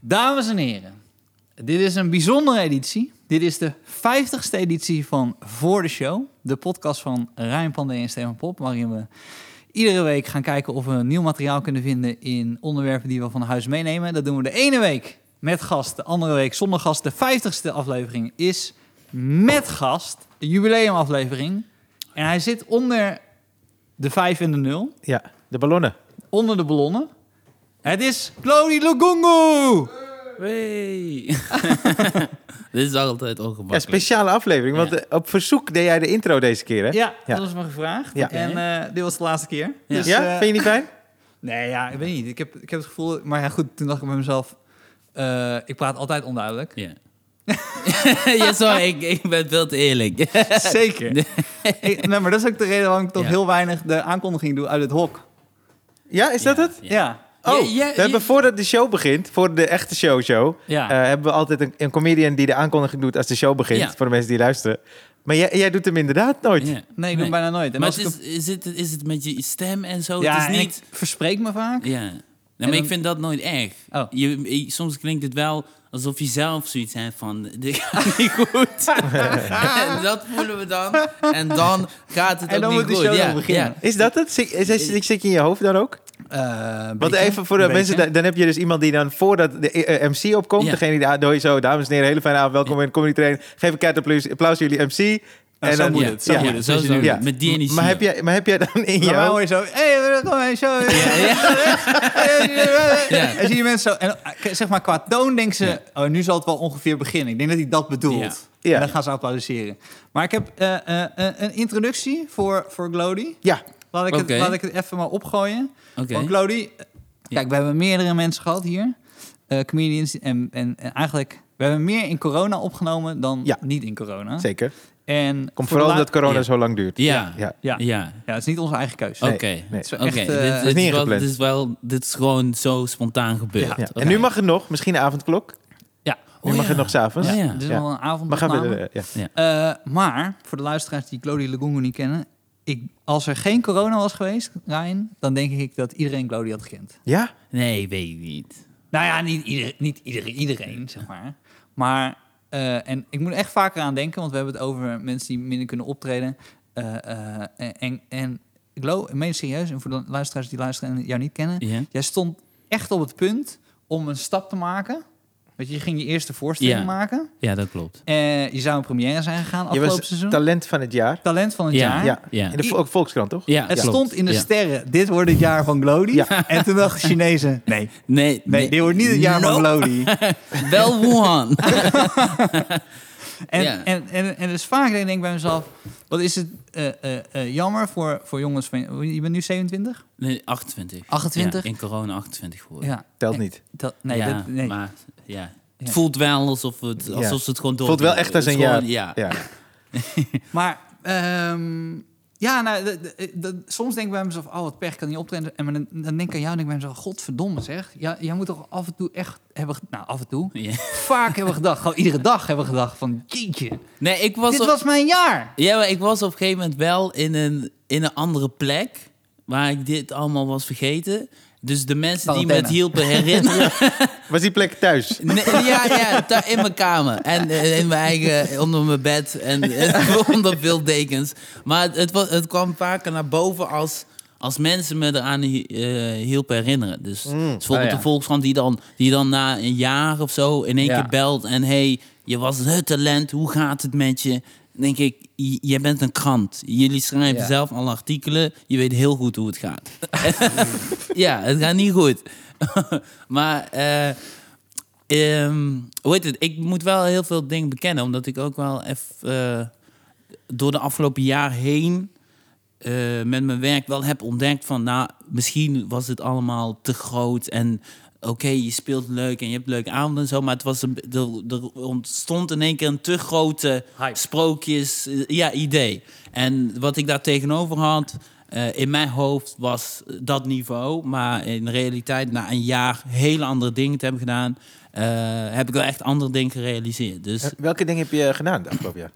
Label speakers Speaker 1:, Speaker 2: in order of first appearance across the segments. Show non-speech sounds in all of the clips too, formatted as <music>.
Speaker 1: Dames en heren, dit is een bijzondere editie. Dit is de 50ste editie van Voor de Show, de podcast van Rijn Pandey en Stefan Pop, waarin we iedere week gaan kijken of we nieuw materiaal kunnen vinden in onderwerpen die we van huis meenemen. Dat doen we de ene week met gast, de andere week zonder gast. De 50ste aflevering is met gast, een jubileumaflevering. En hij zit onder de 5 en de 0,
Speaker 2: Ja, de ballonnen.
Speaker 1: onder de ballonnen. Het is Clody Lugungu!
Speaker 3: Wee. <laughs> Dit is altijd ongemakkelijk.
Speaker 2: Ja, speciale aflevering, want
Speaker 3: Ja.
Speaker 2: eh, op verzoek deed jij de intro deze keer, hè?
Speaker 1: Ja,
Speaker 2: Ja.
Speaker 1: dat was me gevraagd.
Speaker 2: Ja.
Speaker 1: En eh, dit was de laatste keer.
Speaker 3: Ja.
Speaker 1: Dus,
Speaker 2: Ja?
Speaker 1: eh,
Speaker 2: Vind je niet fijn?
Speaker 1: Nee, ja, ik weet niet. Ik heb, ik heb het gevoel... Maar ja, goed, toen dacht ik bij mezelf... eh, ik praat altijd onduidelijk.
Speaker 3: Ja. ja, <laughs> sorry, ik, ik ben veel te eerlijk.
Speaker 1: <laughs> Zeker. Ik- nee, maar dat is ook de reden waarom ik toch
Speaker 3: Ja.
Speaker 1: heel weinig de aankondiging doe uit het hok.
Speaker 2: Ja, is dat
Speaker 3: Ja.
Speaker 2: het?
Speaker 1: Ja.
Speaker 3: Ja.
Speaker 2: Oh,
Speaker 3: Ja, ja,
Speaker 2: we hebben
Speaker 3: ja.
Speaker 2: voordat de show begint, voor de echte show-show,
Speaker 1: Ja.
Speaker 2: eh, hebben we altijd een, een comedian die de aankondiging doet als de show begint,
Speaker 3: Ja.
Speaker 2: voor de mensen die luisteren. Maar jij, jij doet hem inderdaad nooit.
Speaker 3: Ja.
Speaker 1: Nee, ik doe hem bijna nooit. En
Speaker 3: Maar
Speaker 1: als
Speaker 3: het is, is, het, is het met je stem en zo?
Speaker 1: ja,
Speaker 3: het is
Speaker 1: en
Speaker 3: niet...
Speaker 1: ik verspreek me vaak.
Speaker 3: Ja. Nee, maar
Speaker 1: dan-
Speaker 3: ik vind dat nooit erg.
Speaker 1: Oh.
Speaker 3: Je, je- soms klinkt het wel alsof je zelf zoiets hebt van... Dit gaat <laughs> niet
Speaker 1: <laughs>
Speaker 3: goed. en dat voelen we dan. En dan gaat het
Speaker 1: En dan
Speaker 3: ook
Speaker 1: moet
Speaker 3: niet
Speaker 1: de
Speaker 3: goed.
Speaker 1: show
Speaker 3: ja,
Speaker 1: nog beginnen.
Speaker 3: ja.
Speaker 2: Is dat het? Zit, is, is- zit je in je hoofd dan ook?
Speaker 1: Eh,
Speaker 2: Want
Speaker 1: beetje,
Speaker 2: even voor de
Speaker 1: een
Speaker 2: mensen,
Speaker 1: beetje.
Speaker 2: dan, dan heb je dus iemand die dan voordat de eh, MC opkomt,
Speaker 3: Ja.
Speaker 2: degene die doe je zo, dames en heren, hele fijne avond, welkom in de Comedy Train, geef een keihard applaus, applaus jullie MC.
Speaker 1: Nou, zo
Speaker 2: dan
Speaker 1: moet
Speaker 3: Ja,
Speaker 1: het, zo
Speaker 3: ja,
Speaker 1: moet het, zoals je
Speaker 3: zo-
Speaker 1: nu-
Speaker 2: Ja.
Speaker 3: Met die energie.
Speaker 2: Maar heb, jij, maar heb jij dan in
Speaker 1: Ja, maar dan hoor
Speaker 2: jou...
Speaker 1: je zo... hey, welkom bij de show.
Speaker 3: Ja.
Speaker 1: En zie je mensen zo... En eh, zeg maar, qua toon denken ze... Oh, nu zal het wel ongeveer beginnen. Ik denk dat hij dat bedoelt.
Speaker 2: Ja. Ja.
Speaker 1: En dan gaan ze applaudisseren. Maar ik heb eh, eh, eh, een introductie voor, voor Glody.
Speaker 2: Ja,
Speaker 1: Laat ik,
Speaker 3: Oké.
Speaker 1: het, laat ik het even maar opgooien.
Speaker 3: Oké.
Speaker 1: Want Glody... eh, Kijk, we hebben meerdere mensen gehad hier. eh, comedians. En, en, en eigenlijk... We hebben meer in corona opgenomen dan
Speaker 2: Ja.
Speaker 1: niet in corona.
Speaker 2: zeker.
Speaker 1: En voor
Speaker 2: Komt
Speaker 1: de
Speaker 2: vooral
Speaker 1: la-
Speaker 2: omdat corona
Speaker 3: Ja.
Speaker 2: zo lang duurt.
Speaker 3: Ja.
Speaker 2: Ja.
Speaker 1: Ja. ja.
Speaker 3: ja.
Speaker 1: het is niet onze eigen keuze.
Speaker 2: Nee,
Speaker 3: Oké.
Speaker 2: nee.
Speaker 1: Het is wel
Speaker 3: Oké,
Speaker 1: echt,
Speaker 3: dit-
Speaker 1: eh,
Speaker 3: dit,
Speaker 2: is niet
Speaker 3: is wel-
Speaker 2: ingepland.
Speaker 3: dit is wel, dit is gewoon zo spontaan gebeurd.
Speaker 2: Ja.
Speaker 3: Oké.
Speaker 2: En nu mag het nog, misschien een avond nog.
Speaker 1: ja.
Speaker 2: Nu
Speaker 3: Oh,
Speaker 2: mag
Speaker 3: ja.
Speaker 2: het nog s'avonds.
Speaker 3: Ja, ja.
Speaker 1: Dit is
Speaker 2: Ja.
Speaker 1: wel een avond.
Speaker 2: Maar gaan we... eh, ja.
Speaker 1: Eh, maar voor de luisteraars die Claudie Legongo niet kennen, ik, als er geen corona was geweest, Ryan, dan denk ik dat iedereen Claudie had gekend.
Speaker 2: ja?
Speaker 3: Nee, weet ik niet.
Speaker 1: Nou ja, niet, ieder, niet iedereen, iedereen, zeg maar. Maar, eh, en ik moet er echt vaker aan denken, want we hebben het over mensen die minder kunnen optreden. Eh, eh, en, en ik geloof, ik meen het serieus, en voor de luisteraars die luisteren en jou niet kennen,
Speaker 3: Ja.
Speaker 1: jij stond echt op het punt om een stap te maken. Want je je ging je eerste voorstelling
Speaker 3: Ja.
Speaker 1: maken.
Speaker 3: Ja, dat klopt.
Speaker 1: Eh, je zou een première zijn gegaan
Speaker 2: Je
Speaker 1: afgelopen
Speaker 2: was
Speaker 1: seizoen.
Speaker 2: talent van het jaar.
Speaker 1: Talent van het
Speaker 3: Ja.
Speaker 1: jaar.
Speaker 2: Ja.
Speaker 3: Ja.
Speaker 2: In de Vol- Volkskrant, toch?
Speaker 3: Ja,
Speaker 1: Het
Speaker 3: klopt.
Speaker 1: stond in de
Speaker 3: Ja.
Speaker 1: sterren, dit wordt het jaar van Glody.
Speaker 2: Ja.
Speaker 1: En toen dachten de Chinezen, nee, nee,
Speaker 3: Nee, nee,
Speaker 1: dit wordt niet het jaar van
Speaker 3: Nope.
Speaker 1: Glody.
Speaker 3: <laughs>
Speaker 2: <laughs>
Speaker 3: Wel Wuhan.
Speaker 1: En,
Speaker 3: Ja.
Speaker 1: en, en, en dus vaak denk ik bij mezelf, wat is het eh, eh, eh, jammer voor, voor jongens van... Je bent nu 27?
Speaker 3: Nee, 28.
Speaker 1: 28?
Speaker 3: Ja, in corona 28 geworden.
Speaker 1: Ja.
Speaker 2: Telt niet.
Speaker 1: Dat, nee,
Speaker 3: Ja,
Speaker 1: dat, nee.
Speaker 3: maar ja.
Speaker 1: Ja.
Speaker 3: Het voelt wel alsof, het,
Speaker 2: Ja.
Speaker 3: alsof ze het gewoon door.
Speaker 2: Voelt wel echt als een jaar.
Speaker 3: Ja.
Speaker 2: Ja.
Speaker 1: Maar ehm, ja, nou, d- d- d- soms denk ik bij mezelf, oh, wat pech, kan niet optreden. En maar dan, dan denk ik aan jou en denk ik bij mezelf, godverdomme zeg. Ja, jij moet toch af en toe echt hebben... ge- Nou, af en toe.
Speaker 3: Ja.
Speaker 1: Vaak hebben we gedacht, gewoon iedere dag hebben we gedacht van... Jeetje,
Speaker 3: Nee, ik was,
Speaker 1: dit
Speaker 3: op,
Speaker 1: was mijn jaar.
Speaker 3: ja, maar ik was op een gegeven moment wel in een, in een andere plek waar ik dit allemaal was vergeten. Dus de mensen die me
Speaker 1: Quarantaine.
Speaker 3: het hielpen
Speaker 1: <laughs>
Speaker 3: herinneren,
Speaker 2: Was die plek thuis?
Speaker 3: Nee, ja, ja, thu- in mijn kamer. En eh, in mijn eigen, onder mijn bed en, en <laughs> onder veel dekens. Maar het, het, wa- het kwam vaker naar boven als, als mensen me eraan hi- eh, hielpen herinneren. Dus, dus bijvoorbeeld
Speaker 1: Oh, ja.
Speaker 3: de Volkskrant die dan, die dan na een jaar of zo in één
Speaker 1: Ja.
Speaker 3: keer belt. En hey, je was het talent, hoe gaat het met je? Dan denk ik, j- jij bent een krant. Jullie schrijven
Speaker 1: Ja.
Speaker 3: zelf alle artikelen. Je weet heel goed hoe het gaat. <laughs> ja, het gaat niet goed. <laughs> maar... eh, Ehm, hoe heet het? Ik moet wel heel veel dingen bekennen, omdat ik ook wel even eh, door de afgelopen jaar heen eh, met mijn werk wel heb ontdekt van, nou, misschien was het allemaal te groot en oké, je speelt leuk en je hebt leuke avonden en zo, maar het was een, er, er ontstond in één keer een te grote
Speaker 1: Hype.
Speaker 3: sprookjes, eh, ja, idee. En wat ik daar tegenover had. eh, in mijn hoofd was dat niveau, maar in de realiteit, na een jaar hele andere dingen te hebben gedaan, eh, heb ik wel echt andere dingen gerealiseerd. Dus
Speaker 2: Welke dingen heb je gedaan de afgelopen jaar?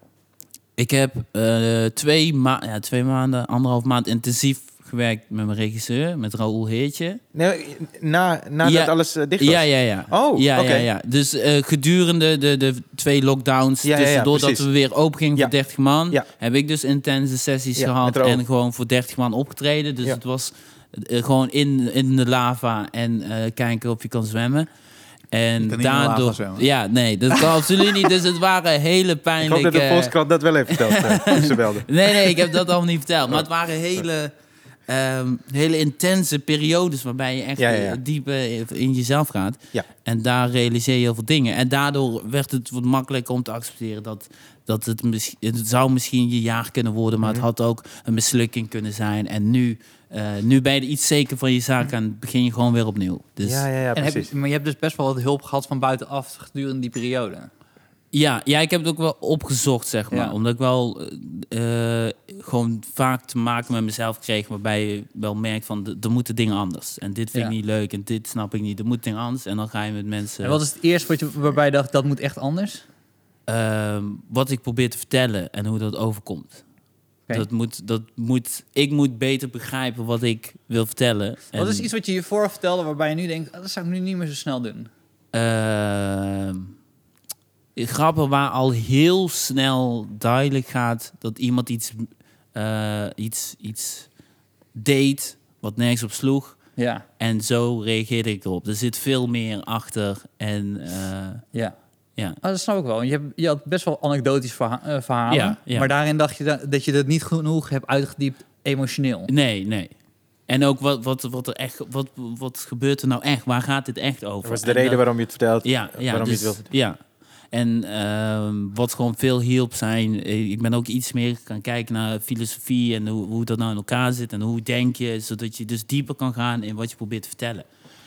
Speaker 3: ik heb eh, twee, ma ja, twee maanden, anderhalf maand intensief gewerkt met mijn regisseur, met Raoul Heertje.
Speaker 2: Nee, na, nadat
Speaker 3: Ja.
Speaker 2: alles eh, dicht was?
Speaker 3: Ja, ja, ja.
Speaker 2: Oh,
Speaker 3: ja,
Speaker 2: oké.
Speaker 3: ja, ja. Dus eh, gedurende de, de twee lockdowns,
Speaker 2: Ja, ja, ja,
Speaker 3: tussendoor dat
Speaker 2: precies.
Speaker 3: we weer open gingen
Speaker 2: Ja.
Speaker 3: voor 30 man,
Speaker 2: Ja.
Speaker 3: heb ik dus intense sessies
Speaker 2: Ja, met
Speaker 3: gehad
Speaker 2: Raoul.
Speaker 3: en gewoon voor 30 man opgetreden. Dus
Speaker 2: Ja.
Speaker 3: het was eh, gewoon in, in de lava en eh, kijken of je kan zwemmen. En
Speaker 1: Je kan niet in de lava
Speaker 3: daardoor.
Speaker 1: zwemmen.
Speaker 3: Ja, nee, dat kan absoluut niet. Dus het waren hele
Speaker 2: Ik
Speaker 3: pijnlijke.
Speaker 2: hoop dat de Volkskrant dat wel heeft verteld. eh, toen
Speaker 3: <laughs>
Speaker 2: ze belden.
Speaker 3: Nee, nee, ik
Speaker 2: <laughs>
Speaker 3: heb dat allemaal niet verteld. Maar het
Speaker 2: Oh.
Speaker 3: waren hele, ehm, hele intense periodes waarbij je echt
Speaker 2: Ja, ja, ja.
Speaker 3: eh, diep eh, in jezelf gaat.
Speaker 2: Ja.
Speaker 3: En daar realiseer je heel veel dingen. En daardoor werd het wat makkelijker om te accepteren dat, dat het, mis- het zou misschien je jaar kunnen worden, maar
Speaker 2: Mhm.
Speaker 3: het had ook een mislukking kunnen zijn. En nu, eh, nu ben je er iets zeker van je zaak en begin je gewoon weer opnieuw. Dus
Speaker 2: Mhm. ja, ja, ja,
Speaker 1: En heb
Speaker 2: precies.
Speaker 1: je- maar je hebt dus best wel wat hulp gehad van buitenaf gedurende die periode.
Speaker 3: Ja, ja, ik heb het ook wel opgezocht, zeg maar.
Speaker 1: Ja.
Speaker 3: Omdat ik wel eh, eh, gewoon vaak te maken met mezelf kreeg... waarbij je wel merkt van, d- er moeten dingen anders. En dit vind ik
Speaker 1: Ja.
Speaker 3: niet leuk en dit snap ik niet. Er moeten dingen anders. En dan ga je met mensen...
Speaker 1: En wat is het eerste wat je, waarbij je dacht, dat moet echt anders?
Speaker 3: ehm, wat ik probeer te vertellen en hoe dat overkomt.
Speaker 1: Oké.
Speaker 3: Dat moet, dat moet, ik moet beter begrijpen wat ik wil vertellen.
Speaker 1: Wat is iets wat je hiervoor vertelde waarbij je nu denkt, ah, dat zou ik nu niet meer zo snel doen?
Speaker 3: Ehm, eh, grappen waar al heel snel duidelijk gaat dat iemand iets, eh, iets, iets deed wat nergens op sloeg.
Speaker 1: Ja,
Speaker 3: En zo reageerde ik erop. Er zit veel meer achter. En eh,
Speaker 1: ja.
Speaker 3: ja.
Speaker 1: Ah, dat snap ik wel. want Je, hebt, je had best wel anekdotisch verha- eh, verhalen.
Speaker 3: Ja, ja.
Speaker 1: Maar daarin dacht je da- dat je dat niet genoeg hebt uitgediept emotioneel.
Speaker 3: Nee, nee. En ook wat, wat, wat er echt, wat, wat gebeurt er nou echt? Waar gaat dit echt over?
Speaker 2: Dat was de
Speaker 3: En
Speaker 2: reden
Speaker 3: dat-
Speaker 2: waarom je het vertelt.
Speaker 3: Ja, ja,
Speaker 2: waarom je
Speaker 3: dus,
Speaker 2: het wil vertellen.
Speaker 3: ja. En ehm, wat gewoon veel hielp zijn, eh, ik ben ook iets meer gaan kijken naar filosofie en hoe, hoe dat nou in elkaar zit en hoe denk je, zodat je dus dieper kan gaan in wat je probeert te vertellen.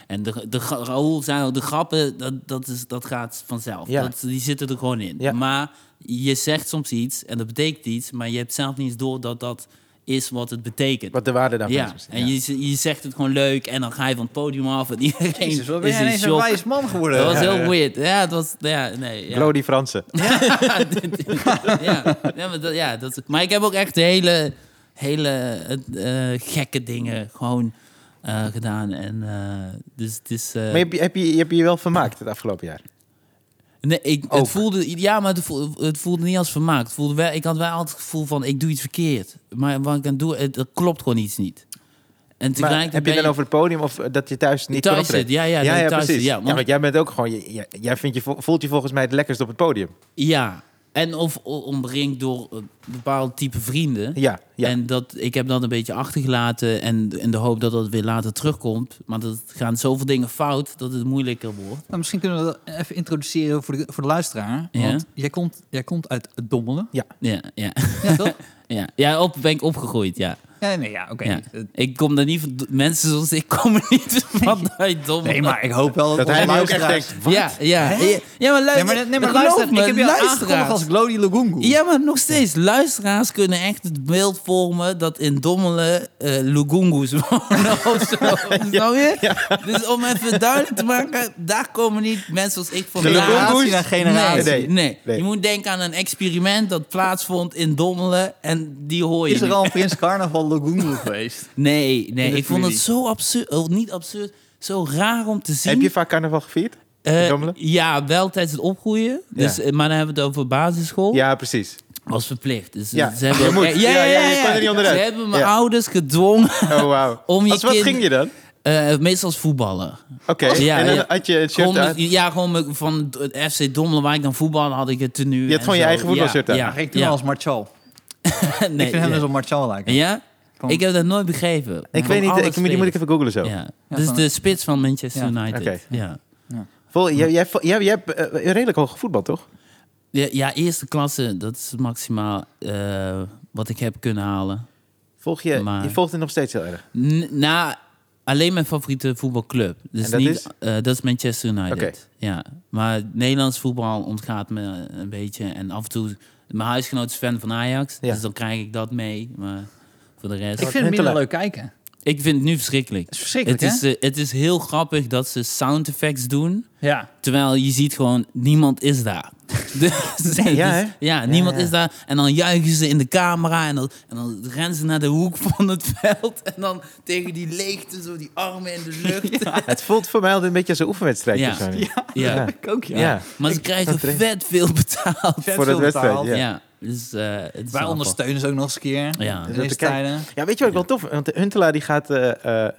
Speaker 3: En de, de, gra- Raoul zei al, de grappen, dat, dat, is, dat gaat vanzelf.
Speaker 2: Ja.
Speaker 3: Dat, die zitten er gewoon in.
Speaker 2: Ja.
Speaker 3: Maar je zegt soms iets en dat betekent iets, maar je hebt zelf niet eens door dat dat is wat het betekent.
Speaker 2: Wat de waarde daarvan
Speaker 3: ja,
Speaker 2: is.
Speaker 3: en je, je zegt het gewoon leuk en dan ga je van het podium af en iedereen
Speaker 1: Jezus, wat ben
Speaker 3: is
Speaker 1: jij
Speaker 3: in
Speaker 1: ineens een
Speaker 3: shock.
Speaker 1: wijs man geworden?
Speaker 3: Dat was
Speaker 1: Ja.
Speaker 3: heel weird. Ja, het was... Ja, nee. Ja. <laughs>
Speaker 2: Bloody Fransen.
Speaker 3: ja, ja, maar, dat, ja dat, maar ik heb ook echt hele, hele eh, eh, gekke dingen gewoon eh, gedaan. En, eh, dus het is... eh,
Speaker 2: Maar heb je, heb, je, heb je je wel vermaakt het afgelopen jaar?
Speaker 3: nee, ik,
Speaker 2: ook.
Speaker 3: het voelde... Ja, maar het voelde, het voelde niet als vermaakt. Het voelde wel, ik had wel altijd het gevoel van, ik doe iets verkeerd. Maar wat ik aan doe, het, er klopt gewoon iets niet. En
Speaker 2: Maar
Speaker 3: tegelijkertijd
Speaker 2: heb je
Speaker 3: ben
Speaker 2: dan over het podium of eh, dat je thuis niet
Speaker 3: Thuis
Speaker 2: kon optreden?
Speaker 3: zit, ja, ja,
Speaker 2: ja,
Speaker 3: dat ik thuis
Speaker 2: precies.
Speaker 3: zit, ja,
Speaker 2: ja,
Speaker 3: want-
Speaker 2: want jij bent ook gewoon, je- jij, jij vindt je, vo- voelt je volgens mij het lekkerst op het podium.
Speaker 3: Ja, en of o- omringd door eh, bepaald type vrienden.
Speaker 2: Ja, ja.
Speaker 3: En dat, ik heb dat een beetje achtergelaten en in de hoop dat dat weer later terugkomt. Maar dat gaan zoveel dingen fout dat het moeilijker wordt.
Speaker 1: Nou, misschien kunnen we dat even introduceren voor de, voor de luisteraar. Want
Speaker 3: Ja.
Speaker 1: jij, komt, jij komt uit het Dommelen.
Speaker 3: Ja, ja. <laughs>
Speaker 1: Ja, toch?
Speaker 3: ja. ja op, ben ik opgegroeid, ja.
Speaker 1: Ja, nee, ja, oké.
Speaker 3: ja.
Speaker 1: Eh,
Speaker 3: Ik kom daar niet van, mensen zoals ik <laughs> komen niet vanuit domme.
Speaker 1: Nee, maar ik hoop wel dat,
Speaker 2: Dat
Speaker 1: onze
Speaker 2: hij nu ook echt
Speaker 1: luisteraars-
Speaker 2: denkt, wat?
Speaker 3: Ja, ja. Ja, maar
Speaker 1: Nee,
Speaker 3: luister.
Speaker 1: maar, nee, maar
Speaker 3: geloof
Speaker 1: luister,
Speaker 3: me,
Speaker 1: ik heb je al
Speaker 3: luisteraars.
Speaker 1: aangekondigd als Glody Lugungu.
Speaker 3: Ja, maar nog steeds. Luisteraars kunnen echt het beeld vormen dat in Dommelen eh Lugungus wonen <laughs> of zo. Snap je? Dus om even duidelijk te maken, daar komen niet mensen als ik
Speaker 2: De
Speaker 3: vandaan.
Speaker 2: Lugungus?
Speaker 1: naar generatie.
Speaker 3: Nee,
Speaker 2: Nee,
Speaker 3: nee.
Speaker 2: nee.
Speaker 3: je moet denken aan een experiment dat plaatsvond in Dommelen en die hoor je
Speaker 1: Is er <laughs>
Speaker 3: nu.
Speaker 1: al een Prins Carnaval Lugungu geweest?
Speaker 3: Nee,
Speaker 1: In
Speaker 3: nee.
Speaker 1: de
Speaker 3: Ik vond het
Speaker 1: familie.
Speaker 3: zo absurd, oh, niet absurd, zo raar om te zien.
Speaker 2: Heb je vaak carnaval gevierd?
Speaker 3: Eh,
Speaker 2: in Dommelen?
Speaker 3: ja, wel tijdens het opgroeien. Dus, eh, Maar dan hebben we het over basisschool.
Speaker 2: Ja, precies.
Speaker 3: Was verplicht. Dus
Speaker 2: Ja,
Speaker 3: ze hebben
Speaker 2: je moet.
Speaker 3: eh,
Speaker 2: Ja, ja, je kon er niet onderuit.
Speaker 3: Ze hebben mijn
Speaker 2: Ja.
Speaker 3: ouders gedwongen. <laughs>
Speaker 2: Oh, wauw.
Speaker 3: Om je
Speaker 2: Als wat
Speaker 3: kind-
Speaker 2: ging je dan?
Speaker 3: eh, meestal als voetballer.
Speaker 2: Oké,
Speaker 3: Ja,
Speaker 2: en dan
Speaker 3: ja.
Speaker 2: had je het shirt
Speaker 3: Gewoon,
Speaker 2: uit.
Speaker 3: met- ja, gewoon met- van het FC Dommelen, waar ik dan voetbalde, had ik het tenue.
Speaker 2: had
Speaker 3: en
Speaker 2: gewoon je
Speaker 3: zo.
Speaker 2: eigen voetbalshirt
Speaker 3: ja,
Speaker 2: aan.
Speaker 3: Ja,
Speaker 1: Ja, ging ik toen
Speaker 3: ja.
Speaker 1: al
Speaker 3: <laughs>
Speaker 1: als Marchal.
Speaker 3: Nee,
Speaker 1: ik vind hem
Speaker 3: ja.
Speaker 1: dus op Marchal lijken.
Speaker 3: Ja?
Speaker 1: Van-
Speaker 3: Ik heb dat nooit begrepen.
Speaker 2: Ik
Speaker 3: Van
Speaker 2: weet niet,
Speaker 3: alle
Speaker 2: ik, die moet ik
Speaker 3: spelers.
Speaker 2: even googlen zo.
Speaker 3: Ja.
Speaker 1: Ja,
Speaker 3: dus
Speaker 1: van-
Speaker 3: de spits van Manchester
Speaker 1: Ja.
Speaker 3: United.
Speaker 2: Oké.
Speaker 3: Ja.
Speaker 2: Vol, jij, jij, jij, jij hebt eh, redelijk hoog gevoetbald, toch?
Speaker 3: Ja, ja, eerste klasse, dat is het maximaal eh, wat ik heb kunnen halen.
Speaker 2: Volg je,
Speaker 3: Maar-
Speaker 2: je volgt het nog steeds heel erg.
Speaker 3: N- na alleen mijn favoriete voetbalclub. Dus
Speaker 2: En dat
Speaker 3: niet,
Speaker 2: is?
Speaker 3: eh, dat is Manchester United.
Speaker 2: Oké.
Speaker 3: Ja. Maar Nederlands voetbal ontgaat me een beetje. En af en toe... Mijn huisgenoot is fan van Ajax.
Speaker 2: Ja.
Speaker 3: Dus dan krijg ik dat mee. Maar voor de rest...
Speaker 1: Ik vind hem
Speaker 2: Huntelaar.
Speaker 1: minder leuk kijken.
Speaker 3: Ik vind het nu verschrikkelijk.
Speaker 1: is
Speaker 3: Het
Speaker 1: verschrikkelijk, hè?
Speaker 3: is, eh, het is heel grappig dat ze sound effects doen.
Speaker 1: Ja.
Speaker 3: Terwijl je ziet gewoon, niemand is daar. <laughs> Dus-
Speaker 2: Nee, ja,
Speaker 3: dus-
Speaker 2: hè?
Speaker 3: ja, niemand
Speaker 2: ja.
Speaker 3: is daar. En dan juichen ze in de camera en dan, en dan rennen ze naar de hoek <laughs> van het veld. En dan tegen die leegte, zo die armen in de
Speaker 2: <laughs>
Speaker 3: lucht. Ja,
Speaker 2: Het voelt voor mij altijd een beetje als een oefenwedstrijd.
Speaker 3: Ja.
Speaker 2: of zo.
Speaker 1: Ja,
Speaker 3: Ja.
Speaker 1: ik ook, ja.
Speaker 2: Ja. Dus
Speaker 3: maar ze krijgen
Speaker 2: terecht.
Speaker 3: vet veel betaald.
Speaker 1: Vet
Speaker 2: Voor
Speaker 1: veel
Speaker 2: het wedstrijd,
Speaker 1: betaald.
Speaker 3: Ja,
Speaker 2: Ja.
Speaker 3: dus eh, het is
Speaker 1: Wij
Speaker 3: wel
Speaker 1: ondersteunen ze ook nog eens een keer.
Speaker 3: Ja.
Speaker 1: In
Speaker 2: Dus
Speaker 1: deze
Speaker 2: dat bekijk-
Speaker 1: tijden.
Speaker 2: Ja, weet je wat ik wel tof vind? Want Huntelaar die gaat, eh, eh,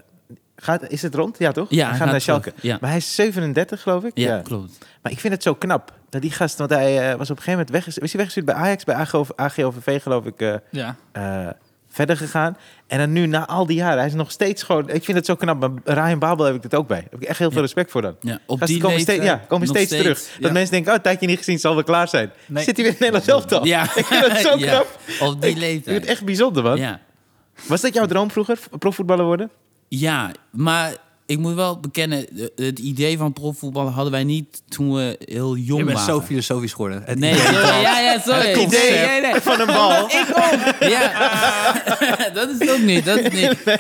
Speaker 2: gaat... Is het rond? Ja, toch?
Speaker 3: Ja,
Speaker 2: Hij
Speaker 3: hij
Speaker 2: gaat
Speaker 3: gaat
Speaker 2: naar Schalke.
Speaker 3: terug, ja.
Speaker 2: Maar hij is 37, geloof ik.
Speaker 3: grappig. Ja, klopt.
Speaker 2: Maar ik vind het zo knap. Dat die gast, want hij eh, was op een gegeven moment weggestuurd. Was hij weggestuurd bij Ajax, bij AGO, AGOVV, geloof ik, eh,
Speaker 1: Ja.
Speaker 2: eh, verder gegaan. En dan nu, na al die jaren, hij is nog steeds gewoon... Ik vind het zo knap. Maar Ryan Babel heb ik dat ook bij. Daar heb ik echt heel veel
Speaker 3: Ja.
Speaker 2: respect voor dan.
Speaker 3: Ja, op
Speaker 2: Gasten
Speaker 3: die
Speaker 2: komen
Speaker 3: leeftijd
Speaker 2: steeds, ja, komen
Speaker 3: nog
Speaker 2: steeds, terug. Dat
Speaker 3: ja.
Speaker 2: mensen denken, oh, een tijdje niet gezien, zal wel klaar zijn.
Speaker 1: Nee.
Speaker 2: Zit hij weer in Nederland zelf dan?
Speaker 3: Ja.
Speaker 2: <laughs> Ik vind dat zo
Speaker 3: <laughs> Ja,
Speaker 2: knap.
Speaker 3: Op die
Speaker 2: Ik vind
Speaker 3: leeftijd.
Speaker 2: het echt bijzonder, man.
Speaker 3: ja.
Speaker 2: Was dat jouw droom vroeger, v- profvoetballer worden? <laughs>
Speaker 3: Ja, maar ik moet wel bekennen, eh, het idee van profvoetbal hadden wij niet toen we heel jong
Speaker 1: Je bent
Speaker 3: waren.
Speaker 1: zo filosofisch geworden. Het <laughs>
Speaker 3: Nee,
Speaker 1: idee-
Speaker 3: sorry, ja, ja, sorry.
Speaker 1: Het concept
Speaker 3: Nee, nee, nee.
Speaker 2: Van een bal.
Speaker 3: Ik ook. Ja, <laughs> dat is het ook niet, dat is het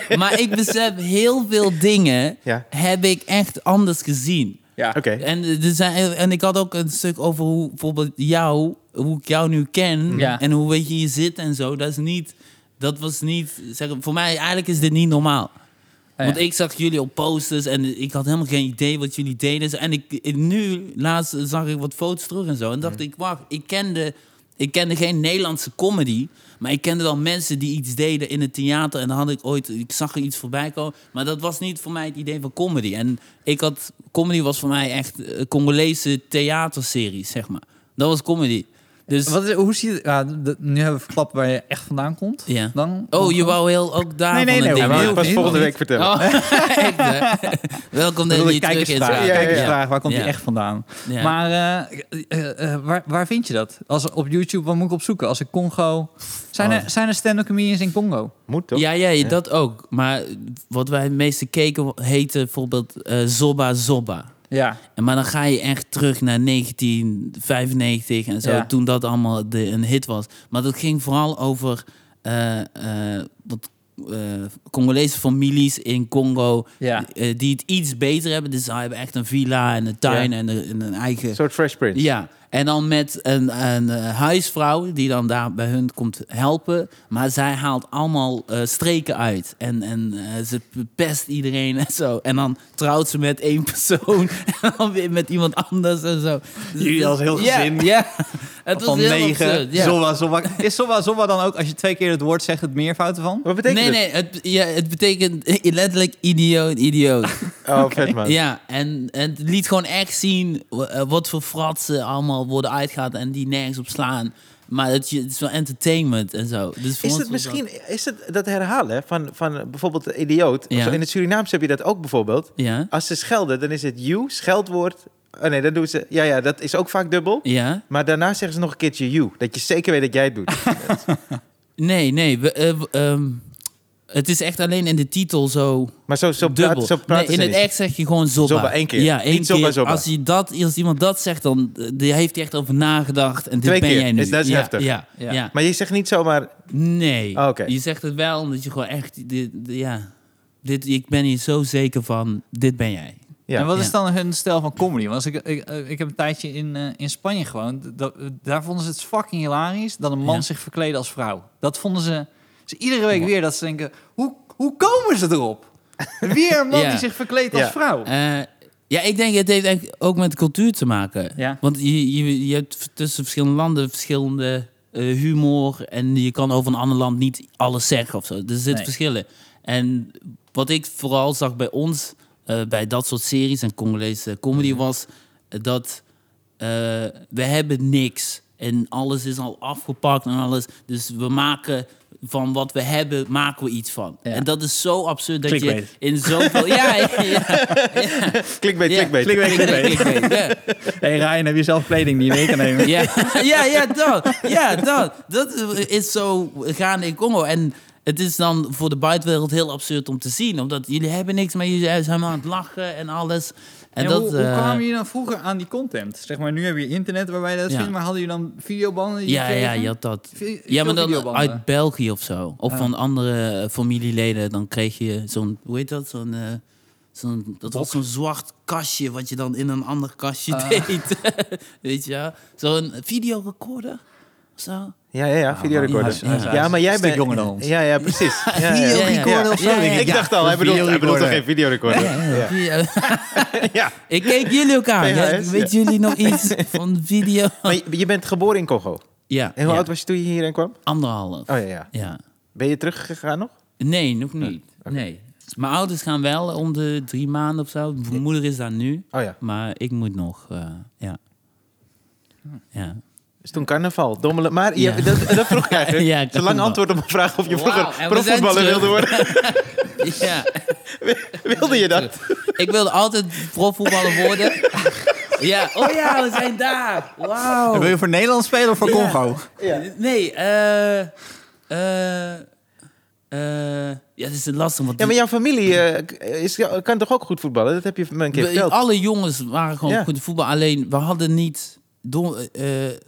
Speaker 3: niet. Maar ik besef heel veel dingen
Speaker 2: Ja.
Speaker 3: heb ik echt anders gezien.
Speaker 2: Oké.
Speaker 3: En, eh, er zijn, en ik had ook een stuk over hoe bijvoorbeeld jou, hoe ik jou nu ken
Speaker 1: Ja.
Speaker 3: en hoe weet je hier zit en zo. Dat is niet, dat was niet, zeg, voor mij eigenlijk is dit niet normaal.
Speaker 1: ja.
Speaker 3: Want ik zag jullie op posters en ik had helemaal geen idee wat jullie deden. En ik, ik- nu, laatst zag ik wat foto's terug en zo. En dacht ik, wacht, ik kende, ik kende geen Nederlandse comedy. Maar ik kende wel mensen die iets deden in het theater. En dan had ik ooit, ik zag er iets voorbij komen. Maar dat was niet voor mij het idee van comedy. En ik had, comedy was voor mij echt eh, Congolese theaterseries, zeg maar. Dat was comedy. Dus,
Speaker 1: Wat is, hoe zie je... Ja, d- nu hebben we verklapt waar je echt vandaan komt.
Speaker 3: Ja.
Speaker 1: Dan,
Speaker 3: oh, je wou heel ook daar
Speaker 1: Nee, nee, nee,
Speaker 2: Ja,
Speaker 1: Ja,
Speaker 2: maar
Speaker 1: heel
Speaker 2: dat pas
Speaker 1: veel.
Speaker 2: volgende week vertellen.
Speaker 3: Oh, <laughs> echt, hè? Welkom
Speaker 1: Dan
Speaker 3: dat
Speaker 1: wil
Speaker 3: je
Speaker 1: ik
Speaker 3: terug is.
Speaker 1: kijkersvraag.
Speaker 2: Ja, ja, ja.
Speaker 1: Kijkersvraag, waar komt
Speaker 3: Ja.
Speaker 1: die echt vandaan?
Speaker 3: Ja.
Speaker 1: Maar eh, eh, eh, waar, waar vind je dat? Als, op YouTube, wat moet ik opzoeken? Als ik Congo... Zijn er, zijn er stand-up comedians in Congo?
Speaker 2: Moet toch?
Speaker 3: Ja, ja, ja, dat ook. Maar wat wij het meeste keken heette bijvoorbeeld eh, Zobba Zobba.
Speaker 1: Ja.
Speaker 3: En Maar dan ga je echt terug naar 1995 en zo,
Speaker 1: Ja.
Speaker 3: toen dat allemaal de, een hit was. Maar dat ging vooral over eh, eh, wat, eh, Congolese families in Congo
Speaker 1: Ja.
Speaker 3: eh, die het iets beter hebben. Dus ze hebben echt een villa en een tuin
Speaker 1: Ja.
Speaker 3: en, een, en een eigen...
Speaker 2: Een soort Fresh Prince.
Speaker 3: Ja, en dan met een, een eh, huisvrouw die dan daar bij hun komt helpen. Maar zij haalt allemaal eh, streken uit. En, en eh, ze pest iedereen en zo. En dan trouwt ze met één persoon. <laughs> en dan weer met iemand anders en zo. Dus-
Speaker 1: Jullie als heel
Speaker 3: Ja,
Speaker 1: gezin. <laughs>
Speaker 3: Ja, het was
Speaker 1: van
Speaker 3: heel
Speaker 1: negen.
Speaker 3: absurd, ja.
Speaker 1: Zomba, zomba. Is zomba, zomba dan ook, als je twee keer het woord zegt, het meervoud ervan?
Speaker 2: Wat betekent
Speaker 3: nee, nee, het, ja, het betekent <laughs> eh, letterlijk idioot, idioot.
Speaker 2: het? Oh, vet man.
Speaker 3: Ja, en, en het liet gewoon echt zien w- eh, wat voor fratsen allemaal worden uitgehaald en die nergens op slaan. Maar het, je- het is wel entertainment en zo. Dus voor
Speaker 2: Is
Speaker 3: ons
Speaker 2: het
Speaker 3: was dat-
Speaker 2: misschien, is het dat herhalen van, van bijvoorbeeld de idioot?
Speaker 3: Ja.
Speaker 2: Of zo, In het Surinaams heb je dat ook bijvoorbeeld.
Speaker 3: Ja,
Speaker 2: Als ze schelden, dan is het you, scheldwoord. Oh nee, dan doen ze, ja, ja, dat is ook vaak dubbel.
Speaker 3: ja.
Speaker 2: Maar daarna zeggen ze nog een keertje you. Dat je zeker weet dat jij
Speaker 3: <laughs>
Speaker 2: het doet.
Speaker 3: Nee, nee. we- eh, w- ehm, het is echt alleen in de titel zo
Speaker 2: Maar zo, zo,
Speaker 3: dubbel.
Speaker 2: praat, zo praten
Speaker 3: nee,
Speaker 2: ze
Speaker 3: in het
Speaker 2: niet.
Speaker 3: echt zeg je gewoon zobba.
Speaker 2: Zobba, één keer.
Speaker 3: Ja,
Speaker 2: Niet
Speaker 3: één keer.
Speaker 2: zobba, zobba.
Speaker 3: Als, je dat, als iemand dat zegt, dan eh, die heeft hij echt over nagedacht. En dit
Speaker 2: Twee
Speaker 3: ben
Speaker 2: keer.
Speaker 3: jij nu.
Speaker 2: Is- dat is
Speaker 3: ja,
Speaker 2: heftig.
Speaker 3: Ja, ja.
Speaker 1: Ja.
Speaker 2: Maar je zegt niet zomaar,
Speaker 3: Nee.
Speaker 2: Oh, oké.
Speaker 3: Je zegt het wel omdat je gewoon echt... Dit, dit- ja, dit, ik ben hier zo zeker van, dit ben jij.
Speaker 2: ja.
Speaker 1: en wat
Speaker 3: ja.
Speaker 1: is dan hun stijl van comedy? Want als ik, ik, eh, ik heb een tijdje in, eh, in Spanje gewoond. Dat- eh, daar vonden ze het fucking hilarisch dat een man
Speaker 3: Ja.
Speaker 1: zich verkleedde als vrouw. Dat vonden ze, ze iedere week weer dat ze denken, hoe, hoe komen ze erop? Weer een man
Speaker 3: Ja.
Speaker 1: die zich verkleedt als
Speaker 2: Ja.
Speaker 1: vrouw.
Speaker 3: Eh, ja, ik denk het heeft eigenlijk ook met cultuur te maken.
Speaker 1: Ja.
Speaker 3: Want je, je, je hebt tussen verschillende landen verschillende eh, humor. En je kan over een ander land niet alles zeggen of zo. Er zitten
Speaker 1: Nee.
Speaker 3: verschillen. En wat ik vooral zag bij ons, eh, bij dat soort series en Congolese comedy, was dat eh, we hebben niks. En alles is al afgepakt en alles. Dus we maken van wat we hebben, maken we iets van.
Speaker 1: Ja.
Speaker 3: En dat is zo absurd dat
Speaker 1: Clickbait.
Speaker 3: je in zoveel... ja, <laughs> ja, ja.
Speaker 2: klikbeet,
Speaker 3: Ja.
Speaker 2: klikbeet.
Speaker 1: Klik- <laughs>
Speaker 3: Clickbait, ja.
Speaker 1: hey Ryan, heb je zelf kleding die je mee kan nemen?
Speaker 3: <laughs> Ja, ja, ja, dat. Ja, dat. Dat is zo gaande in Congo. En het is dan voor de buitenwereld heel absurd om te zien. Omdat jullie hebben niks, maar jullie zijn maar aan het lachen en alles. En,
Speaker 1: En
Speaker 3: dat,
Speaker 1: hoe, hoe
Speaker 3: eh,
Speaker 1: kwamen jullie dan vroeger aan die content? Zeg maar, nu heb je internet waarbij je dat
Speaker 3: Ja.
Speaker 1: vindt, maar hadden jullie dan videobanden? die je
Speaker 3: Ja, ja,
Speaker 1: kregen?
Speaker 3: je had dat.
Speaker 1: Vi-
Speaker 3: Ja, maar
Speaker 1: veel
Speaker 3: dan
Speaker 1: videobanden.
Speaker 3: uit België of zo. Of
Speaker 1: Ah.
Speaker 3: van andere eh, familieleden. Dan kreeg je zo'n, hoe heet dat? Zo'n, eh, zo'n, dat was zo'n zwart kastje wat je dan in een ander kastje
Speaker 1: Ah.
Speaker 3: deed. <laughs> Weet je wel? Zo'n videorecorder of zo.
Speaker 2: Ja, ja, ja,
Speaker 1: Ah,
Speaker 2: videorecorders.
Speaker 1: maar die-
Speaker 2: Ja,
Speaker 1: hij is
Speaker 2: maar
Speaker 1: een
Speaker 2: jij
Speaker 1: stuk
Speaker 2: bent...
Speaker 1: jonger dan ons.
Speaker 2: Ja, ja, precies. Ja, ja, ja.
Speaker 3: Videorecorder
Speaker 2: Ja,
Speaker 3: of zo, denk ik.
Speaker 2: Ik dacht al, hij bedoelt hij bedoelt toch geen videorecorder? Ja.
Speaker 3: Video-
Speaker 2: Ja.
Speaker 3: eh, <laughs> Ik keek jullie ook aan. Ja,
Speaker 2: VHS,
Speaker 3: Weet jullie
Speaker 2: <laughs>
Speaker 3: nog iets van video?
Speaker 2: Maar je- je bent geboren in Congo.
Speaker 3: Ja,
Speaker 2: En hoe
Speaker 3: ja.
Speaker 2: oud was je toen je hierheen kwam?
Speaker 3: Anderhalf.
Speaker 2: Oh ja, ja.
Speaker 3: Ja.
Speaker 2: Ben je teruggegaan nog?
Speaker 3: Nee, nog niet. Nee. Mijn ouders gaan wel om de drie maanden of zo. Mijn moeder is daar nu.
Speaker 2: Oh ja.
Speaker 3: Maar ik moet nog, eh, ja.
Speaker 2: <laughs>
Speaker 3: Ja.
Speaker 2: Dus toen carnaval, dommelen. Maar je-
Speaker 3: Ja.
Speaker 2: <laughs> dat, dat vroeg ik eigenlijk.
Speaker 3: Ja,
Speaker 2: Zo'n lang
Speaker 3: carnaval.
Speaker 2: antwoord op een vraag of je
Speaker 3: Wauw,
Speaker 2: vroeger
Speaker 3: en we zijn
Speaker 2: profvoetballer
Speaker 3: terug.
Speaker 2: wilde worden.
Speaker 3: <laughs> ja.
Speaker 2: <laughs> wilde je dat?
Speaker 3: Ik wilde altijd profvoetballer worden. ja. Oh ja, we zijn daar.
Speaker 2: <laughs>
Speaker 3: Wauw.
Speaker 1: Wil je voor Nederland spelen of voor
Speaker 3: Ja.
Speaker 1: Congo?
Speaker 3: Nee, eh... eh, eh, ja, het is lastig. Want
Speaker 2: Ja, maar jouw familie eh, k- is, kan toch ook goed voetballen? Dat heb je me een keer
Speaker 3: We-
Speaker 2: verteld.
Speaker 3: alle jongens waren gewoon
Speaker 2: Ja.
Speaker 3: goed in voetbal. Alleen we hadden niet door, eh,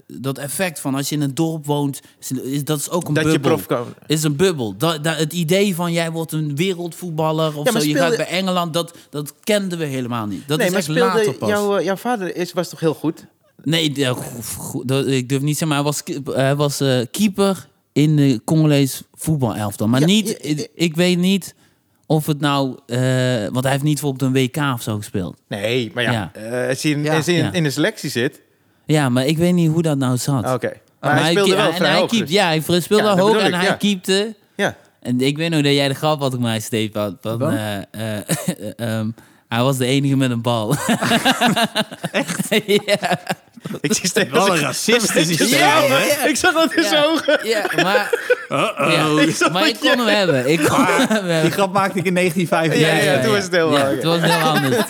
Speaker 3: dat effect van als je in een dorp woont. Is, is- dat is ook een
Speaker 2: Dat je
Speaker 3: bubbel.
Speaker 2: prof kan.
Speaker 3: is een bubbel. Dat, dat, het idee van jij wordt een wereldvoetballer of
Speaker 2: Ja, maar
Speaker 3: zo. Je
Speaker 2: speelde-
Speaker 3: gaat bij Engeland, dat, dat kenden we helemaal niet. Dat
Speaker 2: nee,
Speaker 3: is
Speaker 2: maar
Speaker 3: echt
Speaker 2: speelde
Speaker 3: later pas.
Speaker 2: jouw, eh, jouw vader is, was toch heel goed?
Speaker 3: Nee, de- gof, gof, dat, ik durf niet te zeggen, maar hij was, ki- hij was eh, keeper in de Congolese voetbalelftal. Maar
Speaker 2: Ja,
Speaker 3: niet,
Speaker 2: ja, ja.
Speaker 3: ik, ik weet niet of het nou... eh, want hij heeft niet voor op een WK of zo gespeeld.
Speaker 2: Nee, maar ja,
Speaker 3: Ja.
Speaker 2: eh, als hij, in,
Speaker 1: Ja,
Speaker 2: als hij in,
Speaker 3: ja.
Speaker 2: in de selectie zit.
Speaker 3: Ja, maar ik weet niet hoe dat nou zat.
Speaker 2: Ah, Oké. Maar, hij speelde
Speaker 3: keep-
Speaker 2: wel
Speaker 3: en
Speaker 2: vrij
Speaker 3: hij
Speaker 2: hoog,
Speaker 3: keep-
Speaker 2: dus-
Speaker 3: Ja, hij speelde
Speaker 2: Ja, dat
Speaker 3: hoog
Speaker 2: bedoel
Speaker 3: en
Speaker 2: ik,
Speaker 3: hij
Speaker 2: ja.
Speaker 3: keepte.
Speaker 2: ja.
Speaker 3: En ik weet nog dat jij de grap had op mij, Steve. Had, van,
Speaker 1: Wat?
Speaker 3: eh, eh, ehm, hij was de enige met een bal. <laughs> Echt? ja,
Speaker 2: Ik zie steeds
Speaker 1: Wat een
Speaker 2: ik-
Speaker 1: racist is die
Speaker 2: Ja,
Speaker 1: Stefan,
Speaker 3: hè?
Speaker 2: ja. Ik zag dat in
Speaker 3: Ja.
Speaker 2: zijn ogen.
Speaker 3: ja, maar, ja,
Speaker 2: Ik zag
Speaker 3: maar
Speaker 2: dat
Speaker 3: ik kon
Speaker 2: je-
Speaker 3: hem hebben. Ik
Speaker 2: <laughs>
Speaker 3: kon hem
Speaker 1: Die
Speaker 3: hebben.
Speaker 1: grap maakte ik in 1950.
Speaker 2: Ja, ja, ja, toen was het heel
Speaker 3: ja,
Speaker 2: oké.
Speaker 3: toen
Speaker 2: <laughs>
Speaker 3: was het heel anders.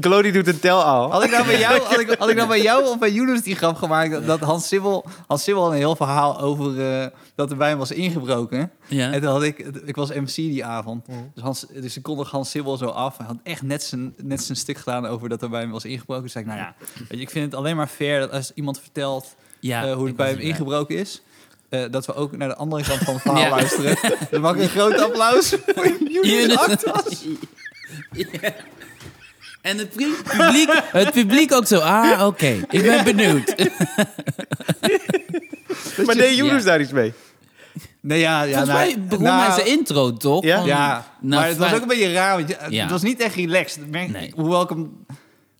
Speaker 2: Glody doet een tel al.
Speaker 1: Had ik, nou bij jou, had, ik, had ik nou bij jou of bij Jonas die grap gemaakt dat, dat Hans Sibbel... Hans Sibbel had een heel verhaal over eh, dat er bij hem was ingebroken.
Speaker 3: Ja.
Speaker 1: En eh, toen had ik... Ik was MC die avond. Dus, Hans, dus ik kondig Hans Sibbel zo af. Hij had echt net zijn, net zijn stuk gedaan over dat er bij hem was ingebroken. Toen zei ik, nou ja, weet je, ik vind het alleen maar fair dat als iemand vertelt
Speaker 3: Ja,
Speaker 1: eh, hoe het
Speaker 3: ik
Speaker 1: bij
Speaker 3: was
Speaker 1: hem
Speaker 3: erbij.
Speaker 1: ingebroken is... eh, dat we ook naar de andere kant van het verhaal
Speaker 3: <laughs> Ja.
Speaker 1: luisteren. Dan mag ik een groot
Speaker 3: <laughs>
Speaker 1: applaus voor Jonas
Speaker 3: Jonas.
Speaker 1: Actas.
Speaker 3: En het publiek, publiek- het publiek ook zo. Ah, oké. Ik ben benieuwd.
Speaker 2: Maar deed Jonas daar iets mee?
Speaker 1: Nee, ja, ja,
Speaker 3: Volgens
Speaker 1: nou,
Speaker 3: mij begon
Speaker 1: nou,
Speaker 3: hij zijn intro, toch?
Speaker 2: Ja?
Speaker 3: Van-
Speaker 1: Ja,
Speaker 3: nou,
Speaker 1: maar het was
Speaker 3: vrij-
Speaker 1: ook een beetje raar. Want je- het
Speaker 3: Ja.
Speaker 1: was niet echt relaxed. Dat merk ik.
Speaker 3: Nee.
Speaker 1: Hoewel ik hem...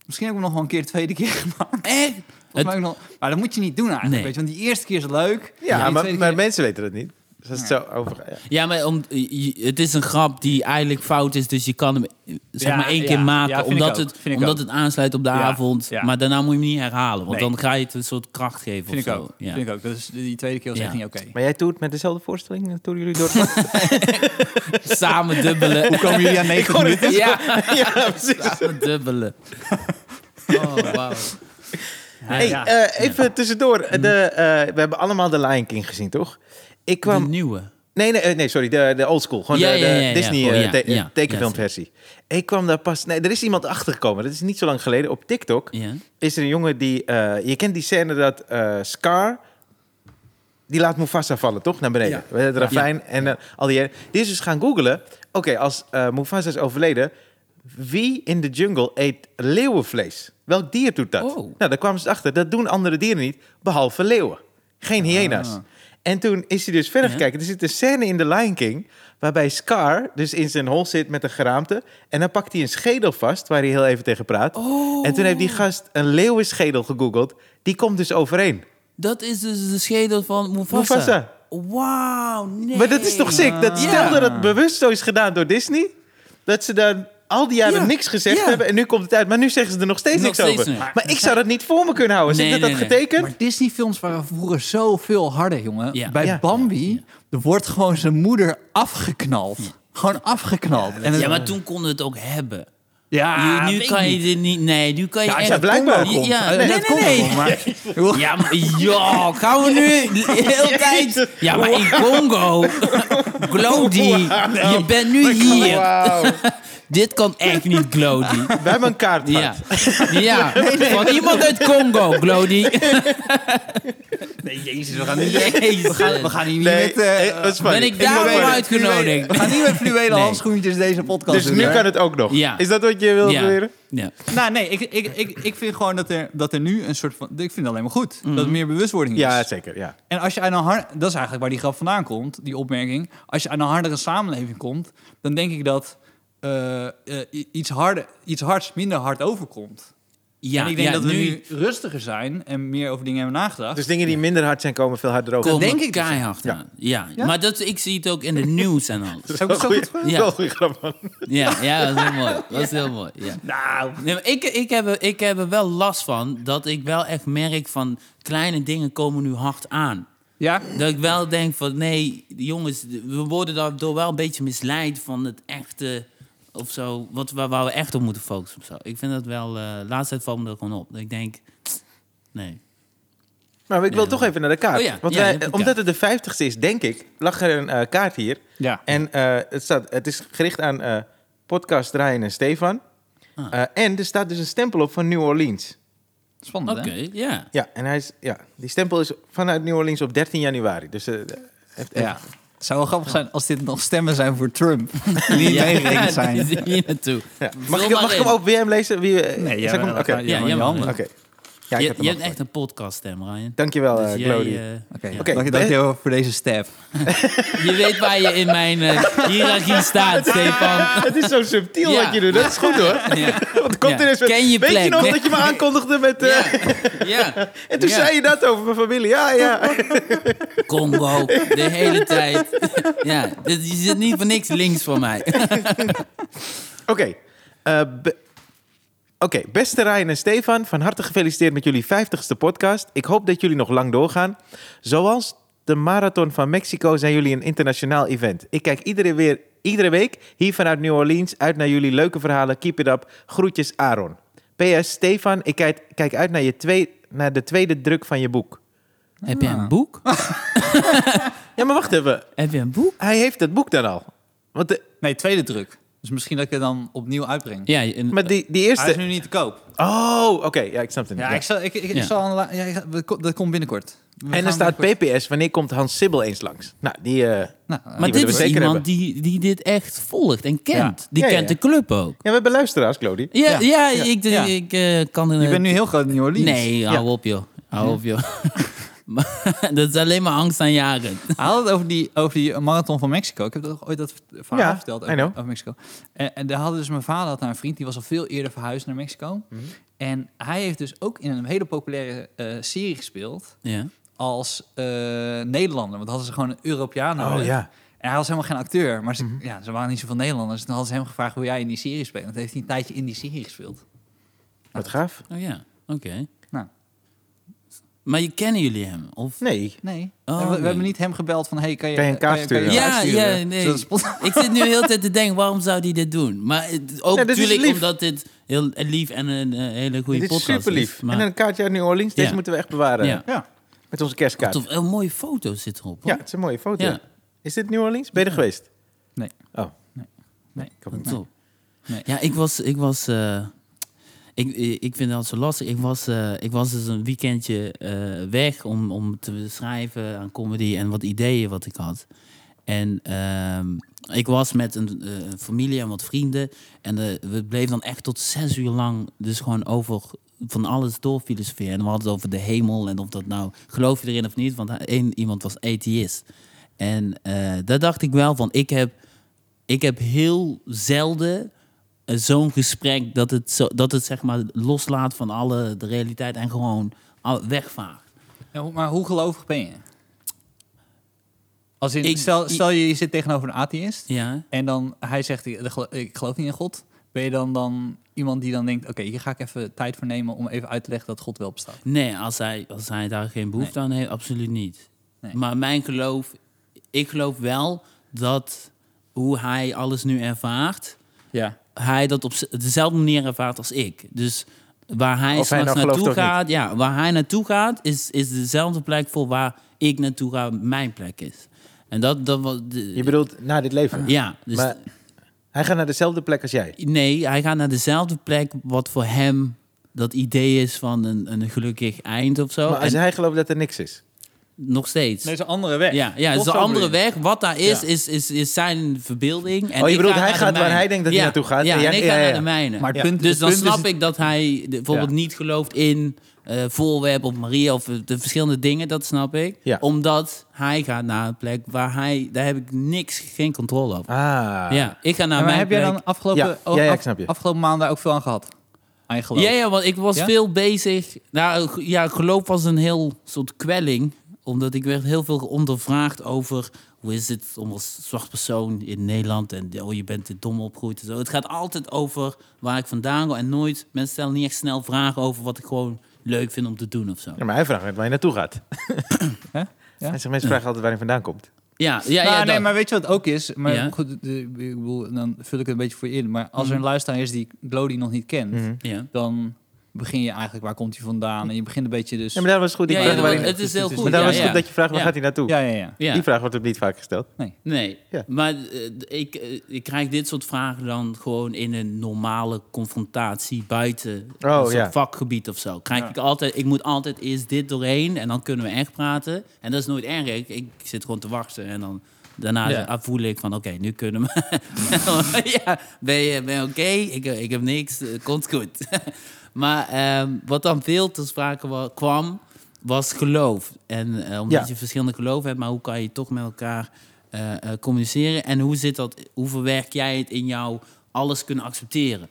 Speaker 1: Misschien heb ik hem nog wel een keer de tweede keer <laughs> gemaakt.
Speaker 3: Echt?
Speaker 1: Volgens
Speaker 3: Het-
Speaker 1: mij ook nog, maar dat moet je niet doen eigenlijk.
Speaker 3: Nee.
Speaker 1: Weet je, want die eerste keer is leuk.
Speaker 2: Ja,
Speaker 1: die
Speaker 2: maar,
Speaker 1: tweede
Speaker 2: maar
Speaker 1: keer-
Speaker 2: mensen weten dat niet. Dus als het zo over... ja.
Speaker 3: Ja, maar om, je- het is een grap die eigenlijk fout is, dus je kan hem eh, zeg
Speaker 1: Ja,
Speaker 3: maar één keer
Speaker 1: ja,
Speaker 3: maken,
Speaker 1: ja, vind ik
Speaker 3: omdat,
Speaker 1: ook,
Speaker 3: het,
Speaker 1: vind ik ook.
Speaker 3: omdat het aansluit op de
Speaker 1: Ja,
Speaker 3: avond.
Speaker 1: ja.
Speaker 3: Maar daarna moet je hem niet herhalen, want
Speaker 1: Nee.
Speaker 3: dan ga je het een soort kracht geven
Speaker 1: vind
Speaker 3: of
Speaker 1: ik
Speaker 3: zo.
Speaker 1: ook.
Speaker 3: Ja.
Speaker 1: Vind ik ook. Dus die tweede keer was
Speaker 3: Ja.
Speaker 1: echt niet oké.
Speaker 2: Maar jij toert met dezelfde voorstelling? Dan toeren jullie door...
Speaker 3: Samen dubbelen.
Speaker 1: Hoe komen <laughs> jullie aan 90 minuten?
Speaker 3: <laughs> ja,
Speaker 2: <laughs> ja, precies.
Speaker 3: samen dubbelen. Oh,
Speaker 1: <laughs>
Speaker 3: wauw.
Speaker 2: Hey,
Speaker 1: Ja.
Speaker 2: eh, even tussendoor. De, eh, we hebben allemaal de Lion King gezien, toch? Ik
Speaker 3: De
Speaker 2: kwam...
Speaker 3: nieuwe.
Speaker 2: Nee, nee, eh, nee, sorry. De, de old school. Gewoon
Speaker 3: Ja,
Speaker 2: de, de
Speaker 3: ja, ja, ja,
Speaker 2: Disney
Speaker 3: gewoon,
Speaker 2: eh,
Speaker 3: ja,
Speaker 2: te-
Speaker 3: ja,
Speaker 2: tekenfilmversie. Ik kwam daar pas... Nee, er is iemand achtergekomen. Dat is niet zo lang geleden. Op TikTok
Speaker 3: Ja.
Speaker 2: is er een jongen die... eh, je kent die scène dat eh, Scar... Die laat Mufasa vallen, toch? Naar beneden. Het ravijn en eh, al die... Die is dus gaan googlen. Oké, als eh, Mufasa is overleden... Wie in de jungle eet leeuwenvlees? Welk dier doet dat?
Speaker 3: Oh.
Speaker 2: Nou, daar kwamen ze achter. Dat doen andere dieren niet, behalve leeuwen. Geen hyena's. En toen is hij dus verder
Speaker 3: Ah. Ja.
Speaker 2: gekeken. Er zit een scène in The Lion King... waarbij Scar dus in zijn hol zit met een geraamte... en dan pakt hij een schedel vast, waar hij heel even tegen praat.
Speaker 3: Oh.
Speaker 2: En toen heeft die gast een leeuwenschedel gegoogeld. Die komt dus overeen.
Speaker 3: Dat is dus de schedel van Mufasa.
Speaker 2: Mufasa.
Speaker 3: Wauw, nee.
Speaker 2: Maar dat is toch sick? Dat,
Speaker 3: Ja.
Speaker 2: stel dat het bewust zo is gedaan door Disney... dat ze dan al die jaren
Speaker 3: Ja.
Speaker 2: niks gezegd
Speaker 3: Ja.
Speaker 2: hebben... en nu komt het uit. Maar nu zeggen ze er nog steeds
Speaker 3: Nog
Speaker 2: niks
Speaker 3: steeds
Speaker 2: over.
Speaker 3: niet.
Speaker 2: Maar, ik zou dat niet voor me kunnen houden. Als
Speaker 3: Nee,
Speaker 2: ik dat
Speaker 3: nee,
Speaker 2: had
Speaker 3: nee.
Speaker 2: getekend...
Speaker 1: Maar Disney-films waren vroeger zoveel harder, jongen.
Speaker 3: Ja.
Speaker 1: Bij
Speaker 2: Ja.
Speaker 1: Bambi er wordt gewoon zijn moeder afgeknald. Gewoon afgeknald. En het-
Speaker 3: Ja, maar toen konden we het ook hebben.
Speaker 1: Ja,
Speaker 3: nu, nu
Speaker 1: Ah, weet
Speaker 3: kan
Speaker 1: ik
Speaker 3: je
Speaker 1: niet.
Speaker 3: dit niet... Nee, nu kan je
Speaker 2: Ja, als
Speaker 3: echt...
Speaker 2: jij blijkbaar
Speaker 3: Ja,
Speaker 2: komt.
Speaker 3: Ja,
Speaker 1: Nee,
Speaker 3: nee,
Speaker 1: dat komt
Speaker 3: nee, nee.
Speaker 1: wel, maar-
Speaker 3: <laughs>
Speaker 1: Joh.
Speaker 3: Ja, maar, ja, gaan we nu de
Speaker 1: <laughs>
Speaker 3: hele tijd... Ja, maar in Congo... Glody, je bent nu hier.
Speaker 2: Wauw. <laughs>
Speaker 3: Dit kan echt niet,
Speaker 1: <laughs>
Speaker 3: Glody.
Speaker 2: We hebben een kaart
Speaker 3: Ja,
Speaker 2: gehad.
Speaker 3: ja. van iemand uit Congo,
Speaker 1: <laughs>
Speaker 3: Glody.
Speaker 1: Nee, jezus, we gaan niet...
Speaker 3: Jezus.
Speaker 1: We gaan, we gaan hier niet
Speaker 2: Nee,
Speaker 1: met... eh,
Speaker 2: eh, dat is fijn.
Speaker 3: Ben ik
Speaker 2: Ik
Speaker 3: daarom
Speaker 2: wil-
Speaker 3: uitgenodigd?
Speaker 1: We gaan niet met fluwelen
Speaker 3: Nee.
Speaker 1: handschoentjes deze podcast
Speaker 2: Dus
Speaker 1: doen,
Speaker 2: nu
Speaker 1: hè?
Speaker 2: kan het ook nog.
Speaker 3: Ja.
Speaker 2: Is dat wat je wil
Speaker 3: Ja.
Speaker 2: leren?
Speaker 3: ja.
Speaker 1: Nou, nee, ik, ik, ik, ik vind gewoon dat er, dat er nu een soort van... Ik vind het alleen maar goed. Dat er meer bewustwording is.
Speaker 3: Dus-
Speaker 2: Ja, zeker. Ja.
Speaker 1: En als je uit een har- dat is eigenlijk waar die grap vandaan komt, die opmerking. Als je uit een hardere samenleving komt, dan denk ik dat eh, eh, i- iets, harder, iets hards minder hard overkomt.
Speaker 3: Ja,
Speaker 1: en ik denk
Speaker 3: ja,
Speaker 1: dat we nu... rustiger zijn en meer over dingen hebben nagedacht.
Speaker 2: Dus dingen die minder hard zijn, komen veel harder over.
Speaker 3: komen
Speaker 1: denk ik dus.
Speaker 3: keihard
Speaker 2: Ja.
Speaker 3: aan. Ja.
Speaker 1: Ja?
Speaker 3: maar dat, ik zie het ook in
Speaker 1: <laughs>
Speaker 3: de nieuws en alles.
Speaker 1: Zou ik het zo
Speaker 2: Goeie-
Speaker 1: goed voor-
Speaker 3: Ja.
Speaker 2: wel goeie grap, man.
Speaker 3: Ja, ja dat is heel mooi. Dat is heel mooi, ja.
Speaker 1: Nou,
Speaker 3: Nee, maar ik, ik, heb, er- ik heb er wel last van dat ik wel echt merk van kleine dingen komen nu hard aan.
Speaker 1: ja.
Speaker 3: Dat ik wel denk van nee, jongens, we worden daardoor wel een beetje misleid van het echte of zo, wat, waar, waar we echt op moeten focussen of zo. Ik vind dat wel, eh laatst tijd valt me dat gewoon op. Dat ik denk, nee.
Speaker 2: Maar ik wil
Speaker 3: Ja.
Speaker 2: toch even naar de kaart.
Speaker 3: Oh ja,
Speaker 2: Want
Speaker 3: ja,
Speaker 2: wij-
Speaker 3: je hebt een
Speaker 2: omdat
Speaker 3: kaart.
Speaker 2: het de vijftigste is, denk ik, lag er een eh, kaart hier.
Speaker 1: Ja.
Speaker 2: En eh, het, staat, het is gericht aan eh, podcast Ryan en Stefan.
Speaker 3: Ah.
Speaker 2: Eh, en er staat dus een stempel op van New Orleans.
Speaker 1: Spannend,
Speaker 3: Oké,
Speaker 1: hè?
Speaker 3: ja.
Speaker 2: Ja, en hij is, ja, die stempel is vanuit New Orleans op 13 januari. Dus eh, heeft-
Speaker 1: Ja. Het zou wel grappig zijn als dit nog stemmen zijn voor Trump. Die niet
Speaker 3: <laughs> Ja,
Speaker 1: meegerekend zijn.
Speaker 3: dit is Hier naartoe.
Speaker 2: ja.
Speaker 3: Vul
Speaker 2: Mag, ik,
Speaker 3: maar
Speaker 2: mag ik
Speaker 3: in.
Speaker 2: hem ook weer hem lezen? Wie, eh,
Speaker 1: Nee,
Speaker 2: zal
Speaker 1: ja,
Speaker 2: ik hem-
Speaker 1: maar-
Speaker 2: Oké.
Speaker 1: ja,
Speaker 3: Ja,
Speaker 1: ja,
Speaker 3: jij
Speaker 1: je
Speaker 3: mag
Speaker 1: handen.
Speaker 3: wel.
Speaker 1: Oké,
Speaker 2: Oké. Ja, ik
Speaker 3: je
Speaker 2: heb hem
Speaker 3: je hebt
Speaker 2: al.
Speaker 3: echt een podcaststem, Ryan.
Speaker 2: Dankjewel,
Speaker 3: Dus
Speaker 2: eh,
Speaker 3: jij,
Speaker 2: Glody.
Speaker 3: eh, ja.
Speaker 1: dank je- dank je wel voor deze step.
Speaker 3: Je weet waar je in mijn eh, hiërarchie
Speaker 1: <laughs>
Speaker 3: staat, Stefan.
Speaker 2: Ah, <laughs> het is zo subtiel
Speaker 3: eh, Ja.
Speaker 2: wat je doet. Dat is goed <laughs> hoor.
Speaker 3: Ja.
Speaker 2: Want er komt
Speaker 3: Ja.
Speaker 2: er eens
Speaker 3: Ken je
Speaker 2: Weet je
Speaker 3: plek?
Speaker 2: nog dat je me aankondigde met... eh,
Speaker 3: Ja. ja,
Speaker 2: <laughs> En toen
Speaker 3: Ja.
Speaker 2: zei je dat over mijn familie. Ja, ja.
Speaker 3: Congo, de hele tijd. Ja, dit, je zit niet voor niks links van mij.
Speaker 2: Oké. eh, be- Oké, beste Ryan en Stefan, van harte gefeliciteerd met jullie 50ste podcast. Ik hoop dat jullie nog lang doorgaan. Zoals de Marathon van Mexico zijn jullie een internationaal event. Ik kijk iedere, weer, iedere week hier vanuit New Orleans uit naar jullie leuke verhalen. Keep it up. Groetjes Aaron. PS, Stefan, ik kijk, kijk uit naar, je twee, naar de tweede druk van je boek.
Speaker 3: Heb je een boek?
Speaker 2: Ja, maar wacht even.
Speaker 3: Heb je een boek?
Speaker 2: Hij heeft dat boek dan al. Want de-
Speaker 1: Nee, tweede druk. Dus misschien dat ik het dan opnieuw uitbreng.
Speaker 3: Ja, een,
Speaker 2: maar die, die
Speaker 1: Hij is
Speaker 2: eerste...
Speaker 1: nu niet te koop.
Speaker 2: Oh, oké. ja, ik snap het nu.
Speaker 1: Ja,
Speaker 2: Ja.
Speaker 1: ik zal... Ik, ik, ik
Speaker 3: Ja.
Speaker 1: zal aanla- ja, ik ga- we ko- dat komt binnenkort. We gaan
Speaker 2: En er staat
Speaker 1: binnenkort-
Speaker 2: PPS, wanneer komt Hans Sibbel eens langs? Nou, die... eh,
Speaker 1: Nou, eh,
Speaker 3: maar
Speaker 2: willen
Speaker 3: dit
Speaker 2: we
Speaker 3: is
Speaker 2: zeker
Speaker 3: iemand
Speaker 2: hebben.
Speaker 3: die, die dit echt volgt en kent.
Speaker 1: Ja.
Speaker 3: Die
Speaker 2: Ja, ja,
Speaker 3: kent
Speaker 2: ja.
Speaker 3: de club ook.
Speaker 2: Ja, we hebben luisteraars, Claudie.
Speaker 3: Ja,
Speaker 1: Ja.
Speaker 3: ja, ik,
Speaker 1: Ja.
Speaker 3: ik eh, kan...
Speaker 1: je bent nu heel groot in New Orleans.
Speaker 3: Nee, hou op joh. Hou op joh. <laughs> Maar dat is alleen maar angst aan jaren.
Speaker 1: <laughs> Hij had het over die, over die marathon van Mexico. Ik heb dat ooit dat verhaal
Speaker 2: Ja,
Speaker 1: verteld
Speaker 2: I
Speaker 1: over,
Speaker 2: know.
Speaker 1: over Mexico. En, en daar hadden dus mijn vader had daar een vriend, die was al veel eerder verhuisd naar Mexico.
Speaker 2: Mhm.
Speaker 1: En hij heeft dus ook in een hele populaire eh, serie gespeeld
Speaker 3: Ja.
Speaker 1: als eh, Nederlander. Want hadden ze gewoon een Europeaan nodig.
Speaker 2: Oh, ja. Mhm.
Speaker 1: En hij was helemaal geen acteur, maar ze, ja, ze waren niet zoveel Nederlanders. En dan hadden ze hem gevraagd hoe jij in die serie speelt. Want heeft hij een tijdje in die serie gespeeld.
Speaker 2: Wat gaaf.
Speaker 3: Oh ja, oké.
Speaker 1: Nou.
Speaker 3: Maar je, kennen jullie hem? Of?
Speaker 2: Nee.
Speaker 1: Nee.
Speaker 3: Oh,
Speaker 1: we, we
Speaker 3: nee.
Speaker 1: hebben niet hem gebeld van, hey, kan je...
Speaker 2: Kan je een kaart sturen?
Speaker 1: een
Speaker 3: Ja,
Speaker 1: kaart sturen?
Speaker 3: ja, nee.
Speaker 1: Zodat het spot-
Speaker 3: Ik zit nu heel de tijd te denken, waarom zou die dit doen? Maar het- ook
Speaker 2: Ja, dit is
Speaker 3: natuurlijk
Speaker 2: lief.
Speaker 3: omdat dit heel lief en een eh, hele goede
Speaker 2: Dit is
Speaker 3: podcast
Speaker 2: super lief.
Speaker 3: is. Maar,
Speaker 2: En een kaartje uit New Orleans, deze
Speaker 3: Ja.
Speaker 2: moeten we echt bewaren.
Speaker 3: Ja.
Speaker 1: Ja.
Speaker 2: Met onze kerstkaart.
Speaker 3: Tof, een mooie foto zit erop.
Speaker 2: Ja,
Speaker 3: hoor.
Speaker 2: het is een mooie foto.
Speaker 3: Ja.
Speaker 2: Is dit New Orleans? Ben je er geweest?
Speaker 1: Nee.
Speaker 2: Oh.
Speaker 1: Nee.
Speaker 2: Ik heb-
Speaker 3: Top.
Speaker 1: Nee.
Speaker 3: Ja, ik was... Ik was eh, ik, eh, ik vind het altijd zo lastig. Ik was, eh, ik was dus een weekendje eh, weg om, om te schrijven aan comedy en wat ideeën wat ik had. En ehm, ik was met een eh, familie en wat vrienden. En eh, we bleven dan echt tot zes uur lang dus gewoon over van alles door filosoferen. En we hadden het over de hemel en of dat nou... Geloof je erin of niet? Want één iemand was atheïst. En eh, daar dacht ik wel van, ik heb, ik heb heel zelden eh, zo'n gesprek dat het, zo, dat het zeg maar loslaat van alle de realiteit en gewoon al- wegvaagt.
Speaker 1: Ja, hoe- maar hoe gelovig ben je? Als in,
Speaker 3: Ik-
Speaker 1: stel,
Speaker 3: ik-
Speaker 1: stel je, je zit tegenover een atheïst
Speaker 3: Ja.
Speaker 1: en dan hij zegt ik gelo- ik geloof niet in God. Ben je dan, dan iemand die dan denkt, oké, hier ga ik even tijd voor nemen om even uit te leggen dat God wel bestaat.
Speaker 3: Nee, als hij, als hij daar geen behoefte aan heeft, absoluut niet.
Speaker 1: Nee.
Speaker 3: Maar mijn geloof, ik geloof wel dat hoe hij alles nu ervaart,
Speaker 1: Ja.
Speaker 3: eh, hij dat op z- dezelfde manier ervaart als ik. Dus waar hij
Speaker 2: Of hij
Speaker 3: straks
Speaker 2: nou gelooft
Speaker 3: naartoe
Speaker 2: of niet.
Speaker 3: gaat, ja, waar hij naartoe gaat, is, is dezelfde plek voor waar ik naartoe ga, mijn plek is. En dat, dat was. de-
Speaker 2: Je bedoelt na dit leven?
Speaker 3: ja, dus Oh,
Speaker 2: maar hij gaat naar dezelfde plek als jij.
Speaker 3: nee, hij gaat naar dezelfde plek wat voor hem dat idee is van een, een gelukkig eind of zo.
Speaker 2: maar als
Speaker 3: en
Speaker 2: hij gelooft dat er niks is.
Speaker 3: nog steeds.
Speaker 1: Nee, is een andere weg.
Speaker 3: Ja, ja het
Speaker 1: Toch
Speaker 3: is de
Speaker 1: zo
Speaker 3: andere
Speaker 1: bedoel je?
Speaker 3: weg. Wat daar is,
Speaker 1: Ja.
Speaker 3: is, is, is zijn verbeelding. En
Speaker 2: Oh, je
Speaker 3: ik
Speaker 2: bedoelt,
Speaker 3: ga
Speaker 2: hij
Speaker 3: naar de
Speaker 2: gaat waar
Speaker 3: mijne.
Speaker 2: hij denkt dat hij naartoe gaat,
Speaker 3: Ja,
Speaker 2: en jij-
Speaker 3: en ik
Speaker 2: ja,
Speaker 3: ga
Speaker 2: ja,
Speaker 3: naar
Speaker 2: ja.
Speaker 3: de mijne.
Speaker 1: Maar het punt-
Speaker 3: dus
Speaker 1: het
Speaker 3: dan
Speaker 1: punt is-
Speaker 3: snap ik dat hij de- bijvoorbeeld
Speaker 2: Ja.
Speaker 3: niet gelooft in eh voorwerp of Maria of eh, de verschillende dingen. Dat snap ik.
Speaker 2: Ja.
Speaker 3: Omdat hij gaat naar een plek waar hij... Daar heb ik niks, geen controle over.
Speaker 2: Ah.
Speaker 3: Ja, ik ga naar
Speaker 1: Ja, maar
Speaker 3: mijn
Speaker 1: heb jij
Speaker 3: plek.
Speaker 1: dan afgelopen,
Speaker 2: Ja, ja, ja,
Speaker 1: af-
Speaker 2: ik snap je.
Speaker 1: afgelopen maanden ook veel aan gehad? Aan je geloof?
Speaker 3: Ja, ja, want ik was
Speaker 1: Ja?
Speaker 3: veel bezig. Nou, g- ja, geloof was een heel soort kwelling. Omdat ik werd heel veel ondervraagd over... hoe is het om als zwart persoon in Nederland... en oh, je bent te dom opgegroeid en zo. Het gaat altijd over waar ik vandaan kom. En nooit, mensen stellen niet echt snel vragen over... wat ik gewoon leuk vind om te doen of zo.
Speaker 2: Ja, maar hij vraagt net waar je naartoe
Speaker 3: <coughs>
Speaker 2: gaat.
Speaker 1: Hè? Ja?
Speaker 2: Mensen, mensen vragen altijd waar hij vandaan komt.
Speaker 3: Ja, ja,
Speaker 1: Nou,
Speaker 3: ja.
Speaker 1: nee,
Speaker 3: dat.
Speaker 1: maar weet je wat het ook is? Maar
Speaker 3: Ja.
Speaker 1: goed, de- ik bedoel, dan vul ik het een beetje voor je in. Maar als er een luisteraar is die Glody nog niet kent,
Speaker 3: ja.
Speaker 1: dan begin je eigenlijk waar komt hij vandaan? En je begint een beetje dus.
Speaker 2: Ja, maar dat was goed. Ik
Speaker 3: Ja,
Speaker 2: vraag
Speaker 3: ja,
Speaker 2: waar
Speaker 3: dat-
Speaker 2: hij-
Speaker 3: het is heel
Speaker 1: Maar
Speaker 3: goed.
Speaker 2: maar dat
Speaker 3: ja,
Speaker 2: was
Speaker 3: ja.
Speaker 2: goed dat je vraagt waar
Speaker 3: Ja.
Speaker 2: gaat hij naartoe.
Speaker 1: ja, ja, ja.
Speaker 3: Ja.
Speaker 2: Die vraag wordt ook niet vaak gesteld.
Speaker 3: Nee,
Speaker 2: Ja.
Speaker 3: maar eh, ik, eh, ik krijg dit soort vragen dan gewoon in een normale confrontatie buiten
Speaker 2: Oh,
Speaker 3: een soort
Speaker 2: ja.
Speaker 3: vakgebied of zo. Krijg
Speaker 1: Ja.
Speaker 3: ik altijd, ik moet altijd eerst dit doorheen en dan kunnen we echt praten. En dat is nooit erg. Ik, ik zit gewoon te wachten en dan daarna
Speaker 1: Ja.
Speaker 3: z- voel ik van oké, nu kunnen we. <laughs> ja, ben je, ben je oké? Ik, ik heb niks, eh, komt goed. <laughs> maar ehm, wat dan veel te sprake wa- kwam, was geloof. En eh, omdat
Speaker 2: Ja.
Speaker 3: je verschillende geloven hebt, maar hoe kan je toch met elkaar eh, eh, communiceren? En hoe zit dat? Hoe verwerk jij het in jouw alles kunnen accepteren?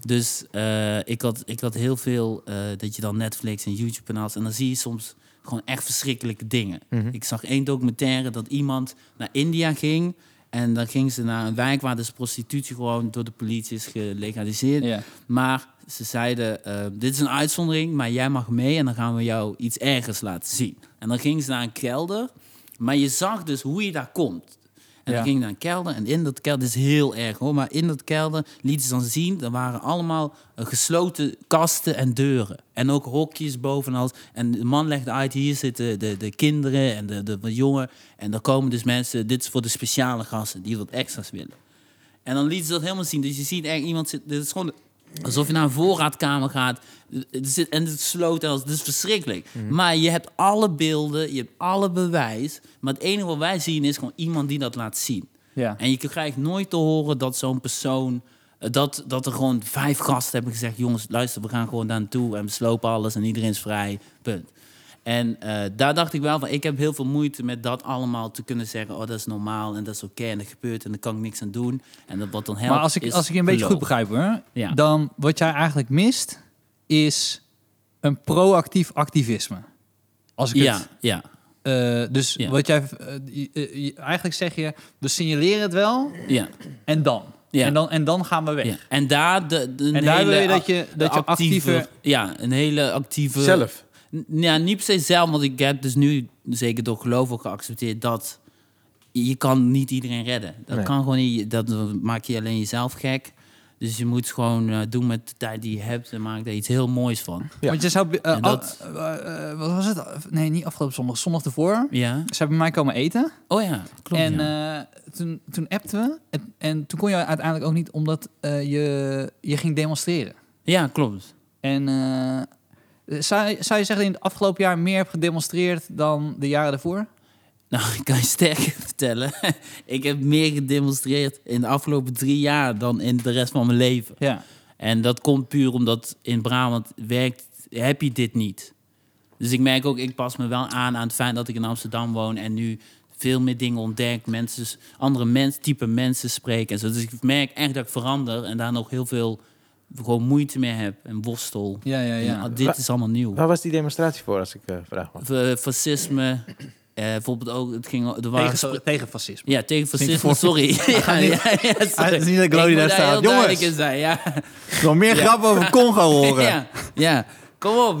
Speaker 3: Dus eh, ik, had, ik had heel veel eh, dat je dan Netflix en YouTube kanaals en dan zie je soms gewoon echt verschrikkelijke dingen. Ik zag één documentaire dat iemand naar India ging en dan ging ze naar een wijk waar dus prostitutie gewoon door de politie is gelegaliseerd.
Speaker 1: Ja.
Speaker 3: Maar ze zeiden, eh, dit is een uitzondering, maar jij mag mee en dan gaan we jou iets ergers laten zien. En dan gingen ze naar een kelder, maar je zag dus hoe je daar komt. En
Speaker 1: Ja.
Speaker 3: dan ging je naar een kelder en in dat kelder, dit is heel erg hoor, maar in dat kelder lieten ze dan zien, er waren allemaal eh, gesloten kasten en deuren. En ook hokjes boven en alles. En de man legde uit, hier zitten de, de kinderen en de, de, de jongen. En dan komen dus mensen, dit is voor de speciale gasten die wat extra's willen. En dan liet ze dat helemaal zien. Dus je ziet echt iemand zit. Dit is gewoon alsof je naar een voorraadkamer gaat. Het zit, en het sloot en alles. Het is verschrikkelijk. Maar je hebt alle beelden, je hebt alle bewijs. Maar het enige wat wij zien is gewoon iemand die dat laat zien.
Speaker 1: Ja.
Speaker 3: En je krijgt nooit te horen dat zo'n persoon. eh, Dat, dat er gewoon vijf gasten hebben gezegd: jongens, luister, we gaan gewoon daar naartoe en we slopen alles en iedereen is vrij. Punt. En eh, daar dacht ik wel van: ik heb heel veel moeite met dat allemaal te kunnen zeggen. Oh, dat is normaal en dat is oké en dat gebeurt en daar kan ik niks aan doen. En dat wat dan helpt.
Speaker 1: Maar als ik,
Speaker 3: is
Speaker 1: als ik je een beetje goed
Speaker 3: geloof.
Speaker 1: begrijp hoor,
Speaker 3: Ja.
Speaker 1: dan wat jij eigenlijk mist is een proactief activisme. Als ik het
Speaker 3: Ja, ja.
Speaker 1: Eh, dus
Speaker 3: Ja.
Speaker 1: wat jij eh, je- eh, je- eigenlijk zeg je, we signaleren het wel
Speaker 3: ja.
Speaker 1: en dan.
Speaker 3: Ja.
Speaker 1: En dan, en dan gaan we weg.
Speaker 3: Ja. En daar de, de- een
Speaker 1: En daar
Speaker 3: hele
Speaker 1: wil je dat
Speaker 3: ac-
Speaker 1: je- dat je actiever-
Speaker 3: ja, een hele actieve
Speaker 2: Zelf.
Speaker 3: N- ja, niet per se zelf, want ik heb dus nu zeker door geloof ook geaccepteerd dat je kan niet iedereen redden. Dat
Speaker 2: Nee.
Speaker 3: kan gewoon niet. Dat maak je alleen jezelf gek. Dus je moet gewoon eh, doen met de tijd die je hebt en maak daar iets heel moois van.
Speaker 2: Ja.
Speaker 1: Want je zou... eh,
Speaker 3: En dat-
Speaker 1: al- eh, eh, wat was het? Nee, niet afgelopen zondag. Zondag ervoor.
Speaker 3: Ja.
Speaker 1: Ze hebben bij mij komen eten.
Speaker 3: Oh ja, klopt.
Speaker 1: en
Speaker 3: ja.
Speaker 1: eh, toen, toen appten we. En, en toen kon je uiteindelijk ook niet, omdat eh, je, je ging demonstreren.
Speaker 3: ja, klopt.
Speaker 1: En eh, zou, zou je zeggen dat je in het afgelopen jaar meer hebt gedemonstreerd dan de jaren daarvoor?
Speaker 3: Nou, <laughs> ik kan je sterker vertellen. ik heb meer gedemonstreerd in de afgelopen drie jaar dan in de rest van mijn leven.
Speaker 1: Ja.
Speaker 3: En dat komt puur omdat in Brabant werkt, heb je dit niet. Dus ik merk ook, ik pas me wel aan aan het feit dat ik in Amsterdam woon en nu veel meer dingen ontdek, mensen, andere mens, type mensen spreek en zo. Dus ik merk echt dat ik verander en daar nog heel veel gewoon moeite mee heb en worstel.
Speaker 1: Ja, ja,
Speaker 3: En,
Speaker 1: ja.
Speaker 3: ah, dit is allemaal nieuw.
Speaker 2: Waar was die demonstratie voor, als ik eh, vraag mag?
Speaker 3: F- fascisme, eh, bijvoorbeeld ook, het ging, er waren spra-
Speaker 1: Tegen, tegen fascisme.
Speaker 3: ja, tegen
Speaker 1: Vind ik voor- <laughs>
Speaker 3: fascisme, sorry. ja, ja, ja,
Speaker 1: Ah,
Speaker 3: sorry.
Speaker 1: het is niet dat Glody
Speaker 3: Ik
Speaker 1: daar
Speaker 3: moet
Speaker 1: staat.
Speaker 3: heel duidelijk
Speaker 1: Jongens.
Speaker 3: in zijn, ja.
Speaker 1: Nog meer grappen over Congo <laughs> horen.
Speaker 3: Ja, ja. Kom op,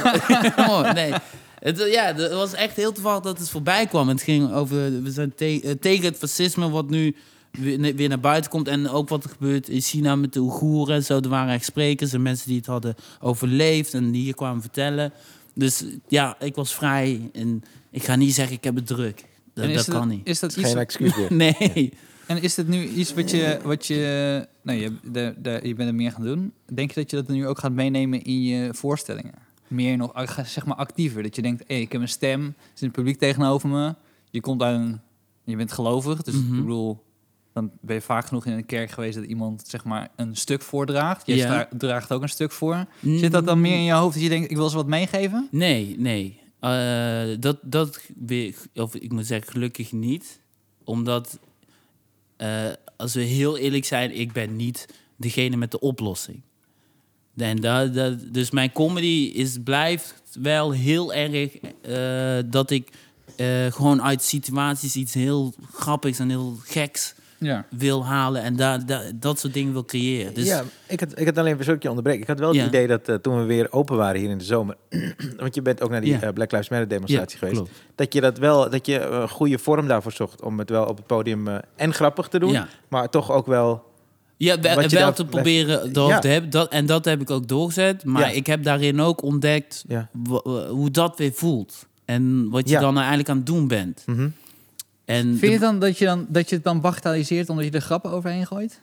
Speaker 1: <laughs>
Speaker 3: <laughs> Kom op, Oh, nee. Het, ja, het was echt heel toevallig dat het voorbij kwam. Het ging over, we zijn te- eh, tegen het fascisme wat nu weer na- weer naar buiten komt. En ook wat er gebeurt in China met de Oeigoeren. en Zo, er waren echt sprekers en mensen die het hadden overleefd en die hier kwamen vertellen. Dus ja, ik was vrij. En ik ga niet zeggen, ik heb het druk. Dat,
Speaker 1: En is
Speaker 3: dat
Speaker 1: het-
Speaker 3: kan niet.
Speaker 1: Is dat iets,
Speaker 2: Geen excuus meer.
Speaker 3: <laughs> Nee.
Speaker 1: en is dit nu iets wat je... Wat je nou, je, de, de, je bent er meer gaan doen. Denk je dat je dat nu ook gaat meenemen in je voorstellingen? Meer nog, ac- zeg maar, actiever. Dat je denkt, hé, ik heb een stem. Er zit een publiek tegenover me. Je komt uit een... Je bent gelovig. Dus
Speaker 3: Mhm.
Speaker 1: ik bedoel... Dan ben je vaak genoeg in een kerk geweest dat iemand zeg maar, een stuk voordraagt. Jij
Speaker 3: Ja. Mm.
Speaker 1: stra- draagt ook een stuk voor. Zit dat dan meer in je hoofd dat je denkt, ik wil ze wat meegeven?
Speaker 3: Nee, nee. Eh, dat, dat weer, of ik moet zeggen, gelukkig niet. Omdat, eh, als we heel eerlijk zijn, ik ben niet degene met de oplossing. En dat, dat, dus mijn comedy is, blijft wel heel erg eh, dat ik eh, gewoon uit situaties iets heel grappigs en heel geks
Speaker 1: Ja.
Speaker 3: wil halen. En daar daar- dat soort dingen wil creëren. Dus,
Speaker 2: ja, ik had, ik had alleen een verzoekje onderbreken. Ik had wel
Speaker 3: Ja.
Speaker 2: het idee dat eh, toen we weer open waren hier in de zomer... <clears throat> want je bent ook naar die
Speaker 3: Ja.
Speaker 2: eh, Black Lives Matter
Speaker 3: ja,
Speaker 2: demonstratie geweest.
Speaker 3: klopt.
Speaker 2: Dat je dat wel, dat je een goede vorm daarvoor zocht... om het wel op het podium eh, en grappig te doen...
Speaker 3: Ja.
Speaker 2: maar toch ook wel...
Speaker 3: Ja, wel,
Speaker 2: Wat je
Speaker 3: wel
Speaker 2: daar-
Speaker 3: te proberen door
Speaker 2: Ja.
Speaker 3: te hebben. Dat, en dat heb ik ook doorgezet. Maar
Speaker 2: Ja.
Speaker 3: ik heb daarin ook ontdekt
Speaker 2: Ja.
Speaker 3: wa- wa- hoe dat weer voelt. En wat je
Speaker 2: Ja.
Speaker 3: dan eigenlijk aan het doen bent.
Speaker 2: Mhm.
Speaker 3: En
Speaker 1: Vind je dan dat, je dan dat je het dan bagatelliseert omdat je er grappen overheen gooit?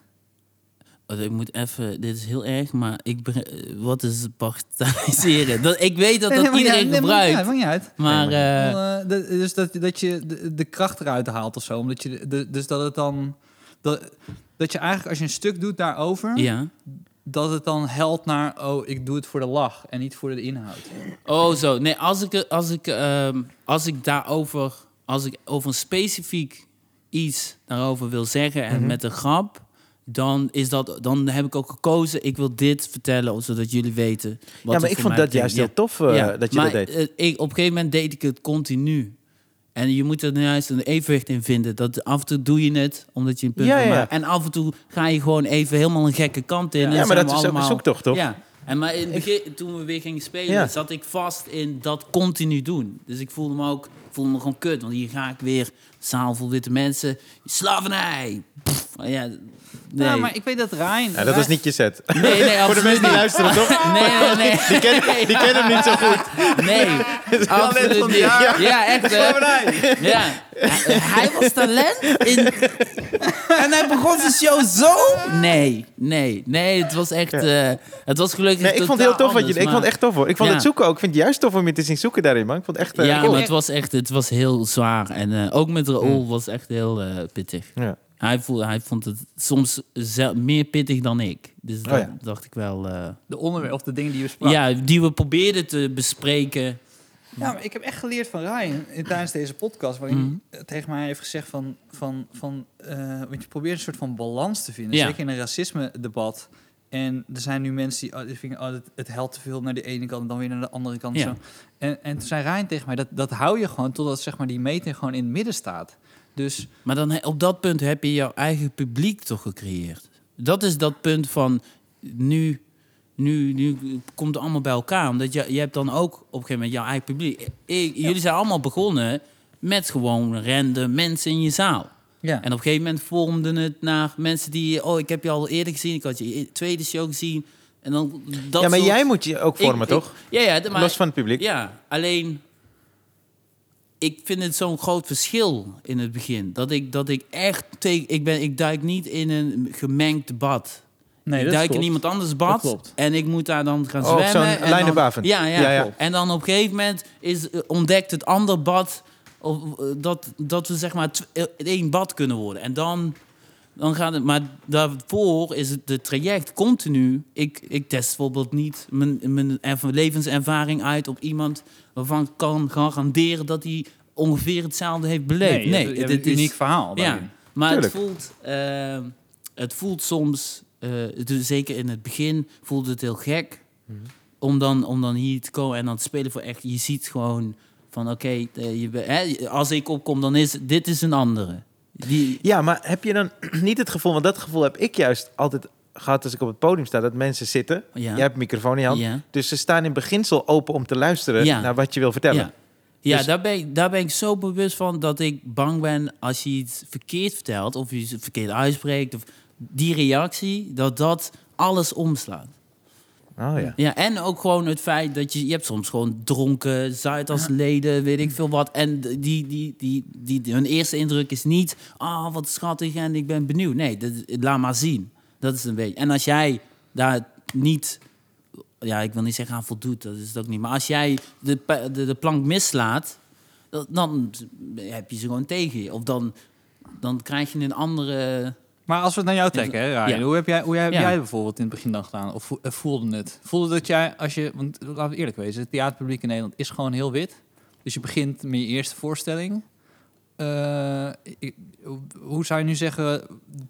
Speaker 3: de- Oh, ik moet even, dit is heel erg, maar ik begre- eh, wat is <laughs> bagatelliseren? dat, ik weet dat
Speaker 1: Nee,
Speaker 3: dat
Speaker 1: nee, maar
Speaker 3: iedereen
Speaker 1: <laughs> ja, nee, maar
Speaker 3: gebruikt.
Speaker 1: Ja, maakt niet uit.
Speaker 3: maar
Speaker 2: Nee,
Speaker 3: eh,
Speaker 1: Eh, dat- dus dat, dat je de, de kracht eruit haalt of zo. Omdat je de- de- dus dat het dan. Dat, dat je eigenlijk als je een stuk doet daarover,
Speaker 3: ja.
Speaker 1: dat het dan helpt naar. Oh, ik doe het voor de lach en niet voor de inhoud.
Speaker 3: Oh, zo. Nee, als ik, er- als ik, ehm, als ik daarover, als ik over een specifiek iets daarover wil zeggen en
Speaker 2: Mhm.
Speaker 3: met een grap, dan, is dat, dan heb ik ook gekozen, ik wil dit vertellen, zodat jullie weten. Wat
Speaker 2: ja,
Speaker 3: er
Speaker 2: maar ik
Speaker 3: voor
Speaker 2: vond
Speaker 3: mij
Speaker 2: dat juist heel
Speaker 3: betekent.
Speaker 2: tof eh,
Speaker 3: Ja,
Speaker 2: dat je
Speaker 3: maar,
Speaker 2: dat deed.
Speaker 3: eh, ik, op een gegeven moment deed ik het continu. En je moet er juist een evenwicht in vinden. Dat af en toe doe je het, omdat je een punt
Speaker 2: Ja,
Speaker 3: wil
Speaker 2: ja, ja.
Speaker 3: maken. En af en toe ga je gewoon even helemaal een gekke kant in. en
Speaker 2: Ja, maar
Speaker 3: zijn
Speaker 2: dat
Speaker 3: we
Speaker 2: is dus ook
Speaker 3: allemaal...
Speaker 2: een zoektocht, toch?
Speaker 3: Ja, en maar in het begin, toen we weer gingen spelen,
Speaker 2: Ja.
Speaker 3: zat ik vast in dat continu doen. Dus ik voelde me ook, voelde me gewoon kut. Want hier ga ik weer, zaal vol witte mensen, slavernij. Pff, ja, nee.
Speaker 1: Ja, Nou, maar ik weet dat Rijn.
Speaker 2: Ja, dat was niet je set.
Speaker 3: nee, nee,
Speaker 2: Voor de
Speaker 3: absoluut
Speaker 2: mensen die
Speaker 3: niet.
Speaker 2: luisteren, toch?
Speaker 3: Nee, nee, nee.
Speaker 2: <laughs> Die
Speaker 3: <laughs>
Speaker 2: kennen, die kennen hem niet zo goed.
Speaker 3: Nee,
Speaker 2: Talent
Speaker 3: absoluut
Speaker 2: van
Speaker 3: niet.
Speaker 2: het jaar.
Speaker 3: Ja, echt. hè. Ja. Hij- Hij was talent in...
Speaker 2: <laughs>
Speaker 3: En hij begon zijn show zo? Nee, nee, nee. Het was echt... eh, het was gelukkig
Speaker 2: Nee, ik vond het heel tof. Wat je, ik vond het echt tof, hoor. Ik vond
Speaker 3: Ja.
Speaker 2: het zoeken ook. Ik vind het juist tof om je te zien zoeken daarin, man. Ik vond het echt... eh,
Speaker 3: ja,
Speaker 2: cool.
Speaker 3: maar het was echt het was heel zwaar. En eh, ook met Raoul was echt heel eh, pittig.
Speaker 2: Ja.
Speaker 3: Hij, voelde, hij vond het soms zel- meer pittig dan ik. Dus
Speaker 2: Oh
Speaker 3: dat
Speaker 2: ja.
Speaker 3: dacht ik wel... eh,
Speaker 1: De onderwerp of de dingen die je sprak.
Speaker 3: Ja, die we probeerden te bespreken.
Speaker 1: Ja, maar ik heb echt geleerd van Ryan eh, tijdens deze podcast, waarin hij eh, tegen mij heeft gezegd van, van, van eh, want je probeert een soort van balans te vinden,
Speaker 3: Ja.
Speaker 1: zeker in een racisme-debat. En er zijn nu mensen die, oh, die vinden, oh, het, het helpt te veel naar de ene kant en dan weer naar de andere kant.
Speaker 3: Ja.
Speaker 1: Zo. En, en toen zei Ryan tegen mij, dat, dat hou je gewoon totdat zeg maar, die meter gewoon in het midden staat. Dus
Speaker 3: Maar dan, he- op dat punt heb je jouw eigen publiek toch gecreëerd. Dat is dat punt van nu, nu, nu komt het allemaal bij elkaar. Omdat je, je hebt dan ook op een gegeven moment jouw eigen publiek. Ik- Jullie zijn allemaal begonnen met gewoon random mensen in je zaal.
Speaker 1: ja,
Speaker 3: En op een gegeven moment vormden het naar mensen die... Oh, ik heb je al eerder gezien. Ik had je e- tweede show gezien. En dan dat
Speaker 2: ja, maar
Speaker 3: soort-
Speaker 2: jij moet je ook
Speaker 3: Ik-
Speaker 2: vormen,
Speaker 3: ik-
Speaker 2: toch?
Speaker 3: Ja, ja. d- Maar,
Speaker 2: Los van het publiek.
Speaker 3: ja, alleen ik vind het zo'n groot verschil in het begin. Dat ik, dat ik echt tegen. Ik, ben, ik duik niet in een gemengd bad.
Speaker 1: nee,
Speaker 3: ik
Speaker 1: dat
Speaker 3: duik
Speaker 1: klopt.
Speaker 3: in iemand anders
Speaker 1: Dat
Speaker 3: bad.
Speaker 1: klopt.
Speaker 3: En ik moet daar dan gaan
Speaker 2: Oh, op
Speaker 3: zwemmen.
Speaker 2: zo'n
Speaker 3: en
Speaker 2: lijn
Speaker 3: dan-
Speaker 2: erboven.
Speaker 3: Ja, ja,
Speaker 2: Ja, ja.
Speaker 3: klopt. En dan op een gegeven moment is, eh, ontdekt het ander bad. Of, eh, dat, dat we zeg maar tw- eh, één bad kunnen worden. En dan. Dan gaat het, maar daarvoor is het de traject continu. Ik, ik test bijvoorbeeld niet mijn, mijn erv- levenservaring uit op iemand waarvan ik kan garanderen dat hij ongeveer hetzelfde heeft beleefd.
Speaker 1: Nee,
Speaker 3: Nee,
Speaker 1: het,
Speaker 3: dit
Speaker 1: is een uniek verhaal.
Speaker 3: ja,
Speaker 1: daarin.
Speaker 3: maar het
Speaker 2: Tuurlijk.
Speaker 3: voelt, eh, het voelt soms, eh, dus zeker in het begin, voelde het heel gek. Om, dan, om dan hier te komen en dan te spelen voor echt. Je ziet gewoon van oké, eh, je bent- hè, als ik opkom, dan is dit is een andere. Die,
Speaker 2: Ja, maar heb je dan <clears throat> niet het gevoel, want dat gevoel heb ik juist altijd gehad als ik op het podium sta, dat mensen zitten.
Speaker 3: Ja.
Speaker 2: Jij hebt een microfoon in je hand.
Speaker 3: Ja.
Speaker 2: Dus ze staan in beginsel open om te luisteren
Speaker 3: Ja.
Speaker 2: naar wat je wil vertellen.
Speaker 3: Ja. Ja,
Speaker 2: Dus-
Speaker 3: daar, ben ik, daar ben ik zo bewust van dat ik bang ben als je iets verkeerd vertelt of je iets verkeerd uitspreekt. Of die reactie, dat dat alles omslaat.
Speaker 2: Oh ja.
Speaker 3: Ja, en ook gewoon het feit dat je, je hebt soms gewoon dronken, Zuidasleden, weet ik veel wat. En die, die, die, die, die- hun eerste indruk is niet, ah, wat schattig en ik ben benieuwd. Nee, dat, laat maar zien. Dat is een beetje. En als jij daar niet, ja, ik wil niet zeggen aan voldoet, dat is het ook niet. Maar als jij de, pa- de, de plank mislaat, dat- dan heb je ze gewoon tegen je. Of dan, dan krijg je een andere...
Speaker 1: Maar als we het naar jou trekken, hè, Ryan,
Speaker 3: Ja.
Speaker 1: hoe heb jij, hoe heb
Speaker 3: Ja.
Speaker 1: jij bijvoorbeeld in het begin dan gedaan? Of vo- eh, voelde het? Voelde dat jij, als je, want laten we eerlijk wezen, het theaterpubliek in Nederland is gewoon heel wit. Dus je begint met je eerste voorstelling. Eh, ik- hoe zou je nu zeggen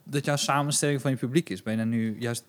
Speaker 1: dat jouw samenstelling van je publiek is? Ben je dan nu juist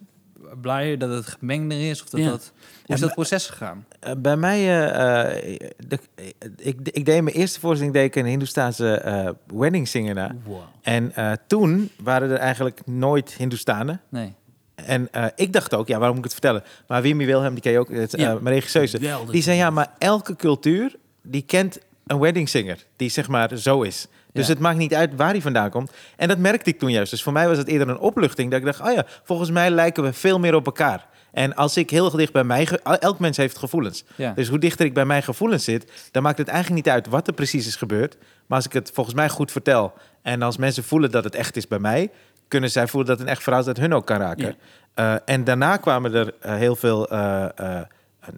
Speaker 1: blijer dat het gemengder is? Of dat
Speaker 3: Ja.
Speaker 1: dat, hoe is dat proces gegaan?
Speaker 2: Eh, bij mij, eh, eh, de- eh, ik, ik deed mijn eerste voorstelling deed ik een Hindoestaanse eh, wedding singer na. En eh, toen waren er eigenlijk nooit Hindoestanen.
Speaker 1: Nee.
Speaker 2: En eh, ik dacht ook, ja, waarom moet ik het vertellen? Maar Wimmy Wilhelm, die ken je ook, het, eh,
Speaker 3: Ja.
Speaker 2: mijn regisseuse.
Speaker 3: Geweldig.
Speaker 2: Die zei, ja, maar elke cultuur, die kent een wedding singer. Die zeg maar zo is. Dus
Speaker 1: Ja.
Speaker 2: het maakt niet uit waar hij vandaan komt. En dat merkte ik toen juist. Dus voor mij was het eerder een opluchting. Dat ik dacht, oh ja, volgens mij lijken we veel meer op elkaar. En als ik heel dicht bij mij... ge- Elk mens heeft gevoelens.
Speaker 1: Ja.
Speaker 2: Dus hoe dichter ik bij mijn gevoelens zit... dan maakt het eigenlijk niet uit wat er precies is gebeurd. Maar als ik het volgens mij goed vertel... en als mensen voelen dat het echt is bij mij... kunnen zij voelen dat het een echt verhaal is dat hun ook kan raken.
Speaker 3: Ja.
Speaker 2: Eh, en daarna kwamen er eh, heel veel... eh, eh,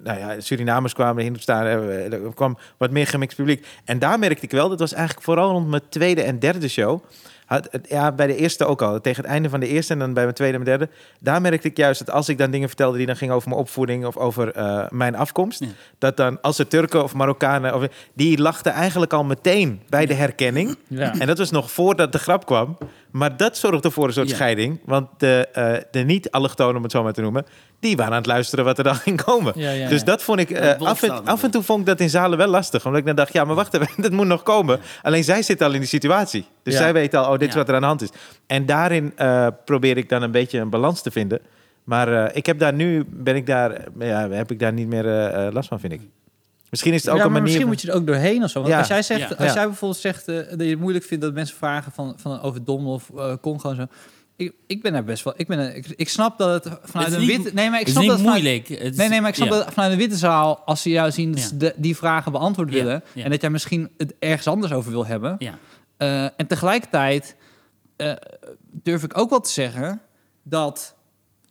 Speaker 2: nou ja, Surinamers kwamen, Hindoestanen, eh, er kwam wat meer gemixt publiek. En daar merkte ik wel, dat was eigenlijk vooral rond mijn tweede en derde show. Had, het- ja, bij de eerste ook al. Tegen het einde van de eerste en dan bij mijn tweede en mijn derde. Daar merkte ik juist dat als ik dan dingen vertelde die dan gingen over mijn opvoeding of over eh, mijn afkomst.
Speaker 3: Ja.
Speaker 2: Dat dan als er Turken of Marokkanen, of, die lachten eigenlijk al meteen bij de herkenning.
Speaker 1: Ja.
Speaker 2: En dat was nog voordat de grap kwam. Maar dat zorgde voor een soort
Speaker 3: Ja.
Speaker 2: scheiding. Want de, eh, de niet-allochtonen, om het zo maar te noemen... die waren aan het luisteren wat er dan <laughs> ging komen.
Speaker 1: Ja, ja,
Speaker 2: dus
Speaker 1: ja.
Speaker 2: dat vond ik... eh,
Speaker 3: Ja, het
Speaker 2: af, en,
Speaker 3: bondstaat
Speaker 2: af en toe vond ik dat in zalen wel lastig. Omdat ik dan dacht, ja, maar wacht even, <laughs> dat moet nog komen. Alleen zij zit al in die situatie. Dus
Speaker 1: Ja.
Speaker 2: zij weet al, oh, dit is
Speaker 3: Ja.
Speaker 2: wat er aan de hand is. En daarin eh, probeer ik dan een beetje een balans te vinden... Maar eh, ik heb daar nu, ben ik daar, ja, heb ik daar niet meer eh, eh, last van, vind ik. Misschien is het ook
Speaker 1: ja,
Speaker 2: een
Speaker 1: maar
Speaker 2: manier.
Speaker 1: misschien
Speaker 2: van-
Speaker 1: moet je er ook doorheen of zo. Want
Speaker 2: Ja.
Speaker 1: als, jij zegt,
Speaker 3: Ja.
Speaker 1: als
Speaker 2: Ja.
Speaker 1: jij bijvoorbeeld zegt eh, dat je het moeilijk vindt dat mensen vragen van, van over Dommel of eh, Congo en zo. Ik, ik ben daar best wel. Ik, ben er- ik, ik snap dat het vanuit
Speaker 3: Het is
Speaker 1: een
Speaker 3: niet-
Speaker 1: witte. Nee, maar ik
Speaker 3: het
Speaker 1: snap
Speaker 3: is niet
Speaker 1: dat. vanuit-
Speaker 3: moeilijk. Het is-
Speaker 1: nee, nee, maar ik snap
Speaker 3: ja.
Speaker 1: dat vanuit een witte zaal, als ze jou zien dat ze
Speaker 3: Ja.
Speaker 1: de- die vragen beantwoord
Speaker 3: Ja,
Speaker 1: willen.
Speaker 3: ja.
Speaker 1: En dat jij misschien het ergens anders over wil hebben.
Speaker 3: Ja.
Speaker 1: Eh, en tegelijkertijd eh, durf ik ook wel te zeggen dat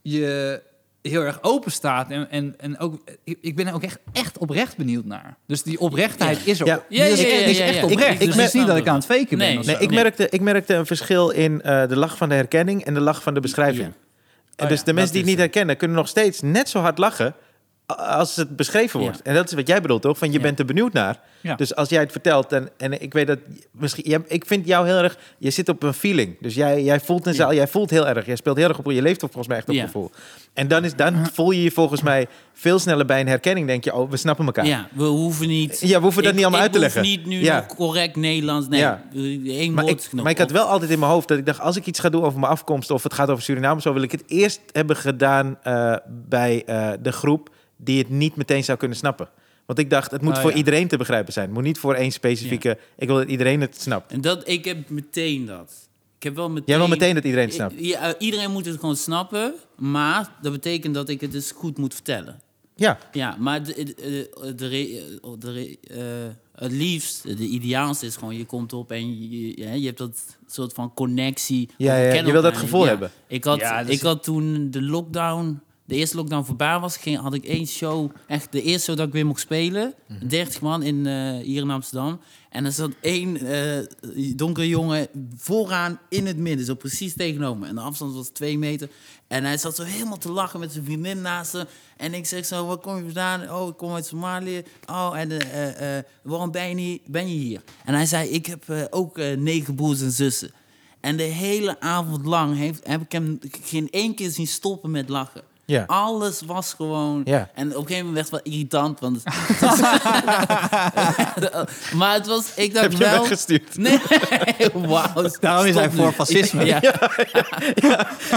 Speaker 1: je heel erg open staat. En, en, en ook, ik, ik ben er ook echt, echt oprecht benieuwd naar. Dus die oprechtheid is er.
Speaker 2: Ja.
Speaker 1: Die is,
Speaker 3: Ja, ja, ja,
Speaker 1: die is
Speaker 3: ja,
Speaker 1: echt
Speaker 3: ja.
Speaker 1: oprecht.
Speaker 2: Ik-
Speaker 1: dus
Speaker 2: ik
Speaker 1: het is
Speaker 3: merk-
Speaker 1: niet dat ik aan het faken ben.
Speaker 3: Nee.
Speaker 1: of zo.
Speaker 2: Nee, Eh, ik
Speaker 3: Nee.
Speaker 2: merkte, ik merkte een verschil in eh, de lach van de herkenning en de lach van de beschrijving.
Speaker 3: Ja.
Speaker 2: En
Speaker 3: Oh
Speaker 2: dus
Speaker 3: ja,
Speaker 2: de mensen
Speaker 3: dat
Speaker 2: die het
Speaker 3: is
Speaker 2: niet herkennen, kunnen nog steeds net zo hard lachen a- als het beschreven
Speaker 3: Ja.
Speaker 2: wordt. En dat is wat jij bedoelt, toch? Van je
Speaker 3: Ja.
Speaker 2: bent er benieuwd naar.
Speaker 1: Ja.
Speaker 2: Dus als jij het vertelt, en, en ik weet dat misschien, jij- ik vind jou heel erg, je zit op een feeling. Dus jij, jij voelt een
Speaker 3: Ja.
Speaker 2: zaal, jij voelt heel erg, jij speelt heel erg op, je leeft op volgens mij echt op
Speaker 3: Ja.
Speaker 2: gevoel. En dan, is, dan voel je je volgens mij veel sneller bij een herkenning, denk je, oh, we snappen elkaar.
Speaker 3: Ja, we hoeven niet.
Speaker 2: Ja, we hoeven dat niet allemaal uit te
Speaker 3: Ik hoef
Speaker 2: leggen.
Speaker 3: niet nu
Speaker 2: Ja.
Speaker 3: nog correct Nederlands. Nee,
Speaker 2: Ja.
Speaker 3: één
Speaker 2: Maar
Speaker 3: woord
Speaker 2: ik,
Speaker 3: nog.
Speaker 2: maar ik had wel altijd in mijn hoofd dat ik dacht... als ik iets ga doen over mijn afkomst of het gaat over Suriname... zo wil ik het eerst hebben gedaan eh, bij eh, de groep... die het niet meteen zou kunnen snappen. Want ik dacht, het moet
Speaker 1: Ah,
Speaker 2: voor
Speaker 1: ja.
Speaker 2: iedereen te begrijpen zijn. Het moet niet voor één specifieke... Ik wil dat iedereen het snapt.
Speaker 3: En dat, ik heb meteen dat. Ik heb wel meteen...
Speaker 2: Jij wil meteen dat iedereen het snapt.
Speaker 3: Ik- ja, eh, iedereen moet het gewoon snappen, maar dat betekent dat ik het dus goed moet vertellen.
Speaker 2: Ja,
Speaker 3: Ja, maar de, de, de, de re- de re- eh, het liefst, de ideaalste is gewoon, je komt op en je, je, hè, je hebt dat soort van connectie.
Speaker 2: Ja, ja,
Speaker 3: We kennen
Speaker 2: je wil dat
Speaker 3: elkaar.
Speaker 2: gevoel hebben.
Speaker 3: Ik had,
Speaker 1: Ja, dat is-
Speaker 3: ik had toen de lockdown, de eerste lockdown voorbij was, ging, had ik één show, echt de eerste show dat ik weer mocht spelen. 30 man in, eh, hier in Amsterdam. En er zat één eh, donkere jongen vooraan in het midden, zo precies tegenover me. En de afstand was twee meter. En hij zat zo helemaal te lachen met zijn vriendin naast hem. En ik zeg zo, waar kom je vandaan? Oh, ik kom uit Somalië. Oh, en eh, eh, eh, waarom ben je, niet, ben je hier? En hij zei, ik heb eh, ook eh, negen broers en zussen. En de hele avond lang heeft, heb ik hem geen één keer zien stoppen met lachen.
Speaker 2: Ja.
Speaker 3: Alles was gewoon...
Speaker 2: Ja.
Speaker 3: En op een gegeven moment werd het <laughs> wel irritant. Want
Speaker 2: <laughs>
Speaker 3: maar het was... Ik dacht
Speaker 2: heb je
Speaker 3: wel...
Speaker 2: weggestuurd. <laughs>
Speaker 3: Nee, <laughs> wauw.
Speaker 1: Daarom is
Speaker 3: stop
Speaker 1: hij
Speaker 3: nu.
Speaker 1: voor fascisme.
Speaker 2: <laughs>
Speaker 3: Ja,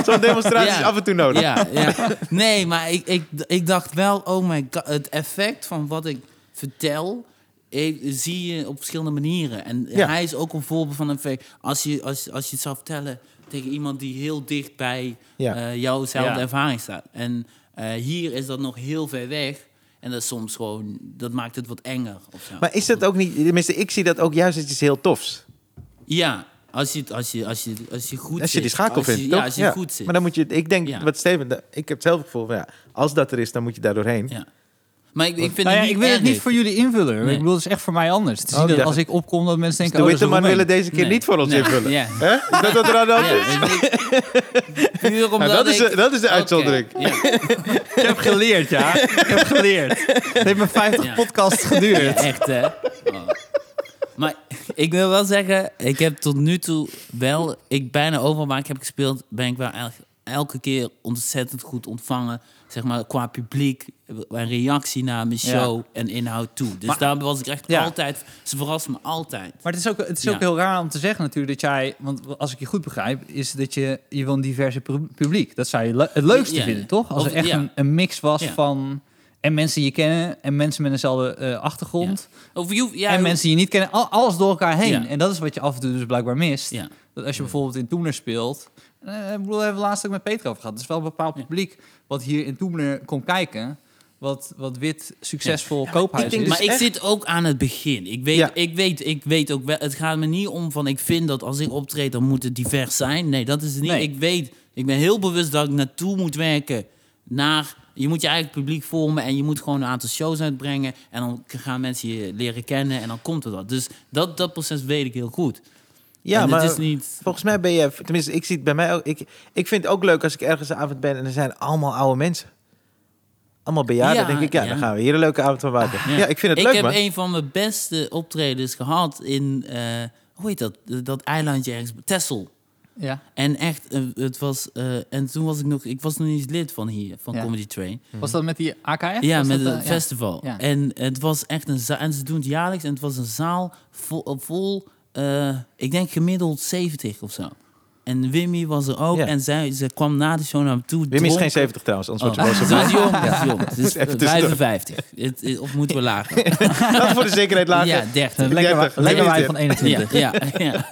Speaker 2: Zo'n demonstratie is
Speaker 3: ja.
Speaker 2: af en toe nodig.
Speaker 3: Ja, ja. oh Nee, maar ik, ik, ik dacht wel, oh my god, het effect van wat ik vertel eh, zie je op verschillende manieren. En
Speaker 2: Ja.
Speaker 3: hij is ook een voorbeeld van een fake. Als je, als, als je het zou vertellen tegen iemand die heel dicht bij
Speaker 2: Ja.
Speaker 3: eh, jouwzelfde
Speaker 1: Ja.
Speaker 3: ervaring staat. En eh, hier is dat nog heel ver weg. En dat is soms gewoon, dat maakt het wat enger. Of zo.
Speaker 2: Maar is dat ook niet... Tenminste, ik zie dat ook juist als iets heel tofs.
Speaker 3: ja, als je, het- als je, als je, als je goed
Speaker 2: Als je
Speaker 3: zit.
Speaker 2: die schakel
Speaker 3: Als je-
Speaker 2: vindt,
Speaker 3: Ja,
Speaker 2: toch?
Speaker 3: als je goed zit.
Speaker 2: Maar dan moet je... Ik denk,
Speaker 3: Ja.
Speaker 2: wat Steven... da- Ik heb hetzelfde gevoel van, ja, als dat er is, dan moet je daar doorheen.
Speaker 3: Ja. Maar ik, ik vind
Speaker 1: Nou ja,
Speaker 3: het
Speaker 1: ik
Speaker 3: niet
Speaker 1: wil het
Speaker 3: erg.
Speaker 1: niet voor jullie invullen. hoor.
Speaker 3: Nee.
Speaker 1: Ik bedoel, het is echt voor mij anders. Het is
Speaker 2: Oh,
Speaker 1: niet
Speaker 2: ja.
Speaker 1: dat als ik opkom dat mensen
Speaker 2: Dus
Speaker 1: denken...
Speaker 2: de
Speaker 1: oh, dat is
Speaker 2: Witteman
Speaker 1: Romein.
Speaker 2: willen deze keer
Speaker 3: Nee.
Speaker 2: niet voor ons
Speaker 3: Nee.
Speaker 2: invullen.
Speaker 3: Ja.
Speaker 2: Hè? Is dat wat er aan de hand
Speaker 3: Ja,
Speaker 2: is? Nou,
Speaker 3: puur omdat
Speaker 2: dat is
Speaker 3: ik-
Speaker 2: de- dat is de
Speaker 3: Oké,
Speaker 2: uitzondering.
Speaker 3: ja,
Speaker 1: Ik heb geleerd, ja. Ik heb geleerd. Het heeft me 50
Speaker 3: Ja.
Speaker 1: podcasts geduurd.
Speaker 3: echt hè. Oh. Maar ik wil wel zeggen, ik heb tot nu toe wel, ik bijna overal waar ik heb gespeeld, ben ik wel el- elke keer ontzettend goed ontvangen. Zeg maar qua publiek, en reactie naar mijn
Speaker 1: Ja.
Speaker 3: show en inhoud toe. Dus
Speaker 1: Maar-
Speaker 3: daar was ik echt
Speaker 1: Ja.
Speaker 3: altijd, ze verrast me altijd.
Speaker 1: Maar het is ook, het is
Speaker 3: Ja.
Speaker 1: ook heel raar om te zeggen natuurlijk dat jij... Want als ik je goed begrijp, is dat je, je wil een diverse pu- publiek. Dat zou je le- het leukste
Speaker 3: Ja.
Speaker 1: vinden, toch? Als
Speaker 3: Of-
Speaker 1: er echt
Speaker 3: ja.
Speaker 1: een, een mix was
Speaker 3: Ja.
Speaker 1: van... En mensen die je kennen en mensen met dezelfde eh, achtergrond.
Speaker 3: Of je hoeft- ja,
Speaker 1: en
Speaker 3: hoe-
Speaker 1: mensen die je niet kennen. Al- alles door elkaar heen.
Speaker 3: Ja.
Speaker 1: En dat is wat je af en toe dus blijkbaar mist.
Speaker 3: Ja.
Speaker 1: Dat als je bijvoorbeeld in Toemler speelt... eh, ik bedoel, daar hebben we laatst ook met Peter over gehad. Het is wel een bepaald
Speaker 3: Ja.
Speaker 1: publiek wat hier in Toemler komt kijken... wat, wat wit succesvol koophuis
Speaker 2: ik denk
Speaker 1: is.
Speaker 2: dus
Speaker 3: maar ik
Speaker 2: echt-
Speaker 3: zit ook aan het begin. Ik weet,
Speaker 2: Ja.
Speaker 3: ik, weet, ik weet ook wel. Het gaat me niet om van ik vind dat als ik optreed, dan moet het divers zijn. Nee, dat is het niet.
Speaker 1: Nee.
Speaker 3: Ik weet, ik ben heel bewust dat ik naartoe moet werken naar. Je moet je eigen publiek vormen en je moet gewoon een aantal shows uitbrengen. En dan gaan mensen je leren kennen en dan komt er dat. Dus dat, dat proces weet ik heel goed.
Speaker 2: Ja,
Speaker 3: en
Speaker 2: maar...
Speaker 3: het is niet.
Speaker 2: Volgens mij ben je, tenminste, ik zie het bij mij ook. Ik, ik vind het ook leuk als ik ergens een avond ben en er zijn allemaal oude mensen. Allemaal bejaarden,
Speaker 3: Ja,
Speaker 2: denk ik. Ja,
Speaker 3: ja.
Speaker 2: dan gaan we hier een leuke avond van maken. ja. ik vind het leuk,
Speaker 3: heb
Speaker 2: man.
Speaker 3: een van mijn beste optredens gehad in. eh, hoe heet dat? Dat eilandje ergens. Tessel.
Speaker 1: Ja.
Speaker 3: En echt, eh, het was. eh, en toen was ik nog. Ik was nog niet eens lid van hier, van
Speaker 1: Ja.
Speaker 3: Comedy Train.
Speaker 1: Was dat met die AKF?
Speaker 3: Ja,
Speaker 1: Was
Speaker 3: met
Speaker 1: dat,
Speaker 3: het
Speaker 1: eh, ja.
Speaker 3: festival.
Speaker 1: Ja.
Speaker 3: En het was echt een zaal. En ze doen het jaarlijks. En het was een zaal vol. vol eh, ik denk gemiddeld 70 of zo. En Wimmy was er ook.
Speaker 2: Ja.
Speaker 3: En zij ze kwam na de show naar me toe.
Speaker 2: Wim is
Speaker 3: dronken.
Speaker 2: geen 70 trouwens, anders
Speaker 3: Oh,
Speaker 2: wordt je boos op
Speaker 3: <laughs> ze
Speaker 2: mij.
Speaker 3: is jong, ze is jong. Ze is
Speaker 2: Even tussendoor.
Speaker 3: 55. Het, het- of moeten we lager?
Speaker 2: <laughs> Dat voor de zekerheid lager.
Speaker 3: Ja,
Speaker 1: Een
Speaker 3: 30.
Speaker 1: lekker, lekker
Speaker 2: Dertig. Dertig.
Speaker 1: wijn van 21.
Speaker 3: Ja, ja, <laughs> ja.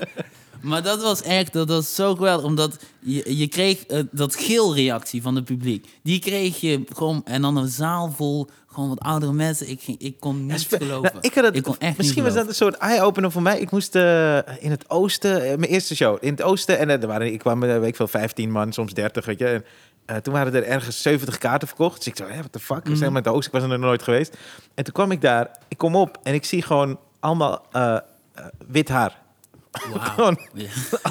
Speaker 3: Maar dat was echt, dat was zo geweldig, omdat je, je kreeg eh, dat geelreactie van het publiek. Die kreeg je gewoon, en dan een zaal vol, gewoon wat oudere mensen. Ik, ging- ik kon
Speaker 2: <laughs> Dat
Speaker 3: niet
Speaker 2: is ve-
Speaker 3: geloven.
Speaker 2: Nou, ik had het,
Speaker 3: kon echt
Speaker 2: misschien
Speaker 3: niet
Speaker 2: was dat een soort eye-opener voor mij. Ik moest eh, in het oosten, eh, mijn eerste show, in het oosten. En eh, er waren, ik kwam, eh, weet ik veel, 15 man, soms 30, weet je. En, eh, toen waren er ergens 70 kaarten verkocht. Dus ik dacht, wat de fuck? We zijn
Speaker 3: Mhm.
Speaker 2: helemaal in het oosten, ik was er nog nooit geweest. En toen kwam ik daar, ik kom op en ik zie gewoon allemaal eh, eh, wit haar.
Speaker 3: geloven.
Speaker 2: <laughs>
Speaker 3: Wauw.
Speaker 2: Gewoon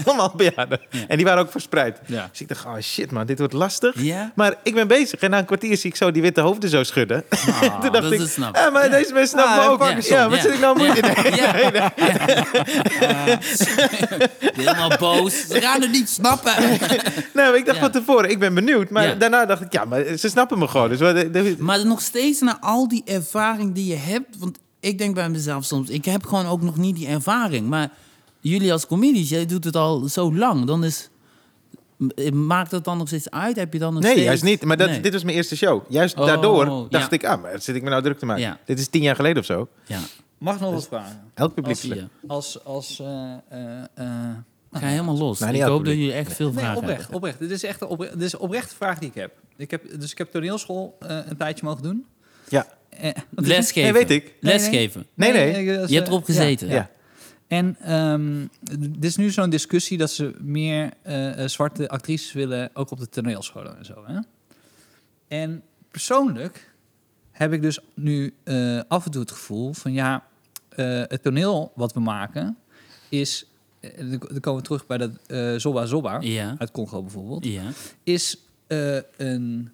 Speaker 2: allemaal bejaarden. En die waren ook verspreid.
Speaker 1: Ja.
Speaker 2: Dus ik dacht, oh shit man, dit wordt lastig.
Speaker 3: Ja.
Speaker 2: Maar ik ben bezig. En na een kwartier zie ik zo die witte hoofden zo schudden. <laughs> toen dacht
Speaker 3: dat
Speaker 2: ik,
Speaker 3: is snap.
Speaker 2: ah, maar deze mensen snappen
Speaker 1: Ah,
Speaker 2: me ook.
Speaker 3: Parkinson,
Speaker 2: Ja, wat
Speaker 3: ja.
Speaker 2: zit ik nou moeite? Nee,
Speaker 3: Ja.
Speaker 2: nee, nee.
Speaker 3: Helemaal boos. Ze gaan het niet snappen.
Speaker 2: <laughs>
Speaker 3: <laughs>
Speaker 2: Nou, ik dacht
Speaker 3: Ja.
Speaker 2: van tevoren, ik ben benieuwd. Maar
Speaker 3: Ja.
Speaker 2: daarna dacht ik, ja, maar ze snappen me gewoon. Dus wat,
Speaker 3: Maar nog steeds na al die ervaring die je hebt. Want ik denk bij mezelf soms, ik heb gewoon ook nog niet die ervaring. Maar jullie als comedies, jij doet het al zo lang. Dan is. m- Maakt dat dan nog steeds uit? Heb je dan nog
Speaker 2: nee,
Speaker 3: steeds...
Speaker 2: juist niet. Maar dat,
Speaker 3: Nee.
Speaker 2: dit was mijn eerste show. Juist
Speaker 3: Oh,
Speaker 2: daardoor dacht
Speaker 3: ja.
Speaker 2: ik, ah, maar wat zit ik me nou druk te maken?
Speaker 3: Ja.
Speaker 2: Dit is tien jaar geleden of zo.
Speaker 3: Ja,
Speaker 1: Mag ik nog wat vragen?
Speaker 2: Elk publiek.
Speaker 3: als je.
Speaker 1: Als, als eh, eh, eh,
Speaker 3: Ga helemaal los.
Speaker 2: Nou, niet
Speaker 3: ik hoop
Speaker 2: elk
Speaker 3: dat jullie echt veel
Speaker 1: Nee,
Speaker 3: vragen
Speaker 1: oprecht,
Speaker 3: hebben.
Speaker 1: oprecht. Dit is echt een opre- dit is een oprechte vraag die ik heb. Ik heb dus ik heb toneelschool eh, een tijdje mogen doen.
Speaker 2: Ja.
Speaker 1: Eh,
Speaker 3: Lesgeven.
Speaker 2: Nee, weet ik.
Speaker 1: Nee, nee.
Speaker 3: Lesgeven.
Speaker 2: Nee, nee.
Speaker 1: eh, als,
Speaker 3: Je hebt
Speaker 1: eh,
Speaker 3: erop gezeten.
Speaker 2: Ja.
Speaker 1: ja. En ehm dit is nu zo'n discussie dat ze meer eh, eh, zwarte actrices willen, ook op de toneelscholen en zo. Hè? En persoonlijk heb ik dus nu eh, af en toe het gevoel van ja, eh, het toneel wat we maken is, eh, dan dan komen we terug bij dat eh Zobba Zobba,
Speaker 3: Ja.
Speaker 1: uit Congo bijvoorbeeld
Speaker 3: Ja.
Speaker 1: is eh, een.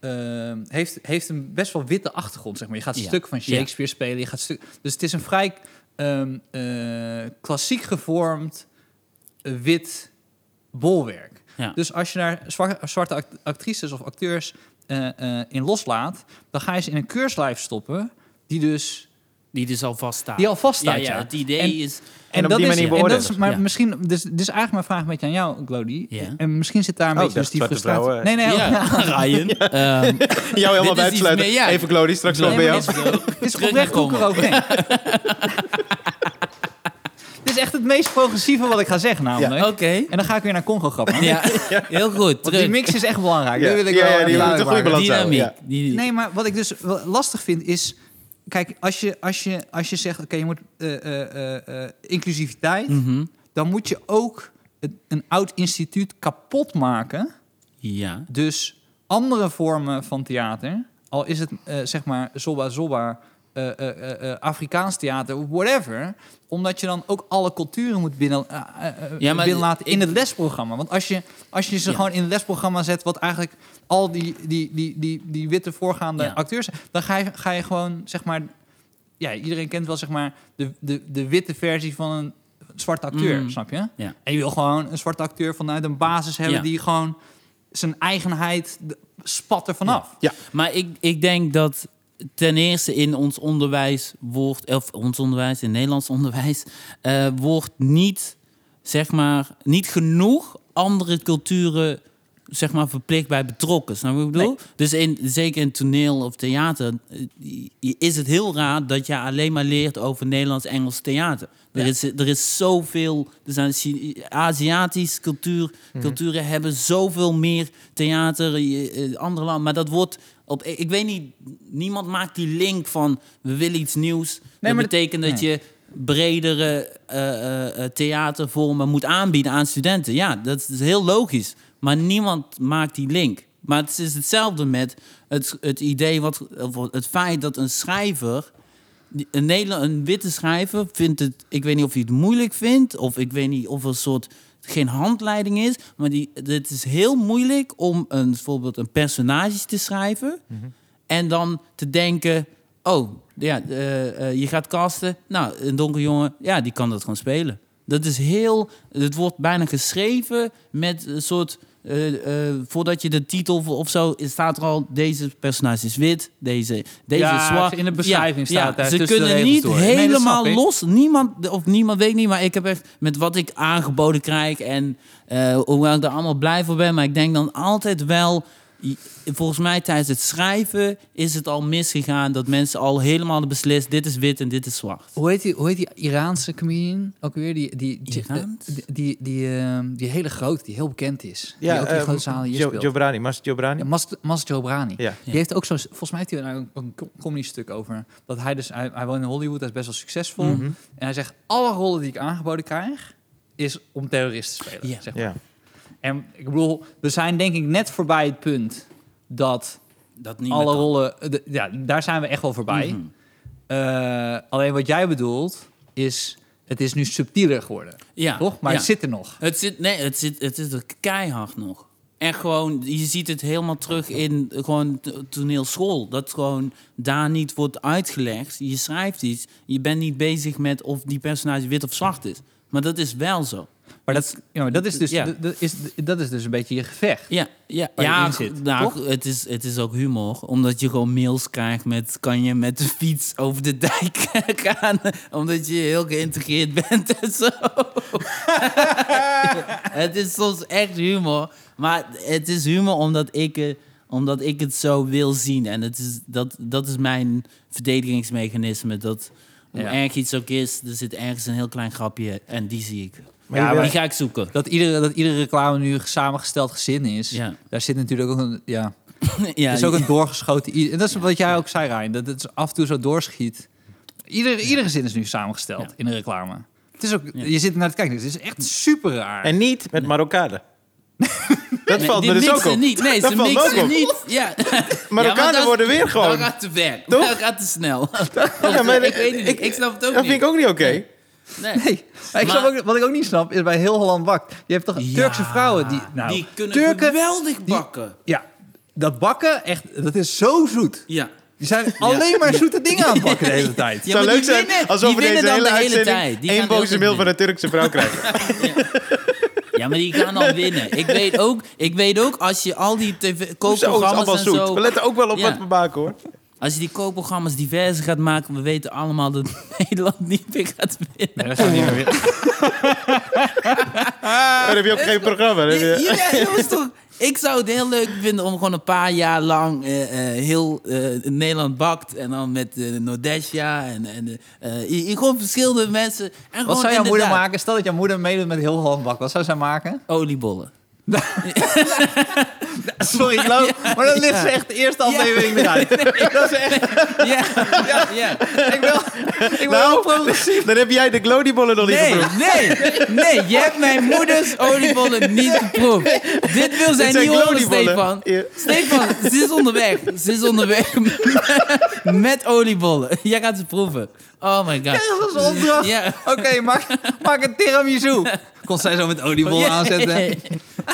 Speaker 1: eh, heeft, heeft een best wel witte achtergrond, zeg maar. Je gaat
Speaker 3: Ja.
Speaker 1: stuk van Shakespeare spelen. Je gaat stuk, dus het is een vrij ehm, eh, klassiek gevormd eh, wit bolwerk.
Speaker 3: Ja.
Speaker 1: Dus als je daar zwar- zwarte act- actrices of acteurs eh, eh, in loslaat... dan ga je ze in een keurslijf stoppen... die dus
Speaker 3: Die dus al vaststaat.
Speaker 1: Die al vaststaat,
Speaker 3: ja,
Speaker 1: ja.
Speaker 3: het idee
Speaker 1: En-
Speaker 3: is...
Speaker 2: En op
Speaker 1: is,
Speaker 2: die manier
Speaker 1: en dat
Speaker 2: beoordelen.
Speaker 1: is, maar
Speaker 3: Ja.
Speaker 1: misschien, dus, dus eigenlijk mijn vraag een beetje aan jou, Glody.
Speaker 3: Ja.
Speaker 1: En misschien zit daar een
Speaker 2: Oh,
Speaker 1: beetje
Speaker 2: dat
Speaker 1: dus die
Speaker 2: zwarte
Speaker 1: frustratie.
Speaker 2: vrouwen.
Speaker 1: Nee, nee, <laughs>
Speaker 3: Ja, Ryan. ehm,
Speaker 2: <laughs> Jou helemaal
Speaker 3: Dit is iets
Speaker 2: buitensluiten.
Speaker 3: meer, ja.
Speaker 2: Even Glody, straks
Speaker 1: Nee,
Speaker 2: nog bij
Speaker 1: maar
Speaker 2: jou.
Speaker 1: dit
Speaker 3: Het
Speaker 1: Dit is oprecht hoe ik erover denk. <laughs> Dit is echt het meest progressieve wat ik ga zeggen namelijk.
Speaker 3: Oké.
Speaker 1: En dan ga ik weer naar Congo grappen. Want
Speaker 3: Ja, heel goed.
Speaker 1: die
Speaker 3: Terug.
Speaker 1: mix is echt belangrijk.
Speaker 2: Ja.
Speaker 1: Dat wil ik
Speaker 2: Ja,
Speaker 1: wel
Speaker 2: ja,
Speaker 1: even
Speaker 2: die moet een goede
Speaker 1: duidelijk maken.
Speaker 2: balans houden,
Speaker 3: Dynamiek.
Speaker 2: ja.
Speaker 3: Die-
Speaker 1: Nee, maar wat ik dus wel lastig vind is... Kijk, als je, als je, als je zegt, oké, je moet eh, eh, eh, eh, inclusiviteit...
Speaker 3: Mhm.
Speaker 1: dan moet je ook het- een oud instituut kapot maken.
Speaker 3: Ja.
Speaker 1: Dus andere vormen van theater, al is het eh, zeg maar zobba zobba, eh, eh, eh, eh, Afrikaans theater, whatever. Omdat je dan ook alle culturen moet binnen, eh, eh, eh,
Speaker 3: Ja, maar
Speaker 1: binnenlaten in
Speaker 3: ik-
Speaker 1: het lesprogramma. Want als je, als je ze
Speaker 3: Ja.
Speaker 1: gewoon in het lesprogramma zet, wat eigenlijk al die, die, die, die, die witte voorgaande
Speaker 3: Ja.
Speaker 1: acteurs zijn, dan ga je, ga je gewoon zeg maar. Ja, iedereen kent wel zeg maar de, de, de witte versie van een zwarte acteur,
Speaker 3: Mm.
Speaker 1: snap je?
Speaker 3: Ja.
Speaker 1: En je wil gewoon een zwarte acteur vanuit een basis hebben
Speaker 3: Ja.
Speaker 1: die gewoon zijn eigenheid de- spat er vanaf.
Speaker 3: Maar ik, ik denk dat ten eerste in ons onderwijs wordt, of ons onderwijs, in Nederlands onderwijs, eh, wordt niet, zeg maar, niet genoeg andere culturen, zeg maar, verplicht bij betrokken. Snap je wat ik bedoel? Dus in, zeker in toneel of theater eh, i- is het heel raar dat je alleen maar leert over Nederlands-Engels theater. Er,
Speaker 1: Ja.
Speaker 3: is, er is zoveel, er zijn Chi- Aziatische cultuur,
Speaker 1: Mhm.
Speaker 3: culturen hebben zoveel meer theater, je- eh, andere landen. Maar dat wordt op, ik ik weet niet, niemand maakt die link van we willen iets nieuws.
Speaker 1: maar
Speaker 3: dat
Speaker 1: dat-
Speaker 3: betekent dat je bredere eh, eh, eh, theatervormen moet aanbieden aan studenten. Ja, dat is, dat is heel logisch. Maar niemand maakt die link. Maar het is hetzelfde met het, het idee, wat, of het feit dat een schrijver die- een, Nederla- een witte schrijver vindt het... Ik weet niet of hij het moeilijk vindt... of ik weet niet of er een soort geen handleiding is... maar die, het is heel moeilijk om een, bijvoorbeeld een personage te schrijven... en dan te denken... oh, ja, eh, eh, je gaat casten... nou, een donker jongen, ja, die kan dat gewoon spelen. Dat is heel... Het wordt bijna geschreven met een soort... eh, eh, voordat je de titel voor- of zo staat er al deze personage is wit, deze, deze
Speaker 1: Ja,
Speaker 3: is zwart.
Speaker 1: in de beschrijving staat het,
Speaker 3: Ze
Speaker 1: tussen de
Speaker 3: kunnen
Speaker 1: regels
Speaker 3: niet
Speaker 1: door. Nee, dat
Speaker 3: helemaal
Speaker 1: snap ik.
Speaker 3: los. Niemand, of niemand weet niet, maar ik heb echt met wat ik aangeboden krijg en eh, hoewel ik er allemaal blij voor ben, maar ik denk dan altijd wel. i- Volgens mij tijdens het schrijven is het al misgegaan dat mensen al helemaal hadden beslist: dit is wit en dit is zwart.
Speaker 1: Hoe heet, die, hoe heet die Iraanse comedian ook weer? Die, die, die,
Speaker 3: Iraans?
Speaker 1: eh, die, die, die, eh, die hele grote, die heel bekend is. die ook in
Speaker 2: eh,
Speaker 1: grote zalen hier
Speaker 2: Jo-
Speaker 1: speelt.
Speaker 2: Jobrani, Mas
Speaker 1: Ja,
Speaker 2: Jobrani.
Speaker 1: Mas- Mas Jobrani.
Speaker 2: Ja.
Speaker 1: Die heeft ook zo'n... Volgens mij heeft hij daar ook een co- comedy stuk over. Dat hij dus... Hij, hij woont in Hollywood, hij is best wel succesvol.
Speaker 2: Mhm.
Speaker 1: En hij zegt, alle rollen die ik aangeboden krijg... is om terrorist te spelen.
Speaker 3: Ja.
Speaker 1: Zeg maar.
Speaker 2: Ja.
Speaker 1: En ik bedoel, we zijn denk ik net voorbij het punt... dat
Speaker 3: Dat niet
Speaker 1: alle rollen, de- ja, daar zijn we echt wel voorbij.
Speaker 3: Mhm.
Speaker 1: Eh, alleen wat jij bedoelt is, het is nu subtieler geworden,
Speaker 3: Ja,
Speaker 1: toch? Maar
Speaker 3: ja.
Speaker 1: het zit er nog.
Speaker 3: Het zit, nee, het zit, het is er keihard nog. En gewoon, je ziet het helemaal terug in eh, gewoon t- toneelschool. Dat gewoon daar niet wordt uitgelegd. Je schrijft iets. Je bent niet bezig met of die personage wit of zwart is. Maar dat is wel zo.
Speaker 1: Maar dat, ja, maar dat is dus,
Speaker 3: Ja.
Speaker 1: dat- dat, is, dat is dus een beetje je gevecht.
Speaker 3: Ja, ja,
Speaker 1: Waar je
Speaker 3: ja
Speaker 1: in zit,
Speaker 3: nou,
Speaker 1: toch?
Speaker 3: Het, is, het is ook humor. Omdat je gewoon mails krijgt met... kan je met de fiets over de dijk <laughs> gaan? Omdat je heel geïntegreerd bent en zo. <laughs> het is soms echt humor. Maar het is humor omdat ik, eh, omdat ik het zo wil zien. En het is, dat, dat is mijn verdedigingsmechanisme. Dat hoe
Speaker 1: Ja.
Speaker 3: erg iets ook is, er zit ergens een heel klein grapje... en die zie ik.
Speaker 2: Maar je wil-
Speaker 3: die ga ik zoeken. <laughs>
Speaker 1: Dat iedere, dat iedere reclame nu samengesteld gezin is,
Speaker 3: Ja.
Speaker 1: daar zit natuurlijk ook een, ja,
Speaker 3: ja,
Speaker 1: er is ook een doorgeschoten. i- En dat is wat jij ook zei, Rijn, dat het af en toe zo doorschiet. Ieder, Iedere gezin is nu samengesteld
Speaker 3: Ja.
Speaker 1: in een reclame. Het is ook, je zit naar te kijken, dus het is echt super raar.
Speaker 2: En niet met
Speaker 3: <laughs>
Speaker 2: Marokkanen. Dat
Speaker 3: Nee,
Speaker 2: valt
Speaker 3: die
Speaker 2: me dus ook
Speaker 3: mixen
Speaker 2: op.
Speaker 3: Niet. Nee,
Speaker 2: Dat
Speaker 3: ze
Speaker 2: valt me
Speaker 3: mixen
Speaker 2: ook op.
Speaker 3: niet. Ja.
Speaker 2: Marokkanen
Speaker 3: dat-
Speaker 2: worden weer gewoon.
Speaker 3: Dat gaat te ver.
Speaker 2: Toch?
Speaker 3: Dat gaat te snel.
Speaker 2: Ja, maar
Speaker 3: <laughs> ik weet het niet. Ik, snap het ook
Speaker 2: Dat
Speaker 3: niet.
Speaker 2: vind ik ook niet oké.
Speaker 3: Nee.
Speaker 1: Nee, maar ik
Speaker 3: Maar-
Speaker 1: snap ook, wat ik ook niet snap is bij heel Holland bakt. Je hebt toch
Speaker 3: Ja,
Speaker 1: Turkse vrouwen die, nou,
Speaker 3: die kunnen
Speaker 1: Turken,
Speaker 3: geweldig bakken.
Speaker 1: ja, dat bakken echt, dat is zo zoet.
Speaker 3: ja.
Speaker 1: Die zijn alleen maar zoete dingen aan het bakken de hele tijd.
Speaker 3: Ja,
Speaker 2: Het zou
Speaker 3: maar
Speaker 2: leuk
Speaker 3: die
Speaker 2: zijn
Speaker 3: winnen-
Speaker 2: als we
Speaker 3: die
Speaker 2: over deze
Speaker 3: winnen dan
Speaker 2: hele
Speaker 3: de hele
Speaker 2: uitzending
Speaker 3: tijd. Die
Speaker 2: één
Speaker 3: gaan de
Speaker 2: boze
Speaker 3: hele
Speaker 2: mail van
Speaker 3: tijd
Speaker 2: een Turkse
Speaker 3: <laughs>
Speaker 2: vrouw krijgen.
Speaker 3: Ja, maar die gaan
Speaker 2: <laughs>
Speaker 3: al winnen. Ik weet ook, ik weet ook als je al die tv
Speaker 2: Zo, het is
Speaker 3: kookprogramma's
Speaker 2: allemaal
Speaker 3: en zo...
Speaker 2: zoet. We letten ook wel op
Speaker 3: Ja.
Speaker 2: wat we maken, hoor.
Speaker 3: Als je die koopprogramma's diverse gaat maken, we weten allemaal dat <laughs> Nederland niet meer gaat winnen.
Speaker 1: dat gaat niet meer weer.
Speaker 2: Dan heb je ook geen programma. dan heb je-
Speaker 3: Ja, <laughs> jongens, toch? Ik zou het heel leuk vinden om gewoon een paar jaar lang eh, eh, heel eh, Nederland bakt. En dan met eh Nodesha en, en eh, eh, i- i- gewoon verschillende mensen. En gewoon
Speaker 1: Wat zou jouw moeder
Speaker 3: Oh, inderdaad
Speaker 1: maken? Stel dat jouw moeder meedoet met heel Hollandbak. Wat zou zij
Speaker 3: <laughs>
Speaker 1: maken?
Speaker 3: Oliebollen.
Speaker 1: Sorry, Lo, maar dan ligt ze echt de eerste aflevering
Speaker 3: <laughs>
Speaker 1: eruit. Dat is echt...
Speaker 3: Ja, ja, ja.
Speaker 1: Ik wil, ik wil
Speaker 2: Nou,
Speaker 1: wel progressief.
Speaker 2: <laughs> Dan heb jij de glodiebollen nog niet
Speaker 3: Nee,
Speaker 2: geproefd.
Speaker 3: nee, nee. Je hebt mijn moeders oliebollen niet geproefd. Dit wil zij
Speaker 2: zijn
Speaker 3: niet horen,
Speaker 2: gloriebollen.
Speaker 3: Stefan.
Speaker 2: Ja.
Speaker 3: Stefan, ze is onderweg. Ze is onderweg <laughs> met oliebollen. Jij gaat ze proeven. Oh my god.
Speaker 1: Dat is opdracht.
Speaker 3: Ja.
Speaker 1: Oké, maak, maak een tiramisu. Kon zij zo met oliebollen
Speaker 3: Ja, <laughs>
Speaker 1: aanzetten?
Speaker 3: ja, ja.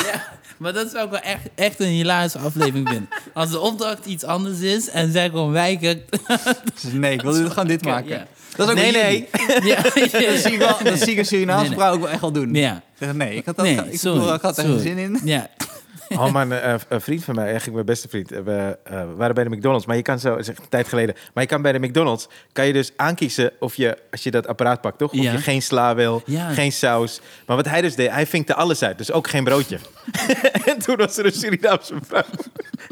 Speaker 3: Ja, Maar dat zou ik wel echt, echt een hilarische aflevering vinden. Als de opdracht iets anders is en zij gewoon wijken.
Speaker 1: Dus nee, ik wil gewoon dit maken.
Speaker 3: Ja.
Speaker 1: Dat is ook
Speaker 2: Nee,
Speaker 1: niet-
Speaker 2: nee.
Speaker 3: <laughs> Ja,
Speaker 1: Dat zie ik, wel, dat zie ik een Surinaamse
Speaker 3: Nee, nee.
Speaker 1: vrouw ook wel echt wel doen.
Speaker 3: ja.
Speaker 1: Ik zeg, Nee, ik had, dat,
Speaker 3: Nee,
Speaker 1: ik,
Speaker 3: sorry,
Speaker 1: bedoel, ik had er geen
Speaker 3: sorry.
Speaker 1: zin
Speaker 3: <laughs>
Speaker 1: in.
Speaker 3: ja.
Speaker 2: <laughs> Oh man, eh, eh, een vriend van mij, eigenlijk mijn beste vriend. eh, We eh, waren bij de McDonald's, maar je kan zo, zeg, een tijd geleden. Maar je kan bij de McDonald's, kan je dus aankiezen of je, als je dat apparaat pakt, toch? Of
Speaker 3: Ja.
Speaker 2: je geen sla wil,
Speaker 3: Ja.
Speaker 2: geen saus. Maar wat hij dus deed, hij vinkte alles uit. Dus ook geen
Speaker 3: <laughs>
Speaker 2: broodje. <laughs> en toen was er een Surinaamse vrouw.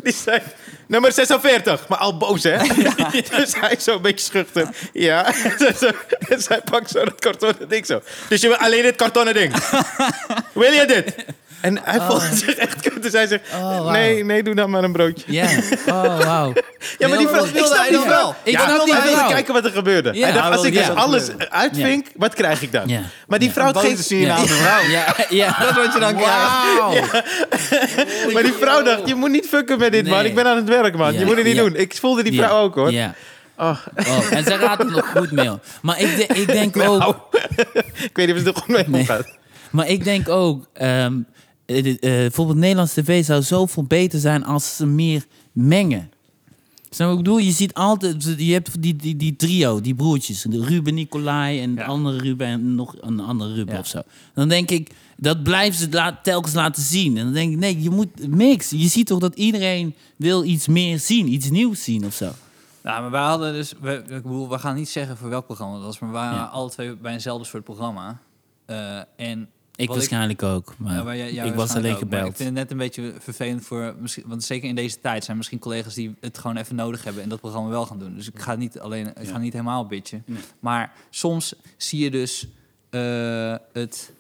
Speaker 2: Die zei, nummer 46. Maar al boos,
Speaker 3: <laughs>
Speaker 2: hè? <laughs> dus hij zo een beetje schuchter. Ja. <laughs> Dus, en zij pakt zo dat kartonnen ding zo. Dus je wil alleen dit kartonnen ding. Wil je dit? <laughs> En hij voelde zich echt kut. Dus hij zegt,
Speaker 3: Oh, wauw.
Speaker 2: nee, nee, doe dan maar een broodje.
Speaker 3: Ja, oh wauw.
Speaker 2: Ja, maar die
Speaker 1: maar
Speaker 2: vrouw,
Speaker 1: dat
Speaker 2: ik
Speaker 1: wilde
Speaker 2: snap
Speaker 1: hij
Speaker 2: die
Speaker 1: dan
Speaker 2: vrouw.
Speaker 1: wel.
Speaker 3: Ik
Speaker 2: ja,
Speaker 3: snap die
Speaker 2: hij wilde
Speaker 3: vrouw.
Speaker 2: kijken wat er gebeurde.
Speaker 3: Ja.
Speaker 2: hij dacht,
Speaker 1: Hij
Speaker 2: als
Speaker 1: wilde
Speaker 2: ik dus
Speaker 1: kijken wat er
Speaker 2: alles uitvink, wat krijg ik dan?
Speaker 3: Ja.
Speaker 2: Maar die vrouw, had
Speaker 1: Boze
Speaker 2: geen,
Speaker 1: Surinaamse vrouw.
Speaker 3: Ja, ja.
Speaker 1: <laughs> Dat is wat je dan krijgt.
Speaker 3: Wauw.
Speaker 2: maar die vrouw dacht, je moet niet fucken met dit, man.
Speaker 3: nou? Nee.
Speaker 2: Ik ben aan het werk, man.
Speaker 3: Ja.
Speaker 2: Je moet het niet
Speaker 3: Ja.
Speaker 2: doen. Ik voelde die
Speaker 3: Ja,
Speaker 2: vrouw ook, hoor.
Speaker 3: Ja.
Speaker 2: Oh.
Speaker 3: Oh, en zij raadt het nog goed mee. hoor. Maar ik, de- ik denk
Speaker 1: Nou.
Speaker 3: ook...
Speaker 2: Ik weet niet of ze er goed mee
Speaker 3: Nee.
Speaker 2: omgaat.
Speaker 3: <laughs> Maar ik denk ook, ehm, eh, eh, bijvoorbeeld Nederlands tv zou zoveel beter zijn als ze meer mengen. Snap je wat ik bedoel? Je ziet altijd, je hebt die, die, die trio, die broertjes. De Ruben, Nicolai en de
Speaker 1: Ja.
Speaker 3: andere Ruben en nog een andere Ruben
Speaker 1: Ja.
Speaker 3: of zo. Dan denk ik, dat blijven ze la- telkens laten zien. En dan denk ik, nee, je moet mix. Je ziet toch dat iedereen wil iets meer zien, iets nieuws zien of zo.
Speaker 1: Nou, maar wij hadden dus... We, ik bedoel, we gaan niet zeggen voor welk programma dat was, maar we waren alle twee bij eenzelfde soort programma. Eh, en
Speaker 3: Ik
Speaker 1: wat
Speaker 3: waarschijnlijk ook, maar
Speaker 1: Ja, maar jij- jij
Speaker 3: ik was alleen
Speaker 1: waarschijnlijk ook. Maar
Speaker 3: gebeld.
Speaker 1: Ik vind het net een beetje vervelend voor... misschien- Want zeker in deze tijd zijn misschien collega's die het gewoon even nodig hebben... en dat programma wel gaan doen. Dus ik ga het niet, alleen, ik ga niet helemaal bitchen. Maar soms zie je dus eh, het...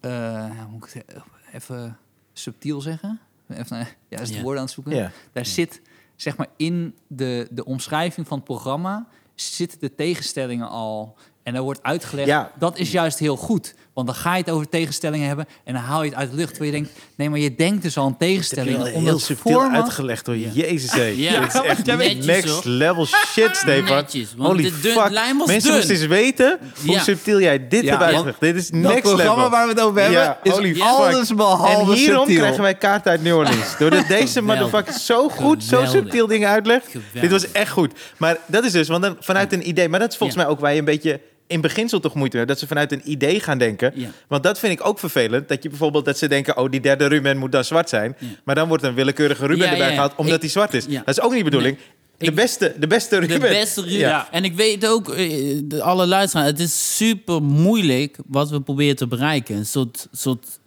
Speaker 1: eh, hoe moet ik het even subtiel zeggen? Even eh, juist de
Speaker 3: Ja.
Speaker 1: woorden aan het zoeken.
Speaker 2: Ja.
Speaker 1: Daar zit, zeg maar, in de, de omschrijving van het programma... zitten de tegenstellingen al... En daar wordt uitgelegd,
Speaker 2: Ja.
Speaker 1: dat is juist heel goed. Want dan ga je het over tegenstellingen hebben... en dan haal je het uit de lucht, terwijl je denkt... nee, maar je denkt dus al aan
Speaker 2: heb je
Speaker 1: tegenstellingen.
Speaker 2: wel
Speaker 1: omdat
Speaker 2: heel
Speaker 1: het
Speaker 2: subtiel
Speaker 1: format-
Speaker 2: uitgelegd hoor. Jezus, hé.
Speaker 3: Ja.
Speaker 2: Dit is echt
Speaker 3: Jij bent netjes,
Speaker 2: next
Speaker 3: hoor.
Speaker 2: level shit, Stefan.
Speaker 3: Netjes, want
Speaker 2: Holy
Speaker 3: de dun-
Speaker 2: fuck.
Speaker 3: lijn was
Speaker 2: Mensen
Speaker 3: dun.
Speaker 2: moesten eens weten hoe
Speaker 3: Ja.
Speaker 2: subtiel jij dit
Speaker 1: Ja,
Speaker 2: hebt
Speaker 1: want
Speaker 2: uitgelegd. Dit is
Speaker 1: Dat
Speaker 2: next
Speaker 1: programma
Speaker 2: level.
Speaker 1: waar we het over hebben...
Speaker 2: Ja, holy
Speaker 1: is
Speaker 2: fuck.
Speaker 1: alles behalve
Speaker 2: en hierom
Speaker 1: subtiel.
Speaker 2: krijgen wij kaart uit New Orleans. Doordat deze
Speaker 3: <laughs> Geweldig.
Speaker 2: motherfucker zo goed, zo
Speaker 3: Geweldig.
Speaker 2: subtiel dingen uitlegt.
Speaker 3: Geweldig.
Speaker 2: Dit was echt goed. Maar dat is dus, want dan vanuit een idee... Maar dat is volgens
Speaker 3: Ja.
Speaker 2: mij ook waar je een beetje in beginsel toch moeite mee hebt. Dat ze vanuit een idee gaan denken.
Speaker 3: Ja.
Speaker 2: Want dat vind ik ook vervelend. Dat je bijvoorbeeld dat ze denken... oh, die derde Ruben moet dan zwart zijn. Maar dan wordt een willekeurige Ruben
Speaker 3: Ja,
Speaker 2: erbij
Speaker 3: ja.
Speaker 2: gehaald... omdat
Speaker 3: Ik-
Speaker 2: hij zwart is.
Speaker 3: ja.
Speaker 2: Dat is ook niet de bedoeling. De,
Speaker 3: Ik-
Speaker 2: beste, de beste Ruben.
Speaker 3: De beste Ruben.
Speaker 2: Ja.
Speaker 3: En ik weet ook, eh, de- alle luisteraars, het is super moeilijk wat we proberen te bereiken. Een soort, soort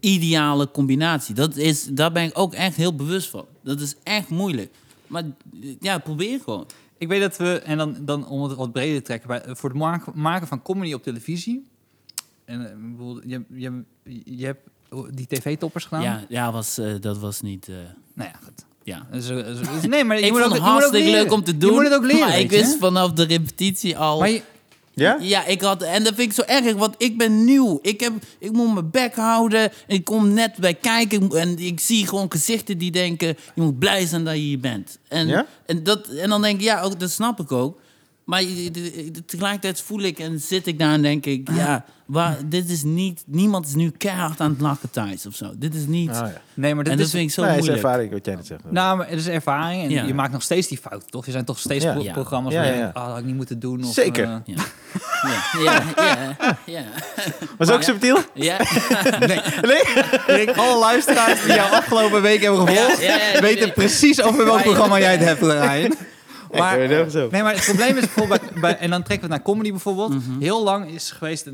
Speaker 3: ideale combinatie. Dat is, daar ben ik ook echt heel bewust van. Dat is echt moeilijk. Maar eh, ja, probeer gewoon.
Speaker 1: Ik weet dat we, en dan, dan om het wat breder te trekken... bij- voor het maken, maken van comedy op televisie... en eh, ik bedoel, je, je, je hebt die tv-toppers gedaan.
Speaker 3: Ja, ja was, eh, dat was niet... eh,
Speaker 1: Nou ja, goed.
Speaker 3: ja.
Speaker 1: Dus, eh, dus- nee, maar je
Speaker 3: <laughs> ik
Speaker 1: moet ook, je
Speaker 3: vond het
Speaker 1: moet ook
Speaker 3: hartstikke
Speaker 1: leren.
Speaker 3: leuk om te doen.
Speaker 1: Je moet het ook leren,
Speaker 3: <laughs> Maar
Speaker 1: weet
Speaker 3: ik
Speaker 1: je,
Speaker 3: wist
Speaker 1: hè?
Speaker 3: vanaf de repetitie al...
Speaker 1: Maar je-
Speaker 2: Ja?
Speaker 3: Ja, ik had, en dat vind ik zo erg, want ik ben nieuw. Ik, heb, ik moet mijn bek houden. Ik kom net bij kijken ik- en ik zie gewoon gezichten die denken: je moet blij zijn dat je hier bent. En,
Speaker 2: Ja?
Speaker 3: en, dat, en dan denk ik: ja, ook, dat snap ik ook. Maar je- de- de- tegelijkertijd voel ik en zit ik daar en denk
Speaker 2: Ah.
Speaker 3: ik: ja, waar, dit is niet. Niemand is nu keihard aan het lakken thuis of zo. Dit is niet.
Speaker 2: Ah, ja.
Speaker 1: nee, maar dit
Speaker 3: en dat
Speaker 1: is,
Speaker 3: vind ik zo
Speaker 2: Nou, is
Speaker 3: moeilijk.
Speaker 2: ervaring wat jij net zegt.
Speaker 1: Nou, maar het is ervaring en
Speaker 3: Ja.
Speaker 1: je maakt nog steeds die fout, toch? Er zijn toch steeds
Speaker 2: Ja.
Speaker 1: pro-
Speaker 3: Ja.
Speaker 1: programma's
Speaker 2: Ja,
Speaker 1: waar je
Speaker 2: ja, ja.
Speaker 1: denkt, ah, dat had ik niet moeten doen. Of,
Speaker 2: Zeker.
Speaker 1: eh,
Speaker 3: Ja. Ja, ja, ja, ja.
Speaker 2: Was ook subtiel?
Speaker 3: Ja.
Speaker 2: Nee?
Speaker 1: Rick, alle luisteraars die jou afgelopen week hebben gevolgd,
Speaker 3: Ja, ja, ja, nee,
Speaker 1: weten
Speaker 3: nee.
Speaker 1: precies over welk
Speaker 3: Maar-
Speaker 1: programma jij het hebt, Ryan. Maar,
Speaker 2: Ik weet het ook zo.
Speaker 1: nee, maar het probleem is bijvoorbeeld... bij- bij- en dan trekken we het naar comedy bijvoorbeeld.
Speaker 2: Mhm.
Speaker 1: Heel lang is geweest...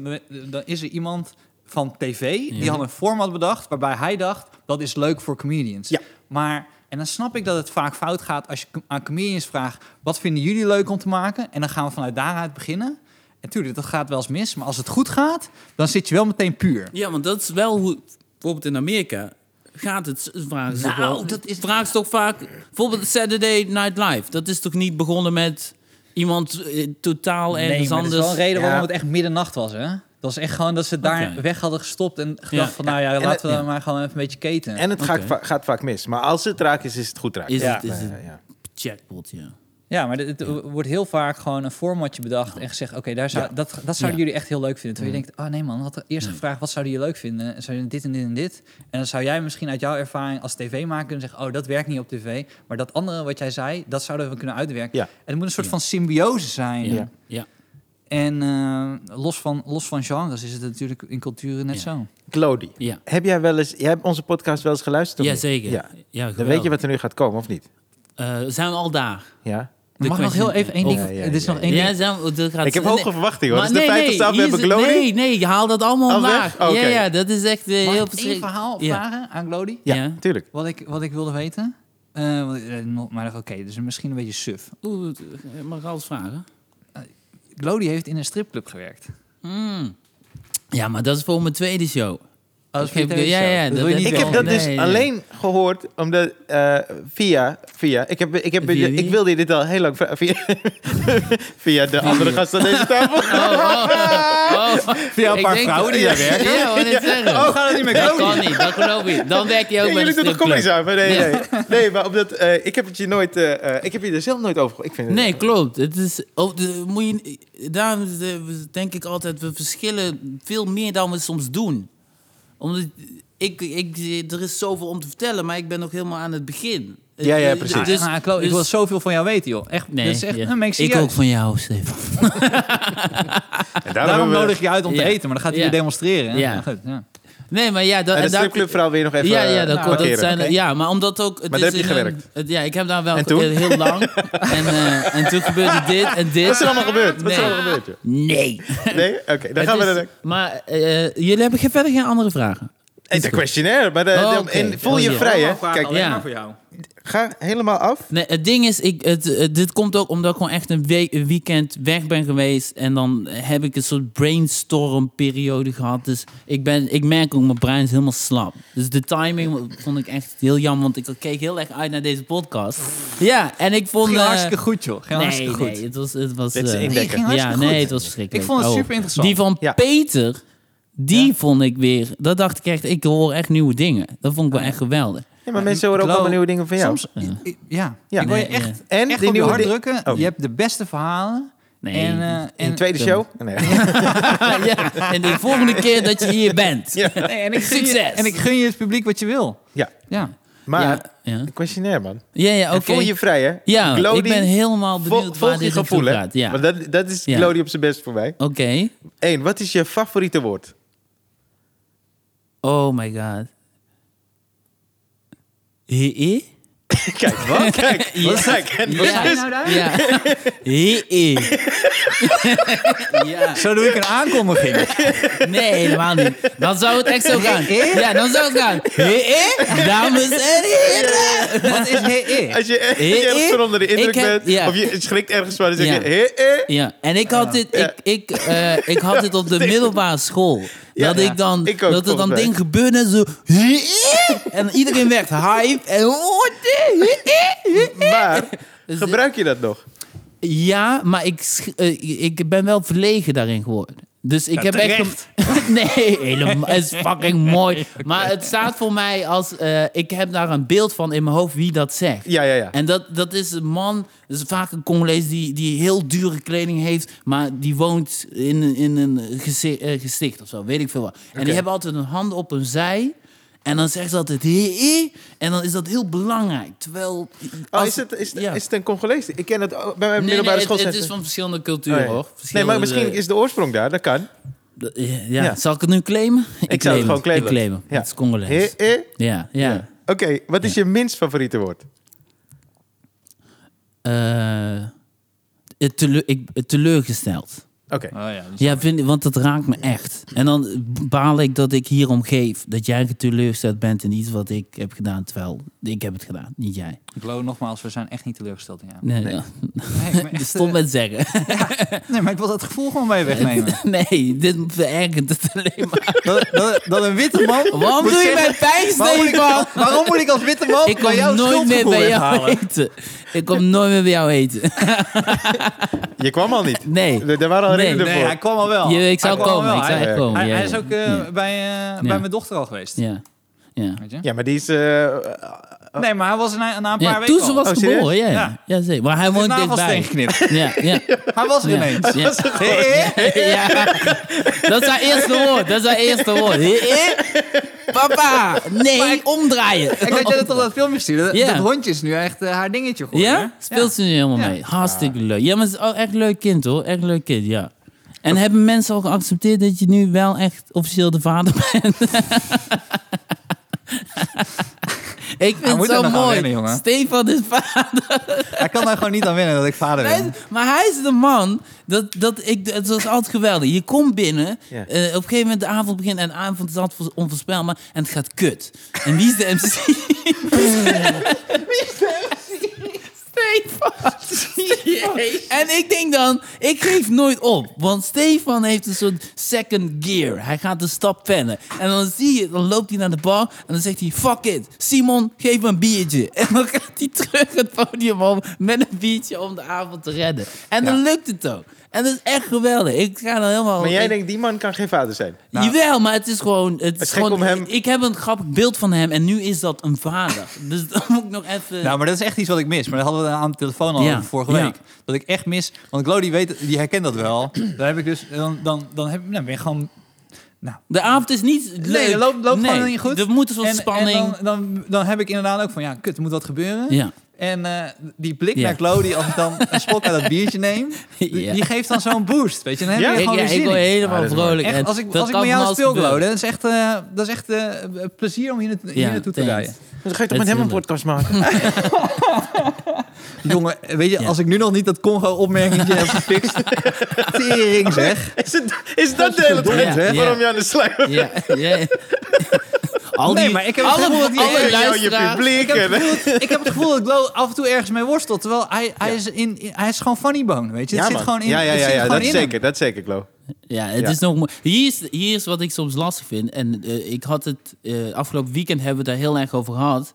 Speaker 1: Dan is er iemand van tv... die
Speaker 3: Ja.
Speaker 1: had een format bedacht waarbij hij dacht... dat is leuk voor comedians.
Speaker 2: Ja.
Speaker 1: Maar... En dan snap ik dat het vaak fout gaat als je com- aan comedians vraagt... wat vinden jullie leuk om te maken? En dan gaan we vanuit daaruit beginnen. En tuurlijk, dat gaat wel eens mis. Maar als het goed gaat, dan zit je wel meteen puur.
Speaker 3: Ja, want dat is wel hoe... Bijvoorbeeld in Amerika gaat het... Vragen ze
Speaker 1: Nou,
Speaker 3: wel-
Speaker 1: dat is-
Speaker 3: Vragen ze toch vaak... Bijvoorbeeld Saturday Night Live. Dat is toch niet begonnen met iemand eh, totaal ergens
Speaker 1: maar dat is
Speaker 3: anders...
Speaker 1: wel een reden
Speaker 2: Ja.
Speaker 1: waarom het echt middernacht was, hè? Dat was echt gewoon dat ze daar
Speaker 3: Oké.
Speaker 1: weg hadden gestopt en gedacht
Speaker 3: Ja.
Speaker 1: van, nou ja,
Speaker 2: en
Speaker 1: laten
Speaker 2: het-
Speaker 1: we
Speaker 3: ja.
Speaker 1: maar gewoon even een beetje keten.
Speaker 2: En het
Speaker 3: Oké.
Speaker 2: gaat, va- gaat vaak mis. Maar als het raak is, is het goed raak.
Speaker 3: Is
Speaker 2: ja.
Speaker 3: het- is het-
Speaker 2: Ja, ja.
Speaker 3: Jackpot, ja.
Speaker 1: ja, maar het wordt heel vaak gewoon een formatje bedacht en gezegd, oké, daar zou, dat, dat zouden
Speaker 3: Ja. Mm.
Speaker 1: jullie echt heel leuk vinden. Terwijl je denkt, oh nee man, had eerst gevraagd, wat zouden jullie leuk vinden? En zouden dit en dit en dit. En dan zou jij misschien uit jouw ervaring als tv-maker kunnen zeggen, oh, dat werkt niet op tv. Maar dat andere wat jij zei, dat zouden we kunnen uitwerken.
Speaker 2: Ja.
Speaker 1: En het moet een soort
Speaker 3: Ja.
Speaker 1: van symbiose zijn.
Speaker 3: Ja. ja. ja.
Speaker 1: En eh, los, van, los van genres is het natuurlijk in culturen net
Speaker 3: Ja.
Speaker 1: zo.
Speaker 2: Glody. Heb jij wel eens... Jij hebt onze podcast wel eens geluisterd? of niet?
Speaker 3: Jazeker.
Speaker 2: Ja.
Speaker 3: Ja,
Speaker 2: Dan weet je
Speaker 3: geweldig.
Speaker 2: wat er nu gaat komen, of niet?
Speaker 3: Eh, zijn we al daar?
Speaker 2: Ja.
Speaker 3: De
Speaker 1: Mag ik nog heel
Speaker 3: question-
Speaker 1: even één ding?
Speaker 2: Ja, ja,
Speaker 1: Dit is
Speaker 2: ja,
Speaker 1: nog
Speaker 2: ja.
Speaker 1: één
Speaker 3: Ja,
Speaker 1: ding.
Speaker 3: zijn we- dat gaat,
Speaker 2: Ik heb
Speaker 3: nee.
Speaker 2: hoge verwaftingen, hoor. Dat is de
Speaker 3: nee,
Speaker 2: 50ste aflevering
Speaker 3: hier is-
Speaker 2: Glowing.
Speaker 3: Nee, nee, je haalt dat allemaal
Speaker 2: Al
Speaker 3: omlaag.
Speaker 2: weg? Oké.
Speaker 3: Ja, ja, dat is echt eh,
Speaker 1: Mag
Speaker 3: heel
Speaker 1: ik één
Speaker 3: verschrikkelijk.
Speaker 1: verhaal
Speaker 3: Ja.
Speaker 1: vragen aan Glody?
Speaker 2: Ja,
Speaker 3: Ja.
Speaker 2: tuurlijk.
Speaker 1: Wat ik, wat ik wilde weten. Eh, want, eh, nog- maar oké, dus misschien een beetje suf.
Speaker 3: Oeh, het- mag ik alles vragen?
Speaker 1: Glody heeft in een stripclub gewerkt.
Speaker 3: Mm. Ja, maar dat is voor mijn tweede show.
Speaker 1: dat is
Speaker 3: Ik
Speaker 1: voor je
Speaker 3: heb-
Speaker 1: tweede
Speaker 3: ja,
Speaker 1: show.
Speaker 3: ja,
Speaker 1: Dat
Speaker 3: dat-
Speaker 1: wil je
Speaker 3: dat-
Speaker 1: niet
Speaker 2: Ik heb
Speaker 1: vertellen.
Speaker 2: dat dus
Speaker 3: Nee, nee.
Speaker 2: alleen gehoord omdat eh, via, via, ik, heb, ik, heb,
Speaker 3: Via wie?
Speaker 2: ik wilde dit al heel lang vra- <laughs> via, via de andere gast aan deze tafel.
Speaker 3: Oh,
Speaker 1: Via een
Speaker 3: Ik
Speaker 1: paar
Speaker 3: denk-
Speaker 1: vrouwen die daar werken.
Speaker 3: Ja, wat ik zeggen.
Speaker 2: Oh, gaat het niet meer
Speaker 3: dat
Speaker 2: komen?
Speaker 3: kan niet, dat geloof ik. Dan werk je ook bij
Speaker 2: jullie
Speaker 3: de
Speaker 2: doen toch comedy
Speaker 3: stripclub.
Speaker 2: samen? Nee,
Speaker 3: Nee.
Speaker 2: nee. Nee, maar omdat, eh, ik heb het je nooit, eh, eh, ik heb je er zelf nooit over gehoord. Ik vind het-
Speaker 3: Nee, klopt. Het is, oh, de- moet je, daarom is de- denk ik altijd, we verschillen veel meer dan we soms doen. Omdat ik, ik, er is zoveel om te vertellen, maar ik ben nog helemaal aan het begin.
Speaker 2: Ja, ja,
Speaker 3: Eh,
Speaker 2: precies.
Speaker 1: Dus, maar, Glo- ik
Speaker 3: dus-
Speaker 1: wil zoveel van jou weten, joh. Echt,
Speaker 3: Nee,
Speaker 1: dat is echt
Speaker 3: ja.
Speaker 1: een makes
Speaker 3: ik
Speaker 1: you
Speaker 3: ook
Speaker 1: uit.
Speaker 3: van jou, Stefan.
Speaker 2: En
Speaker 1: Daarom
Speaker 2: hebben we-
Speaker 1: nodig je uit om te
Speaker 3: Ja.
Speaker 1: eten, maar dan gaat hij
Speaker 3: Ja.
Speaker 1: weer demonstreren. hè?
Speaker 3: Ja.
Speaker 1: Nou, goed, ja.
Speaker 3: Nee, maar ja, dat,
Speaker 2: En
Speaker 3: en
Speaker 2: het
Speaker 3: daar-
Speaker 2: stripclubverhaal weer nog even
Speaker 3: ja, ja,
Speaker 2: eh,
Speaker 3: dat, klopt. dat
Speaker 2: parkeren.
Speaker 3: zijn,
Speaker 2: Oké.
Speaker 3: Ja, maar omdat ook... Het
Speaker 2: Maar daar
Speaker 3: is
Speaker 2: heb je
Speaker 3: in een-
Speaker 2: gewerkt.
Speaker 3: het- ja, ik heb daar wel
Speaker 2: En toen?
Speaker 3: ge- heel
Speaker 2: <laughs>
Speaker 3: lang. en, eh, en toen gebeurde dit en dit.
Speaker 2: Wat is er allemaal gebeurd? Wat is er
Speaker 3: Nee.
Speaker 2: allemaal gebeurd? joh?
Speaker 3: Nee.
Speaker 2: Nee? Oké, dan gaan we
Speaker 3: Het is-
Speaker 2: naar
Speaker 3: Maar eh, jullie hebben geen- verder geen andere vragen?
Speaker 2: de, de questionnaire. Maar de,
Speaker 3: Oh,
Speaker 2: de-
Speaker 3: oké.
Speaker 2: en voel je
Speaker 3: Oh, ja.
Speaker 2: vrij, hè?
Speaker 1: Allemaal vragen,
Speaker 2: Kijk,
Speaker 1: alleen
Speaker 3: ja.
Speaker 1: maar voor jou.
Speaker 2: ga helemaal af.
Speaker 3: Nee, het ding is, ik, het, het- dit komt ook omdat ik gewoon echt een, week, een weekend weg ben geweest. En dan heb ik een soort brainstorm-periode gehad. Dus ik, ben, ik merk ook, mijn brein is helemaal slap. Dus de timing vond ik echt heel jammer. Want ik keek heel erg uit naar deze podcast. Ja, en ik vond...
Speaker 1: Ging
Speaker 3: eh,
Speaker 1: hartstikke goed, joh. Ging
Speaker 3: nee,
Speaker 1: hartstikke goed.
Speaker 3: nee, het was... Het was
Speaker 2: Dit is
Speaker 3: eh,
Speaker 2: één
Speaker 1: Nee, ging
Speaker 2: Ja,
Speaker 1: hartstikke
Speaker 3: ja,
Speaker 1: goed.
Speaker 3: nee, het was verschrikkelijk.
Speaker 1: Ik vond het
Speaker 3: Oh.
Speaker 1: super interessant.
Speaker 3: Die van
Speaker 2: Ja.
Speaker 3: Peter, die
Speaker 1: Ja.
Speaker 3: vond ik weer... Dat dacht ik echt, ik hoor echt nieuwe dingen. Dat vond ik wel echt geweldig.
Speaker 2: Ja, maar mensen horen ook
Speaker 1: Glo-
Speaker 2: allemaal nieuwe dingen van jou.
Speaker 1: Soms, i- i- ja.
Speaker 2: Ja.
Speaker 1: Ik wil je
Speaker 3: Nee,
Speaker 1: echt,
Speaker 2: En
Speaker 1: echt
Speaker 2: die
Speaker 1: op je
Speaker 2: nieuwe
Speaker 1: hart
Speaker 2: di-
Speaker 1: drukken.
Speaker 2: Oh.
Speaker 1: Je hebt de beste verhalen.
Speaker 3: Nee,
Speaker 1: En, eh,
Speaker 2: In de
Speaker 1: en,
Speaker 2: tweede show? Oh, Nee.
Speaker 3: <laughs> ja, en de volgende keer dat je hier bent. Ja,
Speaker 1: nee, en, ik gun je,
Speaker 3: Succes.
Speaker 1: en ik gun je het publiek wat je wil.
Speaker 2: Ja,
Speaker 1: Ja.
Speaker 2: maar
Speaker 3: ja.
Speaker 2: de questionnaire, man.
Speaker 3: ja, ja
Speaker 2: En
Speaker 3: oké.
Speaker 2: Voel je vrij, hè?
Speaker 3: Ja,
Speaker 2: Glody,
Speaker 3: ik ben helemaal
Speaker 2: vo-
Speaker 3: benieuwd
Speaker 2: volg
Speaker 3: waar
Speaker 2: je
Speaker 3: dit
Speaker 2: gevoel,
Speaker 3: gevoel
Speaker 2: hè?
Speaker 3: gaat. Ja.
Speaker 2: Want
Speaker 3: Oké.
Speaker 2: dat, dat is
Speaker 3: Ja.
Speaker 2: Glody op zijn best voor mij. Eén, wat is je favoriete woord?
Speaker 3: Oh my god. Hee?
Speaker 2: Kijk, wat? <laughs>
Speaker 3: <laughs>
Speaker 2: Kijk, wat kijk. En dat is-
Speaker 3: Ja. <laughs> ja. Hee. ja.
Speaker 1: Zo doe ik een aankondiging.
Speaker 3: Nee, helemaal niet. Dan zou het echt zo gaan. Ja, dan zou het gaan. Hee? Dames en heren.
Speaker 1: Wat is he
Speaker 2: Als je echt
Speaker 3: Eh, eh,
Speaker 2: ergens van onder de indruk
Speaker 3: ik heb-
Speaker 2: bent,
Speaker 3: ja.
Speaker 2: of je schrikt ergens van, dan zeg
Speaker 3: Ja.
Speaker 2: je... eh, eh.
Speaker 3: Ja, en ik had dit, ik, ik, eh, ik had dit op
Speaker 2: <laughs>
Speaker 3: de middelbare school.
Speaker 2: Ja,
Speaker 3: dat
Speaker 2: ja.
Speaker 3: ik dan,
Speaker 2: Ik ook,
Speaker 3: dat er dan
Speaker 2: volgens mij.
Speaker 3: dingen gebeurde en zo. <laughs> En iedereen werd hype. En oh, dit.
Speaker 2: Maar
Speaker 3: <laughs> Dus-
Speaker 2: gebruik je dat nog? Oh,
Speaker 3: Ja, maar ik, sch- eh, ik ben wel verlegen daarin geworden. Dus ik heb
Speaker 1: terecht.
Speaker 3: echt. gem- <laughs> nee, helemaal. Het is fucking mooi. Maar het staat voor mij als. eh, ik heb daar een beeld van in mijn hoofd wie dat zegt.
Speaker 2: Ja, ja, ja.
Speaker 3: En dat, dat is een man, dat is vaak een Congolees die, die heel dure kleding heeft, maar die woont in, een- in een gezi- eh, gesticht of zo, weet ik veel wat. En die hebben altijd hun handen op hun zij. En dan zegt ze altijd hee, hee. En dan is dat heel belangrijk. Terwijl.
Speaker 2: Oh,
Speaker 3: als-
Speaker 2: is, het, is,
Speaker 3: ja.
Speaker 2: is het een Congolees? Ik ken het ook bij mijn
Speaker 3: Nee, nee,
Speaker 2: middelbare
Speaker 3: het,
Speaker 2: school.
Speaker 3: het is van verschillende culturen
Speaker 2: Oh, ja.
Speaker 3: hoor.
Speaker 2: Nee, maar
Speaker 3: Verschillende-
Speaker 2: misschien is de oorsprong daar, dat kan.
Speaker 3: Ja, ja.
Speaker 2: Ja.
Speaker 3: Zal ik het nu claimen? Ik,
Speaker 2: zou het gewoon claimen.
Speaker 3: Ik claim hem.
Speaker 2: Ja.
Speaker 3: Het is Congolees.
Speaker 2: Eh, eh.
Speaker 3: Ja, ja.
Speaker 2: Oké, wat is je minst favoriete woord?
Speaker 3: eh, het teleur, ik, het teleurgesteld.
Speaker 2: Oké.
Speaker 1: Oh ja, dus-
Speaker 3: Ja, vind, want dat raakt me echt. En dan baal ik dat ik hierom geef. Dat jij teleurgesteld bent in iets wat ik heb gedaan. Terwijl ik heb het gedaan, niet jij.
Speaker 1: Glo, nogmaals, we zijn echt niet teleurgesteld in jou.
Speaker 3: Nee,
Speaker 2: Nee. <laughs>
Speaker 3: ja.
Speaker 1: Nee, ik ben <laughs> echt,
Speaker 3: Stom met zeggen.
Speaker 1: eh, nee, maar ik wil dat gevoel gewoon bij je
Speaker 3: <laughs>
Speaker 1: wegnemen.
Speaker 3: Nee, dit verergert het alleen
Speaker 2: <laughs>
Speaker 3: maar.
Speaker 1: dat, dat, dat een witte man...
Speaker 3: Waarom
Speaker 1: moet
Speaker 3: doe je
Speaker 1: zeggen-
Speaker 3: mij
Speaker 1: <laughs>
Speaker 3: pijn,
Speaker 1: waarom moet, ik,
Speaker 3: Stefan?
Speaker 1: waarom moet ik als witte man
Speaker 3: Ik
Speaker 1: bij jou
Speaker 3: kom nooit meer
Speaker 1: schuldgevoel
Speaker 3: bij jou <laughs>
Speaker 1: weghalen?
Speaker 3: eten. Ik kom nooit meer bij jou eten. <laughs>
Speaker 2: Je kwam al niet.
Speaker 3: Nee.
Speaker 2: Er, er waren al
Speaker 3: Nee.
Speaker 2: redenen
Speaker 1: Nee,
Speaker 2: voor.
Speaker 1: hij kwam al wel.
Speaker 3: Je, ik zou
Speaker 1: Hij kwam al
Speaker 3: komen,
Speaker 1: wel.
Speaker 3: ik zou
Speaker 1: Hij,
Speaker 3: echt komen.
Speaker 1: hij-
Speaker 3: ja,
Speaker 1: hij is
Speaker 3: ja,
Speaker 1: ook eh,
Speaker 3: ja.
Speaker 1: bij, eh, bij mijn dochter al geweest.
Speaker 3: Ja. ja.
Speaker 1: Weet je?
Speaker 2: Ja, maar die is...
Speaker 3: Oh,
Speaker 2: eh,
Speaker 1: Nee, maar hij was er na, na een paar
Speaker 3: Ja,
Speaker 1: weken
Speaker 3: toen ze
Speaker 1: al.
Speaker 3: was
Speaker 2: Oh, serieus?
Speaker 3: geboren, ja.
Speaker 1: Ja.
Speaker 3: ja. zeker. Maar hij
Speaker 1: Hij heeft
Speaker 3: woont
Speaker 1: nagelsteen
Speaker 3: dichtbij.
Speaker 1: geknipt.
Speaker 3: <laughs> Ja,
Speaker 1: <laughs>
Speaker 3: ja.
Speaker 1: Hij was er
Speaker 3: Ja.
Speaker 1: ineens.
Speaker 3: Ja.
Speaker 1: <laughs> Hé, hé.
Speaker 3: Ja. Dat is haar eerste woord. Dat is haar eerste woord. Hé, hé. Papa, nee, omdraaien.
Speaker 1: Ik had jij dat op dat filmpje stuurde. Dat-
Speaker 3: Oh. Ja.
Speaker 1: Dat hondje is nu echt eh, haar dingetje geworden.
Speaker 3: Ja? Speelt ze nu helemaal mee. Hartstikke leuk. Ja, maar het is ook echt leuk kind hoor. Echt leuk kind, ja. En hebben mensen al geaccepteerd dat je nu wel echt officieel de vader bent? <laughs> Ik vind
Speaker 1: moet
Speaker 3: het
Speaker 1: er
Speaker 3: zo
Speaker 1: nog aan
Speaker 3: mooi.
Speaker 1: wennen, jongen.
Speaker 3: Stefan is vader.
Speaker 1: Hij kan daar gewoon niet aan winnen dat ik vader
Speaker 3: Hij
Speaker 1: ben.
Speaker 3: is- maar hij is de man. Dat, dat ik, het was altijd geweldig. Je komt binnen.
Speaker 2: Ja.
Speaker 3: eh, op een gegeven moment de avond begint. En de avond is altijd onvoorspelbaar. En het gaat kut. En wie is de MC? wie is de
Speaker 2: <laughs>
Speaker 3: Stefan. En ik denk dan, ik geef nooit op. Want Stefan heeft een soort second gear. Hij gaat de stap pennen. En dan zie je, dan loopt hij naar de bar. En dan zegt hij, fuck it. Simon, geef me een biertje. <laughs> En dan gaat hij terug het podium om met een biertje om de avond te redden. En dan
Speaker 1: Ja.
Speaker 3: lukt het ook. En dat is echt geweldig. Ik ga dan helemaal...
Speaker 2: maar jij
Speaker 3: ik-
Speaker 2: denkt, die man kan geen vader zijn.
Speaker 1: Nou.
Speaker 3: Jawel, maar het is gewoon... Het is
Speaker 2: is gek
Speaker 3: gewoon
Speaker 2: om hem-
Speaker 3: Ik heb een grappig beeld van hem en nu is dat een vader. dus <laughs> dan moet ik nog even...
Speaker 1: Nou, maar dat is echt iets wat ik mis. Maar dat hadden we aan de telefoon al
Speaker 3: Ja.
Speaker 1: over vorige
Speaker 3: Ja.
Speaker 1: week. Dat ik echt mis. Want Glo, die, weet, die herkent dat wel. Dan heb ik dus... Dan, dan, dan, heb, dan ben je gewoon...
Speaker 3: de avond is niet leuk.
Speaker 1: Nee, dat loopt- loopt gewoon niet goed.
Speaker 3: Er moet een soort
Speaker 1: En,
Speaker 3: spanning...
Speaker 1: en dan, dan, dan heb ik inderdaad ook van... Ja, kut, er moet wat gebeuren.
Speaker 3: Ja.
Speaker 1: En eh, die blik
Speaker 3: Ja.
Speaker 1: naar Glo, die als ik dan een slok uit dat biertje neem... Die,
Speaker 3: <laughs> Ja.
Speaker 1: die geeft dan zo'n boost, weet je. Dan heb
Speaker 2: Ja?
Speaker 1: je
Speaker 3: Ik,
Speaker 1: gewoon
Speaker 3: ja,
Speaker 1: weer
Speaker 3: ik
Speaker 1: zin
Speaker 3: word
Speaker 1: in.
Speaker 3: helemaal
Speaker 2: Ah, dat is mooi.
Speaker 3: vrolijk.
Speaker 1: Echt,
Speaker 3: en
Speaker 1: als ik,
Speaker 3: dat
Speaker 1: als ik
Speaker 3: kan
Speaker 1: met
Speaker 3: van
Speaker 1: jou
Speaker 3: alles
Speaker 1: speel, Glo,
Speaker 3: gebeuren.
Speaker 1: dat is echt, eh, dat is echt eh, plezier om hier, naartoe- hier
Speaker 3: Ja,
Speaker 1: naartoe te
Speaker 3: thanks.
Speaker 1: rijden.
Speaker 2: Dan ga je
Speaker 3: Het
Speaker 2: toch met hem
Speaker 3: is
Speaker 2: een
Speaker 3: heel
Speaker 2: podcast maken?
Speaker 1: Jongen, weet je,
Speaker 3: Ja.
Speaker 1: als ik nu nog niet dat Congo-opmerkingje heb <laughs> gefixt... Tering, zeg.
Speaker 2: Is, het, is dat de hele tijd
Speaker 3: Ja, ja.
Speaker 2: waarom je aan de slag bent?
Speaker 3: Ja,
Speaker 1: <laughs>
Speaker 3: ja. Al die,
Speaker 1: Nee, maar ik heb het
Speaker 3: alle,
Speaker 1: gevoel dat die-
Speaker 3: alle
Speaker 1: Ik
Speaker 2: jou, je
Speaker 3: luisteraars-
Speaker 2: publiek.
Speaker 1: Ik heb,
Speaker 2: en-
Speaker 1: het gevoel, ik heb het gevoel dat Glo af en toe ergens mee worstelt. Terwijl hij, hij, is, in, in- hij is gewoon funnybone, weet je.
Speaker 2: Ja,
Speaker 1: Het zit
Speaker 2: man.
Speaker 1: gewoon in
Speaker 2: ja, ja,
Speaker 1: het
Speaker 2: ja,
Speaker 1: zit
Speaker 2: ja,
Speaker 1: gewoon
Speaker 2: dat
Speaker 1: in hem.
Speaker 2: zeker, dat zeker, Klo.
Speaker 3: Ja, het
Speaker 2: Ja.
Speaker 3: is nog mooi. Hier is, hier is wat ik soms lastig vind. En eh, ik had het eh, afgelopen weekend hebben we het daar heel erg over gehad.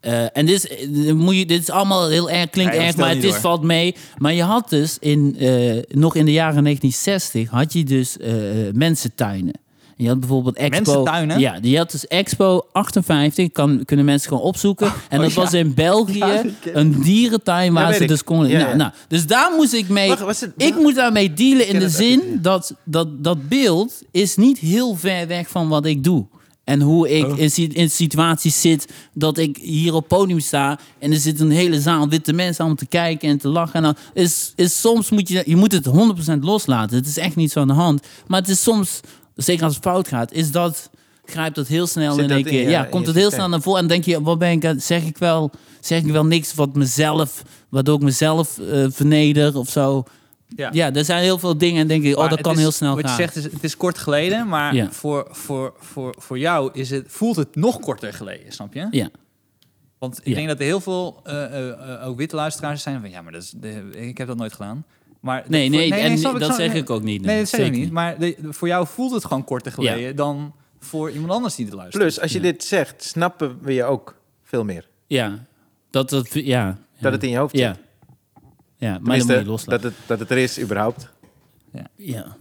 Speaker 3: Eh, en dit is, eh, moet je, dit is allemaal heel erg, klinkt
Speaker 1: Ja, joh,
Speaker 3: erg,
Speaker 1: stel
Speaker 3: maar
Speaker 1: niet
Speaker 3: het is,
Speaker 1: hoor.
Speaker 3: valt mee. Maar je had dus in, eh, nog in de jaren 1960 had je dus eh mensentuinen. En Je had bijvoorbeeld Expo.
Speaker 1: Mensentuinen?
Speaker 3: Ja, je had dus Expo 58. Kan, kunnen mensen gewoon opzoeken.
Speaker 2: Oh,
Speaker 3: en dat
Speaker 1: ja.
Speaker 3: was in België
Speaker 1: Ja, ik ken-
Speaker 3: een dierentuin waar
Speaker 2: weet
Speaker 3: ze
Speaker 2: ik.
Speaker 3: dus konden.
Speaker 2: Ja,
Speaker 3: nou,
Speaker 2: ja.
Speaker 3: nou, dus daar moest ik mee.
Speaker 2: Wacht, was het-
Speaker 3: ik moet daarmee dealen in
Speaker 2: ken
Speaker 3: de
Speaker 2: het
Speaker 3: zin dat, dat dat beeld is niet heel ver weg van wat ik doe. En hoe
Speaker 2: Oh.
Speaker 3: ik in, si- in situaties zit dat ik hier op podium sta en er zit een hele zaal witte mensen aan te kijken en te lachen. En dan is, is soms moet je, je moet het 100% loslaten. Het is echt niet zo aan de hand. Maar het is soms, zeker als het fout gaat, is dat, grijpt dat heel snel
Speaker 2: Zit
Speaker 3: in
Speaker 2: dat
Speaker 3: één
Speaker 2: in
Speaker 3: keer.
Speaker 2: je-
Speaker 3: ja,
Speaker 2: in
Speaker 3: komt
Speaker 2: je
Speaker 3: het heel
Speaker 2: systeem?
Speaker 3: snel naar voren en denk je, wat ben ik, aan- zeg ik wel, zeg ik wel niks wat mezelf, waardoor ik mezelf eh, verneder of zo. Ja. er zijn heel veel dingen en denk ik, oh,
Speaker 1: Maar
Speaker 3: dat
Speaker 1: het
Speaker 3: kan
Speaker 1: is-
Speaker 3: heel snel
Speaker 1: wat
Speaker 3: gaan.
Speaker 1: je zegt, is, het is kort geleden, maar
Speaker 3: Ja.
Speaker 1: voor, voor, voor, voor jou is het, voelt het nog korter geleden, snap je?
Speaker 3: ja.
Speaker 1: Want ik
Speaker 3: Ja.
Speaker 1: denk dat er heel veel eh, eh, eh, ook witte luisteraars zijn van... ja, maar dat is, de- ik heb dat nooit gedaan. Maar
Speaker 3: Nee,
Speaker 1: voor-
Speaker 3: nee, en
Speaker 1: snap
Speaker 3: dat
Speaker 1: snap
Speaker 3: zeg ik ook niet.
Speaker 1: Nee, dat zeg ik
Speaker 3: zeker
Speaker 1: niet. Maar de- de- voor jou voelt het gewoon korter geleden... dan voor iemand anders die het luistert.
Speaker 2: Plus, als je dit zegt, snappen we je ook veel meer.
Speaker 3: Ja, dat, dat, ja.
Speaker 2: Dat het in je hoofd zit.
Speaker 3: Ja. Ja, maar dan moet je
Speaker 2: Tenminste,
Speaker 3: loslaten.
Speaker 2: dat het, dat het er is, überhaupt.
Speaker 3: ja.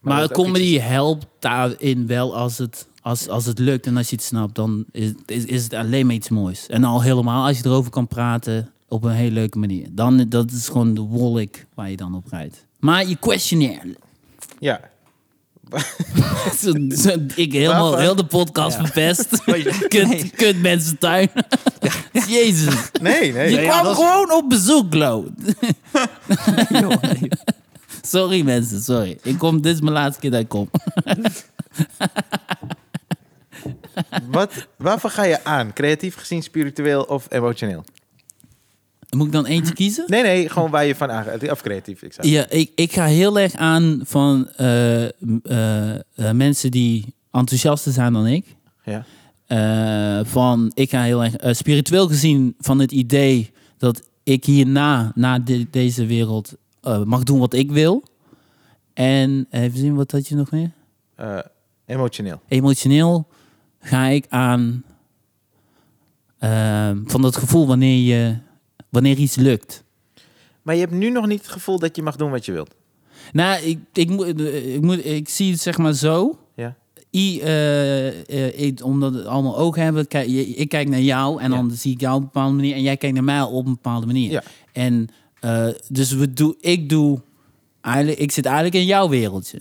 Speaker 3: Maar,
Speaker 2: dat is ook
Speaker 3: comedy helpt daarin wel als het, als, als het lukt en als je het snapt, dan is, is, is het alleen maar iets moois. En al helemaal als je erover kan praten op een hele leuke manier. Dan dat is gewoon de wolk waar je dan op rijdt. Maar je questionnaire.
Speaker 2: Ja.
Speaker 3: <laughs> Zo- zo- ik helemaal
Speaker 2: Papa.
Speaker 3: heel de podcast
Speaker 1: <laughs>
Speaker 3: verpest. <laughs> kut,
Speaker 1: Nee.
Speaker 3: kut mensen tuin. <laughs> Jezus.
Speaker 2: Nee, nee.
Speaker 3: Je
Speaker 1: ja,
Speaker 3: kwam
Speaker 1: dat is-
Speaker 3: gewoon op bezoek,
Speaker 1: <laughs>
Speaker 3: Glo. sorry mensen, sorry. Ik kom, dit is mijn laatste keer dat ik kom.
Speaker 2: Wat, waarvoor ga je aan? Creatief gezien, spiritueel of emotioneel?
Speaker 3: Moet ik dan eentje kiezen?
Speaker 2: Nee, nee, gewoon waar je van aangaat. Of creatief, ik zei.
Speaker 3: Ja, ik, ik ga heel erg aan van eh, m- eh, eh, mensen die enthousiaster zijn dan ik.
Speaker 2: Ja.
Speaker 3: Eh, van, ik ga heel erg eh, spiritueel gezien van het idee dat ik hierna, na de- deze wereld, eh, mag doen wat ik wil. En even zien, wat had je nog meer?
Speaker 2: Eh, emotioneel.
Speaker 3: Emotioneel ga ik aan eh, van dat gevoel wanneer, je, wanneer iets lukt.
Speaker 2: Maar je hebt nu nog niet het gevoel dat je mag doen wat je wilt.
Speaker 3: Nou, ik, ik, moet, eh, ik, moet, ik zie het zeg maar zo.
Speaker 2: Ja.
Speaker 3: I, eh, eh, ik- omdat we allemaal ogen hebben, kijk, je- ik kijk naar jou en
Speaker 2: Ja.
Speaker 3: dan zie ik jou op een bepaalde manier en jij kijkt naar mij op een bepaalde manier.
Speaker 2: Ja.
Speaker 3: En eh, dus we doe, ik doe, eigenlijk, ik zit eigenlijk in jouw wereldje.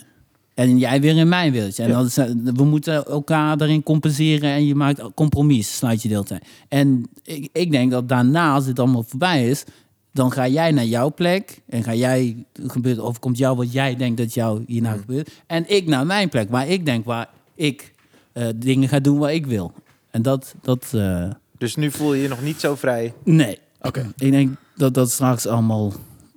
Speaker 3: En jij weer in mijn wereldje. En
Speaker 2: Ja.
Speaker 3: dat is, eh, we moeten elkaar daarin compenseren en je maakt compromis, sluit je deeltijd. En ik, ik denk dat daarna, als dit allemaal voorbij is, dan ga jij naar jouw plek en ga jij gebeurt of komt jou wat jij denkt dat jou hierna gebeurt en ik naar mijn plek waar ik denk waar ik eh, dingen ga doen waar ik wil en dat dat eh,
Speaker 2: Dus nu voel je je nog niet zo vrij.
Speaker 3: nee
Speaker 2: Oké.
Speaker 3: ik denk dat dat straks allemaal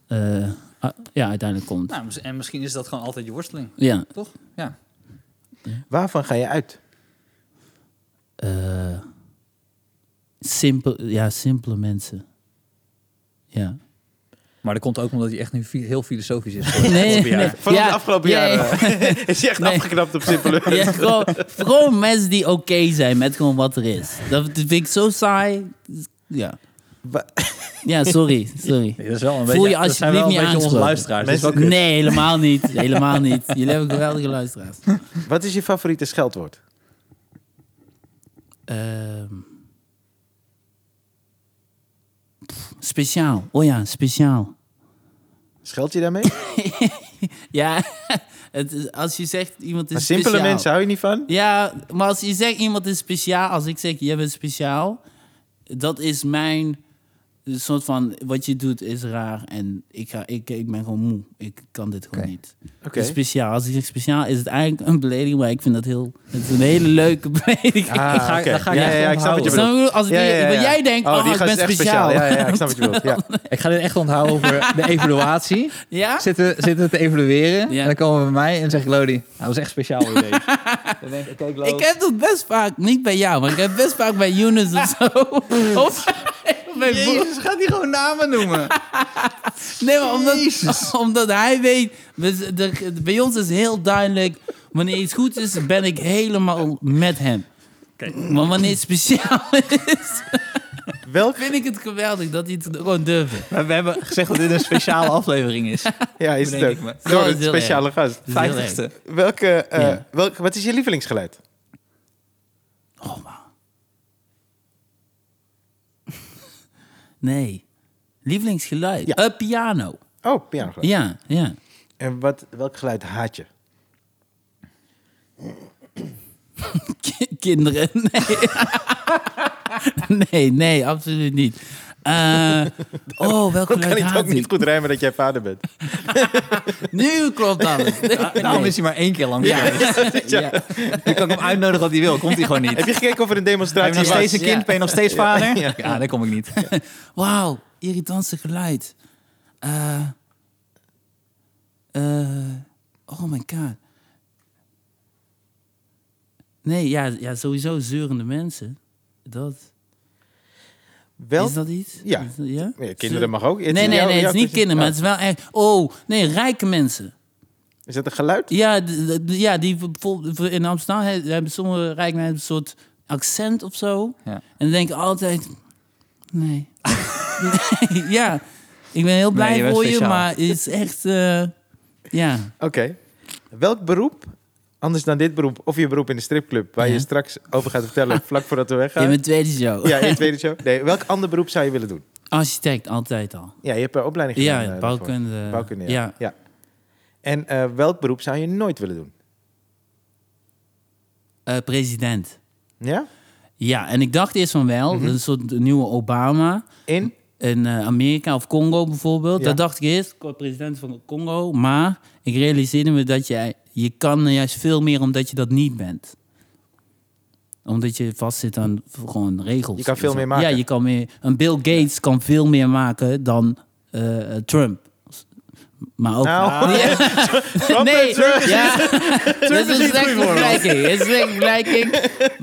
Speaker 3: eh, ah, ja uiteindelijk komt
Speaker 1: Nou, mis- en misschien is dat gewoon altijd je worsteling,
Speaker 3: ja
Speaker 1: toch? Ja.
Speaker 2: Waarvan ga je uit?
Speaker 3: eh, simpel ja simpele mensen ja
Speaker 1: Maar dat komt ook omdat hij echt nu fi- heel filosofisch <laughs> is.
Speaker 3: nee,
Speaker 2: Van
Speaker 3: Ja,
Speaker 2: de afgelopen
Speaker 3: ja,
Speaker 2: jaren eh, <laughs> is je echt
Speaker 3: Nee.
Speaker 2: afgeknapt op simpele.
Speaker 3: <laughs> Ja, gewoon, gewoon mensen die oké zijn met gewoon wat er is. Dat vind ik zo saai. Ja,
Speaker 2: Wa-
Speaker 3: ja sorry. sorry.
Speaker 1: Nee, dat is wel een
Speaker 3: Voel
Speaker 1: beetje,
Speaker 3: je
Speaker 1: dat zijn wel
Speaker 3: alsjeblieft
Speaker 1: een
Speaker 3: niet
Speaker 1: beetje onze
Speaker 3: aangesproken.
Speaker 1: luisteraars. dus Dat is wel kut.
Speaker 3: Nee, helemaal niet. Helemaal niet. Jullie hebben geweldige
Speaker 2: <laughs>
Speaker 3: luisteraars.
Speaker 2: Wat is je favoriete scheldwoord?
Speaker 3: Ehm. Pff, speciaal. Oh ja, speciaal.
Speaker 2: Scheld je
Speaker 3: <laughs>
Speaker 2: daarmee?
Speaker 3: Ja, <laughs> het is, als je zegt iemand is
Speaker 2: Maar simpele
Speaker 3: speciaal.
Speaker 2: mensen hou je niet van?
Speaker 3: Ja, maar als je zegt iemand is speciaal, als ik zeg jij bent speciaal, dat is mijn soort van wat je doet is raar en ik, ga, ik, ik ben gewoon moe. Ik kan dit gewoon
Speaker 1: Oké.
Speaker 3: niet.
Speaker 2: Oké.
Speaker 3: Dus Speciaal. Als ik zeg speciaal is het eigenlijk een belediging, maar ik vind dat heel. Het is een hele leuke <laughs> belediging.
Speaker 2: Ah,
Speaker 1: Ik ga-
Speaker 2: oké.
Speaker 1: dat ga ik
Speaker 2: ja,
Speaker 1: echt
Speaker 2: ja, ja, ik snap wat je
Speaker 1: onthouden.
Speaker 2: bedoelt.
Speaker 3: Snap je? Als ik-
Speaker 2: Ja, ja, ja,
Speaker 3: wat
Speaker 2: ja.
Speaker 3: jij denkt, oh,
Speaker 2: die gast
Speaker 3: ik ben
Speaker 2: is echt
Speaker 3: speciaal.
Speaker 2: Ja, ja, ja, ik snap wat je
Speaker 3: <laughs>
Speaker 2: bedoelt. Ja.
Speaker 1: Ik ga dit echt onthouden over de evaluatie.
Speaker 3: Ja?
Speaker 1: Zitten, zitten te evalueren.
Speaker 3: Ja.
Speaker 1: En dan komen we bij mij en zeg ik, Lodi, dat was echt speciaal
Speaker 3: <laughs>
Speaker 1: voor je.
Speaker 3: Ik heb dat best vaak, niet bij jou, maar ik heb best vaak bij Younes of
Speaker 2: <laughs>
Speaker 3: zo. of <laughs> bij Bo-
Speaker 1: Jezus, gaat hij gewoon namen noemen?
Speaker 3: Nee, maar omdat, omdat hij weet... we- de- Bij ons is heel duidelijk... Wanneer iets goed is, ben ik helemaal met hem. Maar wanneer het speciaal <laughs> is,
Speaker 2: Welk?
Speaker 3: vind ik het geweldig dat hij het gewoon
Speaker 1: <laughs>
Speaker 3: durft.
Speaker 1: Maar we hebben gezegd dat dit een speciale aflevering <laughs> is.
Speaker 2: Ja, is het
Speaker 1: Bedenk
Speaker 2: ook.
Speaker 1: ik me.
Speaker 2: Door
Speaker 3: Zo,
Speaker 2: een
Speaker 3: heel erg.
Speaker 2: speciale gast.
Speaker 3: Dus heel erg.
Speaker 1: Vijftigste.
Speaker 2: Welke, eh,
Speaker 3: Ja.
Speaker 2: welke, wat is je lievelingsgeluid?
Speaker 3: Oh, man. Nee. Lievelingsgeluid.
Speaker 2: Ja.
Speaker 3: Eh, piano.
Speaker 2: Oh, pianogeluid.
Speaker 3: Ja, ja.
Speaker 2: En wat, welk geluid haat je?
Speaker 3: Ki- kinderen. Nee, <laughs> nee, nee absoluut niet. Eh, oh, welk
Speaker 2: Dan kan
Speaker 3: geluid
Speaker 2: ik het ook
Speaker 3: haat
Speaker 2: niet
Speaker 3: ik?
Speaker 2: goed rijmen dat jij vader
Speaker 3: <laughs>
Speaker 2: bent.
Speaker 3: Nu klopt alles. Nee,
Speaker 1: Daarom
Speaker 3: nee.
Speaker 1: is hij maar één keer lang
Speaker 3: Ja.
Speaker 1: geweest.
Speaker 3: Ja.
Speaker 1: Nu kan ik hem uitnodigen wat hij wil. Komt hij gewoon niet.
Speaker 2: Heb je gekeken of er een
Speaker 1: Heb je
Speaker 2: demonstratie
Speaker 1: nog
Speaker 2: was?
Speaker 1: steeds een kind?
Speaker 3: Ja.
Speaker 1: Ben je nog steeds vader?
Speaker 2: Ja.
Speaker 1: Ja, daar kom ik niet.
Speaker 3: <laughs> Wauw, irritantste geluid. Eh, eh, oh my god. Nee, ja, ja, sowieso zeurende mensen. Dat,
Speaker 2: Wel?
Speaker 3: is dat iets?
Speaker 2: Ja.
Speaker 3: Is dat- ja?
Speaker 2: Ja, kinderen mag ook. Het is
Speaker 3: Nee, nee,
Speaker 2: jou-
Speaker 3: nee, het
Speaker 2: jou-
Speaker 3: is niet kinderen, maar het is wel echt... Oh, nee, rijke mensen.
Speaker 2: Is dat een geluid?
Speaker 3: Ja, d- d- ja die bijvoorbeeld in Amsterdam he- hebben sommige rijken hebben een soort accent of zo.
Speaker 1: Ja.
Speaker 3: En dan denk ik altijd, nee. <laughs> Nee, ja, ik ben heel blij
Speaker 1: Nee, je bent
Speaker 3: voor je,
Speaker 1: speciaal.
Speaker 3: maar het is echt, eh, ja.
Speaker 2: Oké. Welk beroep, anders dan dit beroep, of je beroep in de stripclub, waar
Speaker 3: Ja.
Speaker 2: je straks over gaat
Speaker 3: <laughs>
Speaker 2: vertellen, vlak voordat we weggaan.
Speaker 3: In mijn tweede show.
Speaker 2: Ja, in de tweede show. Nee, welk ander beroep zou je willen doen?
Speaker 3: <laughs> Architect, altijd al.
Speaker 2: Ja, je hebt een opleiding gedaan.
Speaker 3: Ja,
Speaker 2: eh, daarvoor.
Speaker 3: bouwkunde.
Speaker 2: Bouwkunde, ja.
Speaker 3: ja.
Speaker 2: Ja. En eh, welk beroep zou je nooit willen doen?
Speaker 3: Eh, president.
Speaker 2: Ja?
Speaker 3: Ja, en ik dacht eerst van wel,
Speaker 2: Mhm.
Speaker 3: een soort nieuwe Obama.
Speaker 2: In?
Speaker 3: in eh, Amerika of Congo bijvoorbeeld.
Speaker 2: Ja.
Speaker 3: Dat dacht ik eerst, ik word president van Congo. Maar ik realiseerde me dat jij, je kan er juist veel meer omdat je dat niet bent. Omdat je vastzit aan gewoon regels.
Speaker 2: Je kan veel
Speaker 3: Dus,
Speaker 2: meer maken.
Speaker 3: Ja, je kan meer... Een Bill Gates kan veel meer maken dan eh, Trump. Maar
Speaker 2: <laughs>
Speaker 3: ook...
Speaker 2: Nou,
Speaker 3: Ja.
Speaker 2: Trump en Trump.
Speaker 3: ja. dat is een
Speaker 2: niet
Speaker 3: slechte
Speaker 2: goed voor ons.
Speaker 3: vergelijking. Dat is een slechte vergelijking.
Speaker 2: <laughs>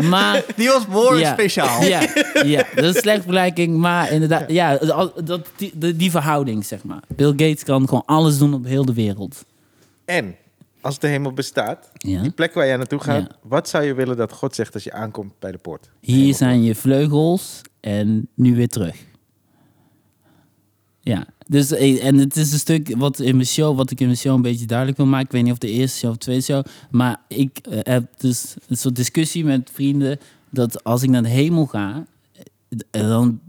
Speaker 3: Maar
Speaker 1: Die was behoorlijk
Speaker 3: Ja.
Speaker 1: speciaal.
Speaker 3: ja, ja, dat is een slechte vergelijking, maar inderdaad, ja, dat, dat- die, die- die verhouding, zeg maar. Bill Gates kan gewoon alles doen op heel de wereld.
Speaker 2: En als de hemel bestaat,
Speaker 3: Ja.
Speaker 2: die plek waar jij naartoe gaat,
Speaker 3: Ja.
Speaker 2: wat zou je willen dat God zegt als je aankomt bij de poort?
Speaker 3: Hier zijn je vleugels en nu weer terug. Ja, dus, eh, en het is een stuk wat in mijn show, wat ik in mijn show een beetje duidelijk wil maken. Ik weet niet of de eerste show of de tweede show, maar ik eh, heb dus een soort discussie met vrienden dat als ik naar de hemel ga, eh, dan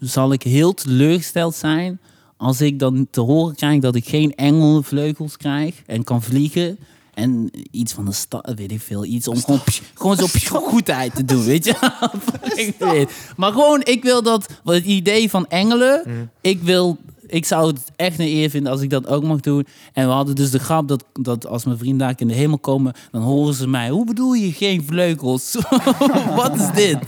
Speaker 3: zal ik heel teleurgesteld zijn als ik dan te horen krijg dat ik geen engelenvleugels krijg en kan vliegen. En iets van de stad, weet ik veel, iets om gewoon, psh, gewoon zo psh, goedheid te doen, weet je? <laughs> Ik weet- maar gewoon, ik wil dat, wat het idee van engelen,
Speaker 2: Mm.
Speaker 3: ik wil, ik zou het echt een eer vinden als ik dat ook mag doen. En we hadden dus de grap dat, dat als mijn vrienden daar in de hemel komen, dan horen ze mij, hoe bedoel je geen vleugels? <laughs> wat is
Speaker 1: <laughs>
Speaker 3: dit?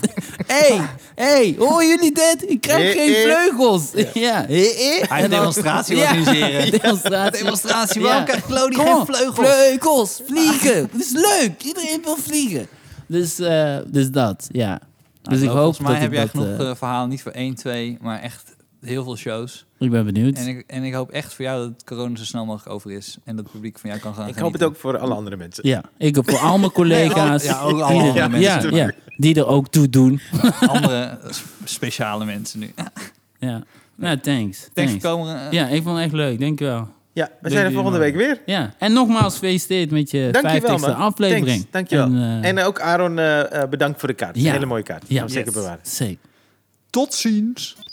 Speaker 3: hey, hey, horen jullie dit? Ik krijg
Speaker 2: Eh,
Speaker 3: geen
Speaker 2: eh.
Speaker 3: vleugels. <laughs> Ja, eh, eh.
Speaker 1: Hij heeft
Speaker 3: En dan-
Speaker 1: demonstratie
Speaker 3: Ja,
Speaker 1: organiseren. Nou,
Speaker 3: <laughs> Demonstratie.
Speaker 1: Demonstratie, waarom krijgt Claudie
Speaker 3: Kom
Speaker 1: geen
Speaker 3: op,
Speaker 1: vleugels? <laughs>
Speaker 3: Vleugels, vliegen. Het is leuk. Iedereen wil vliegen. Dus, eh, dus dat, ja. dus ik
Speaker 1: Nou,
Speaker 3: hoop
Speaker 1: Volgens mij
Speaker 3: dat
Speaker 1: heb
Speaker 3: ik
Speaker 1: jij
Speaker 3: dat,
Speaker 1: genoeg
Speaker 3: eh,
Speaker 1: eh, verhalen, niet voor één, twee, maar echt heel veel shows.
Speaker 3: ik ben benieuwd.
Speaker 1: En ik, en ik hoop echt voor jou dat corona zo snel mogelijk over is en dat het publiek van jou kan gaan
Speaker 2: Ik hoop het ook voor alle andere mensen.
Speaker 3: ja, ik heb voor
Speaker 1: <laughs>
Speaker 3: al mijn collega's.
Speaker 1: Nee, al- ja, ook alle
Speaker 3: die er-
Speaker 1: andere
Speaker 3: ja,
Speaker 1: mensen.
Speaker 3: ja, die er ook toe doen.
Speaker 1: genieten. Andere s- speciale mensen nu. Thanks,
Speaker 3: Ja. Nou, thanks.
Speaker 1: voor komen. eh,
Speaker 3: Ja, ik vond het echt leuk. Dankjewel.
Speaker 2: Ja, we
Speaker 3: Dank
Speaker 2: zijn er
Speaker 3: jullie
Speaker 2: volgende
Speaker 3: wel.
Speaker 2: week weer.
Speaker 3: Ja, en nogmaals gefeliciteerd met je
Speaker 2: Dankjewel,
Speaker 3: 50ste
Speaker 2: man.
Speaker 3: eh, aflevering.
Speaker 2: Thanks, dankjewel. En,
Speaker 3: En, eh,
Speaker 2: en eh, ook Aaron, eh, eh, bedankt voor de kaart.
Speaker 3: Ja.
Speaker 2: Een hele mooie kaart.
Speaker 3: ja,
Speaker 2: Gaan we zeker bewaren.
Speaker 3: zeker.
Speaker 1: Tot ziens.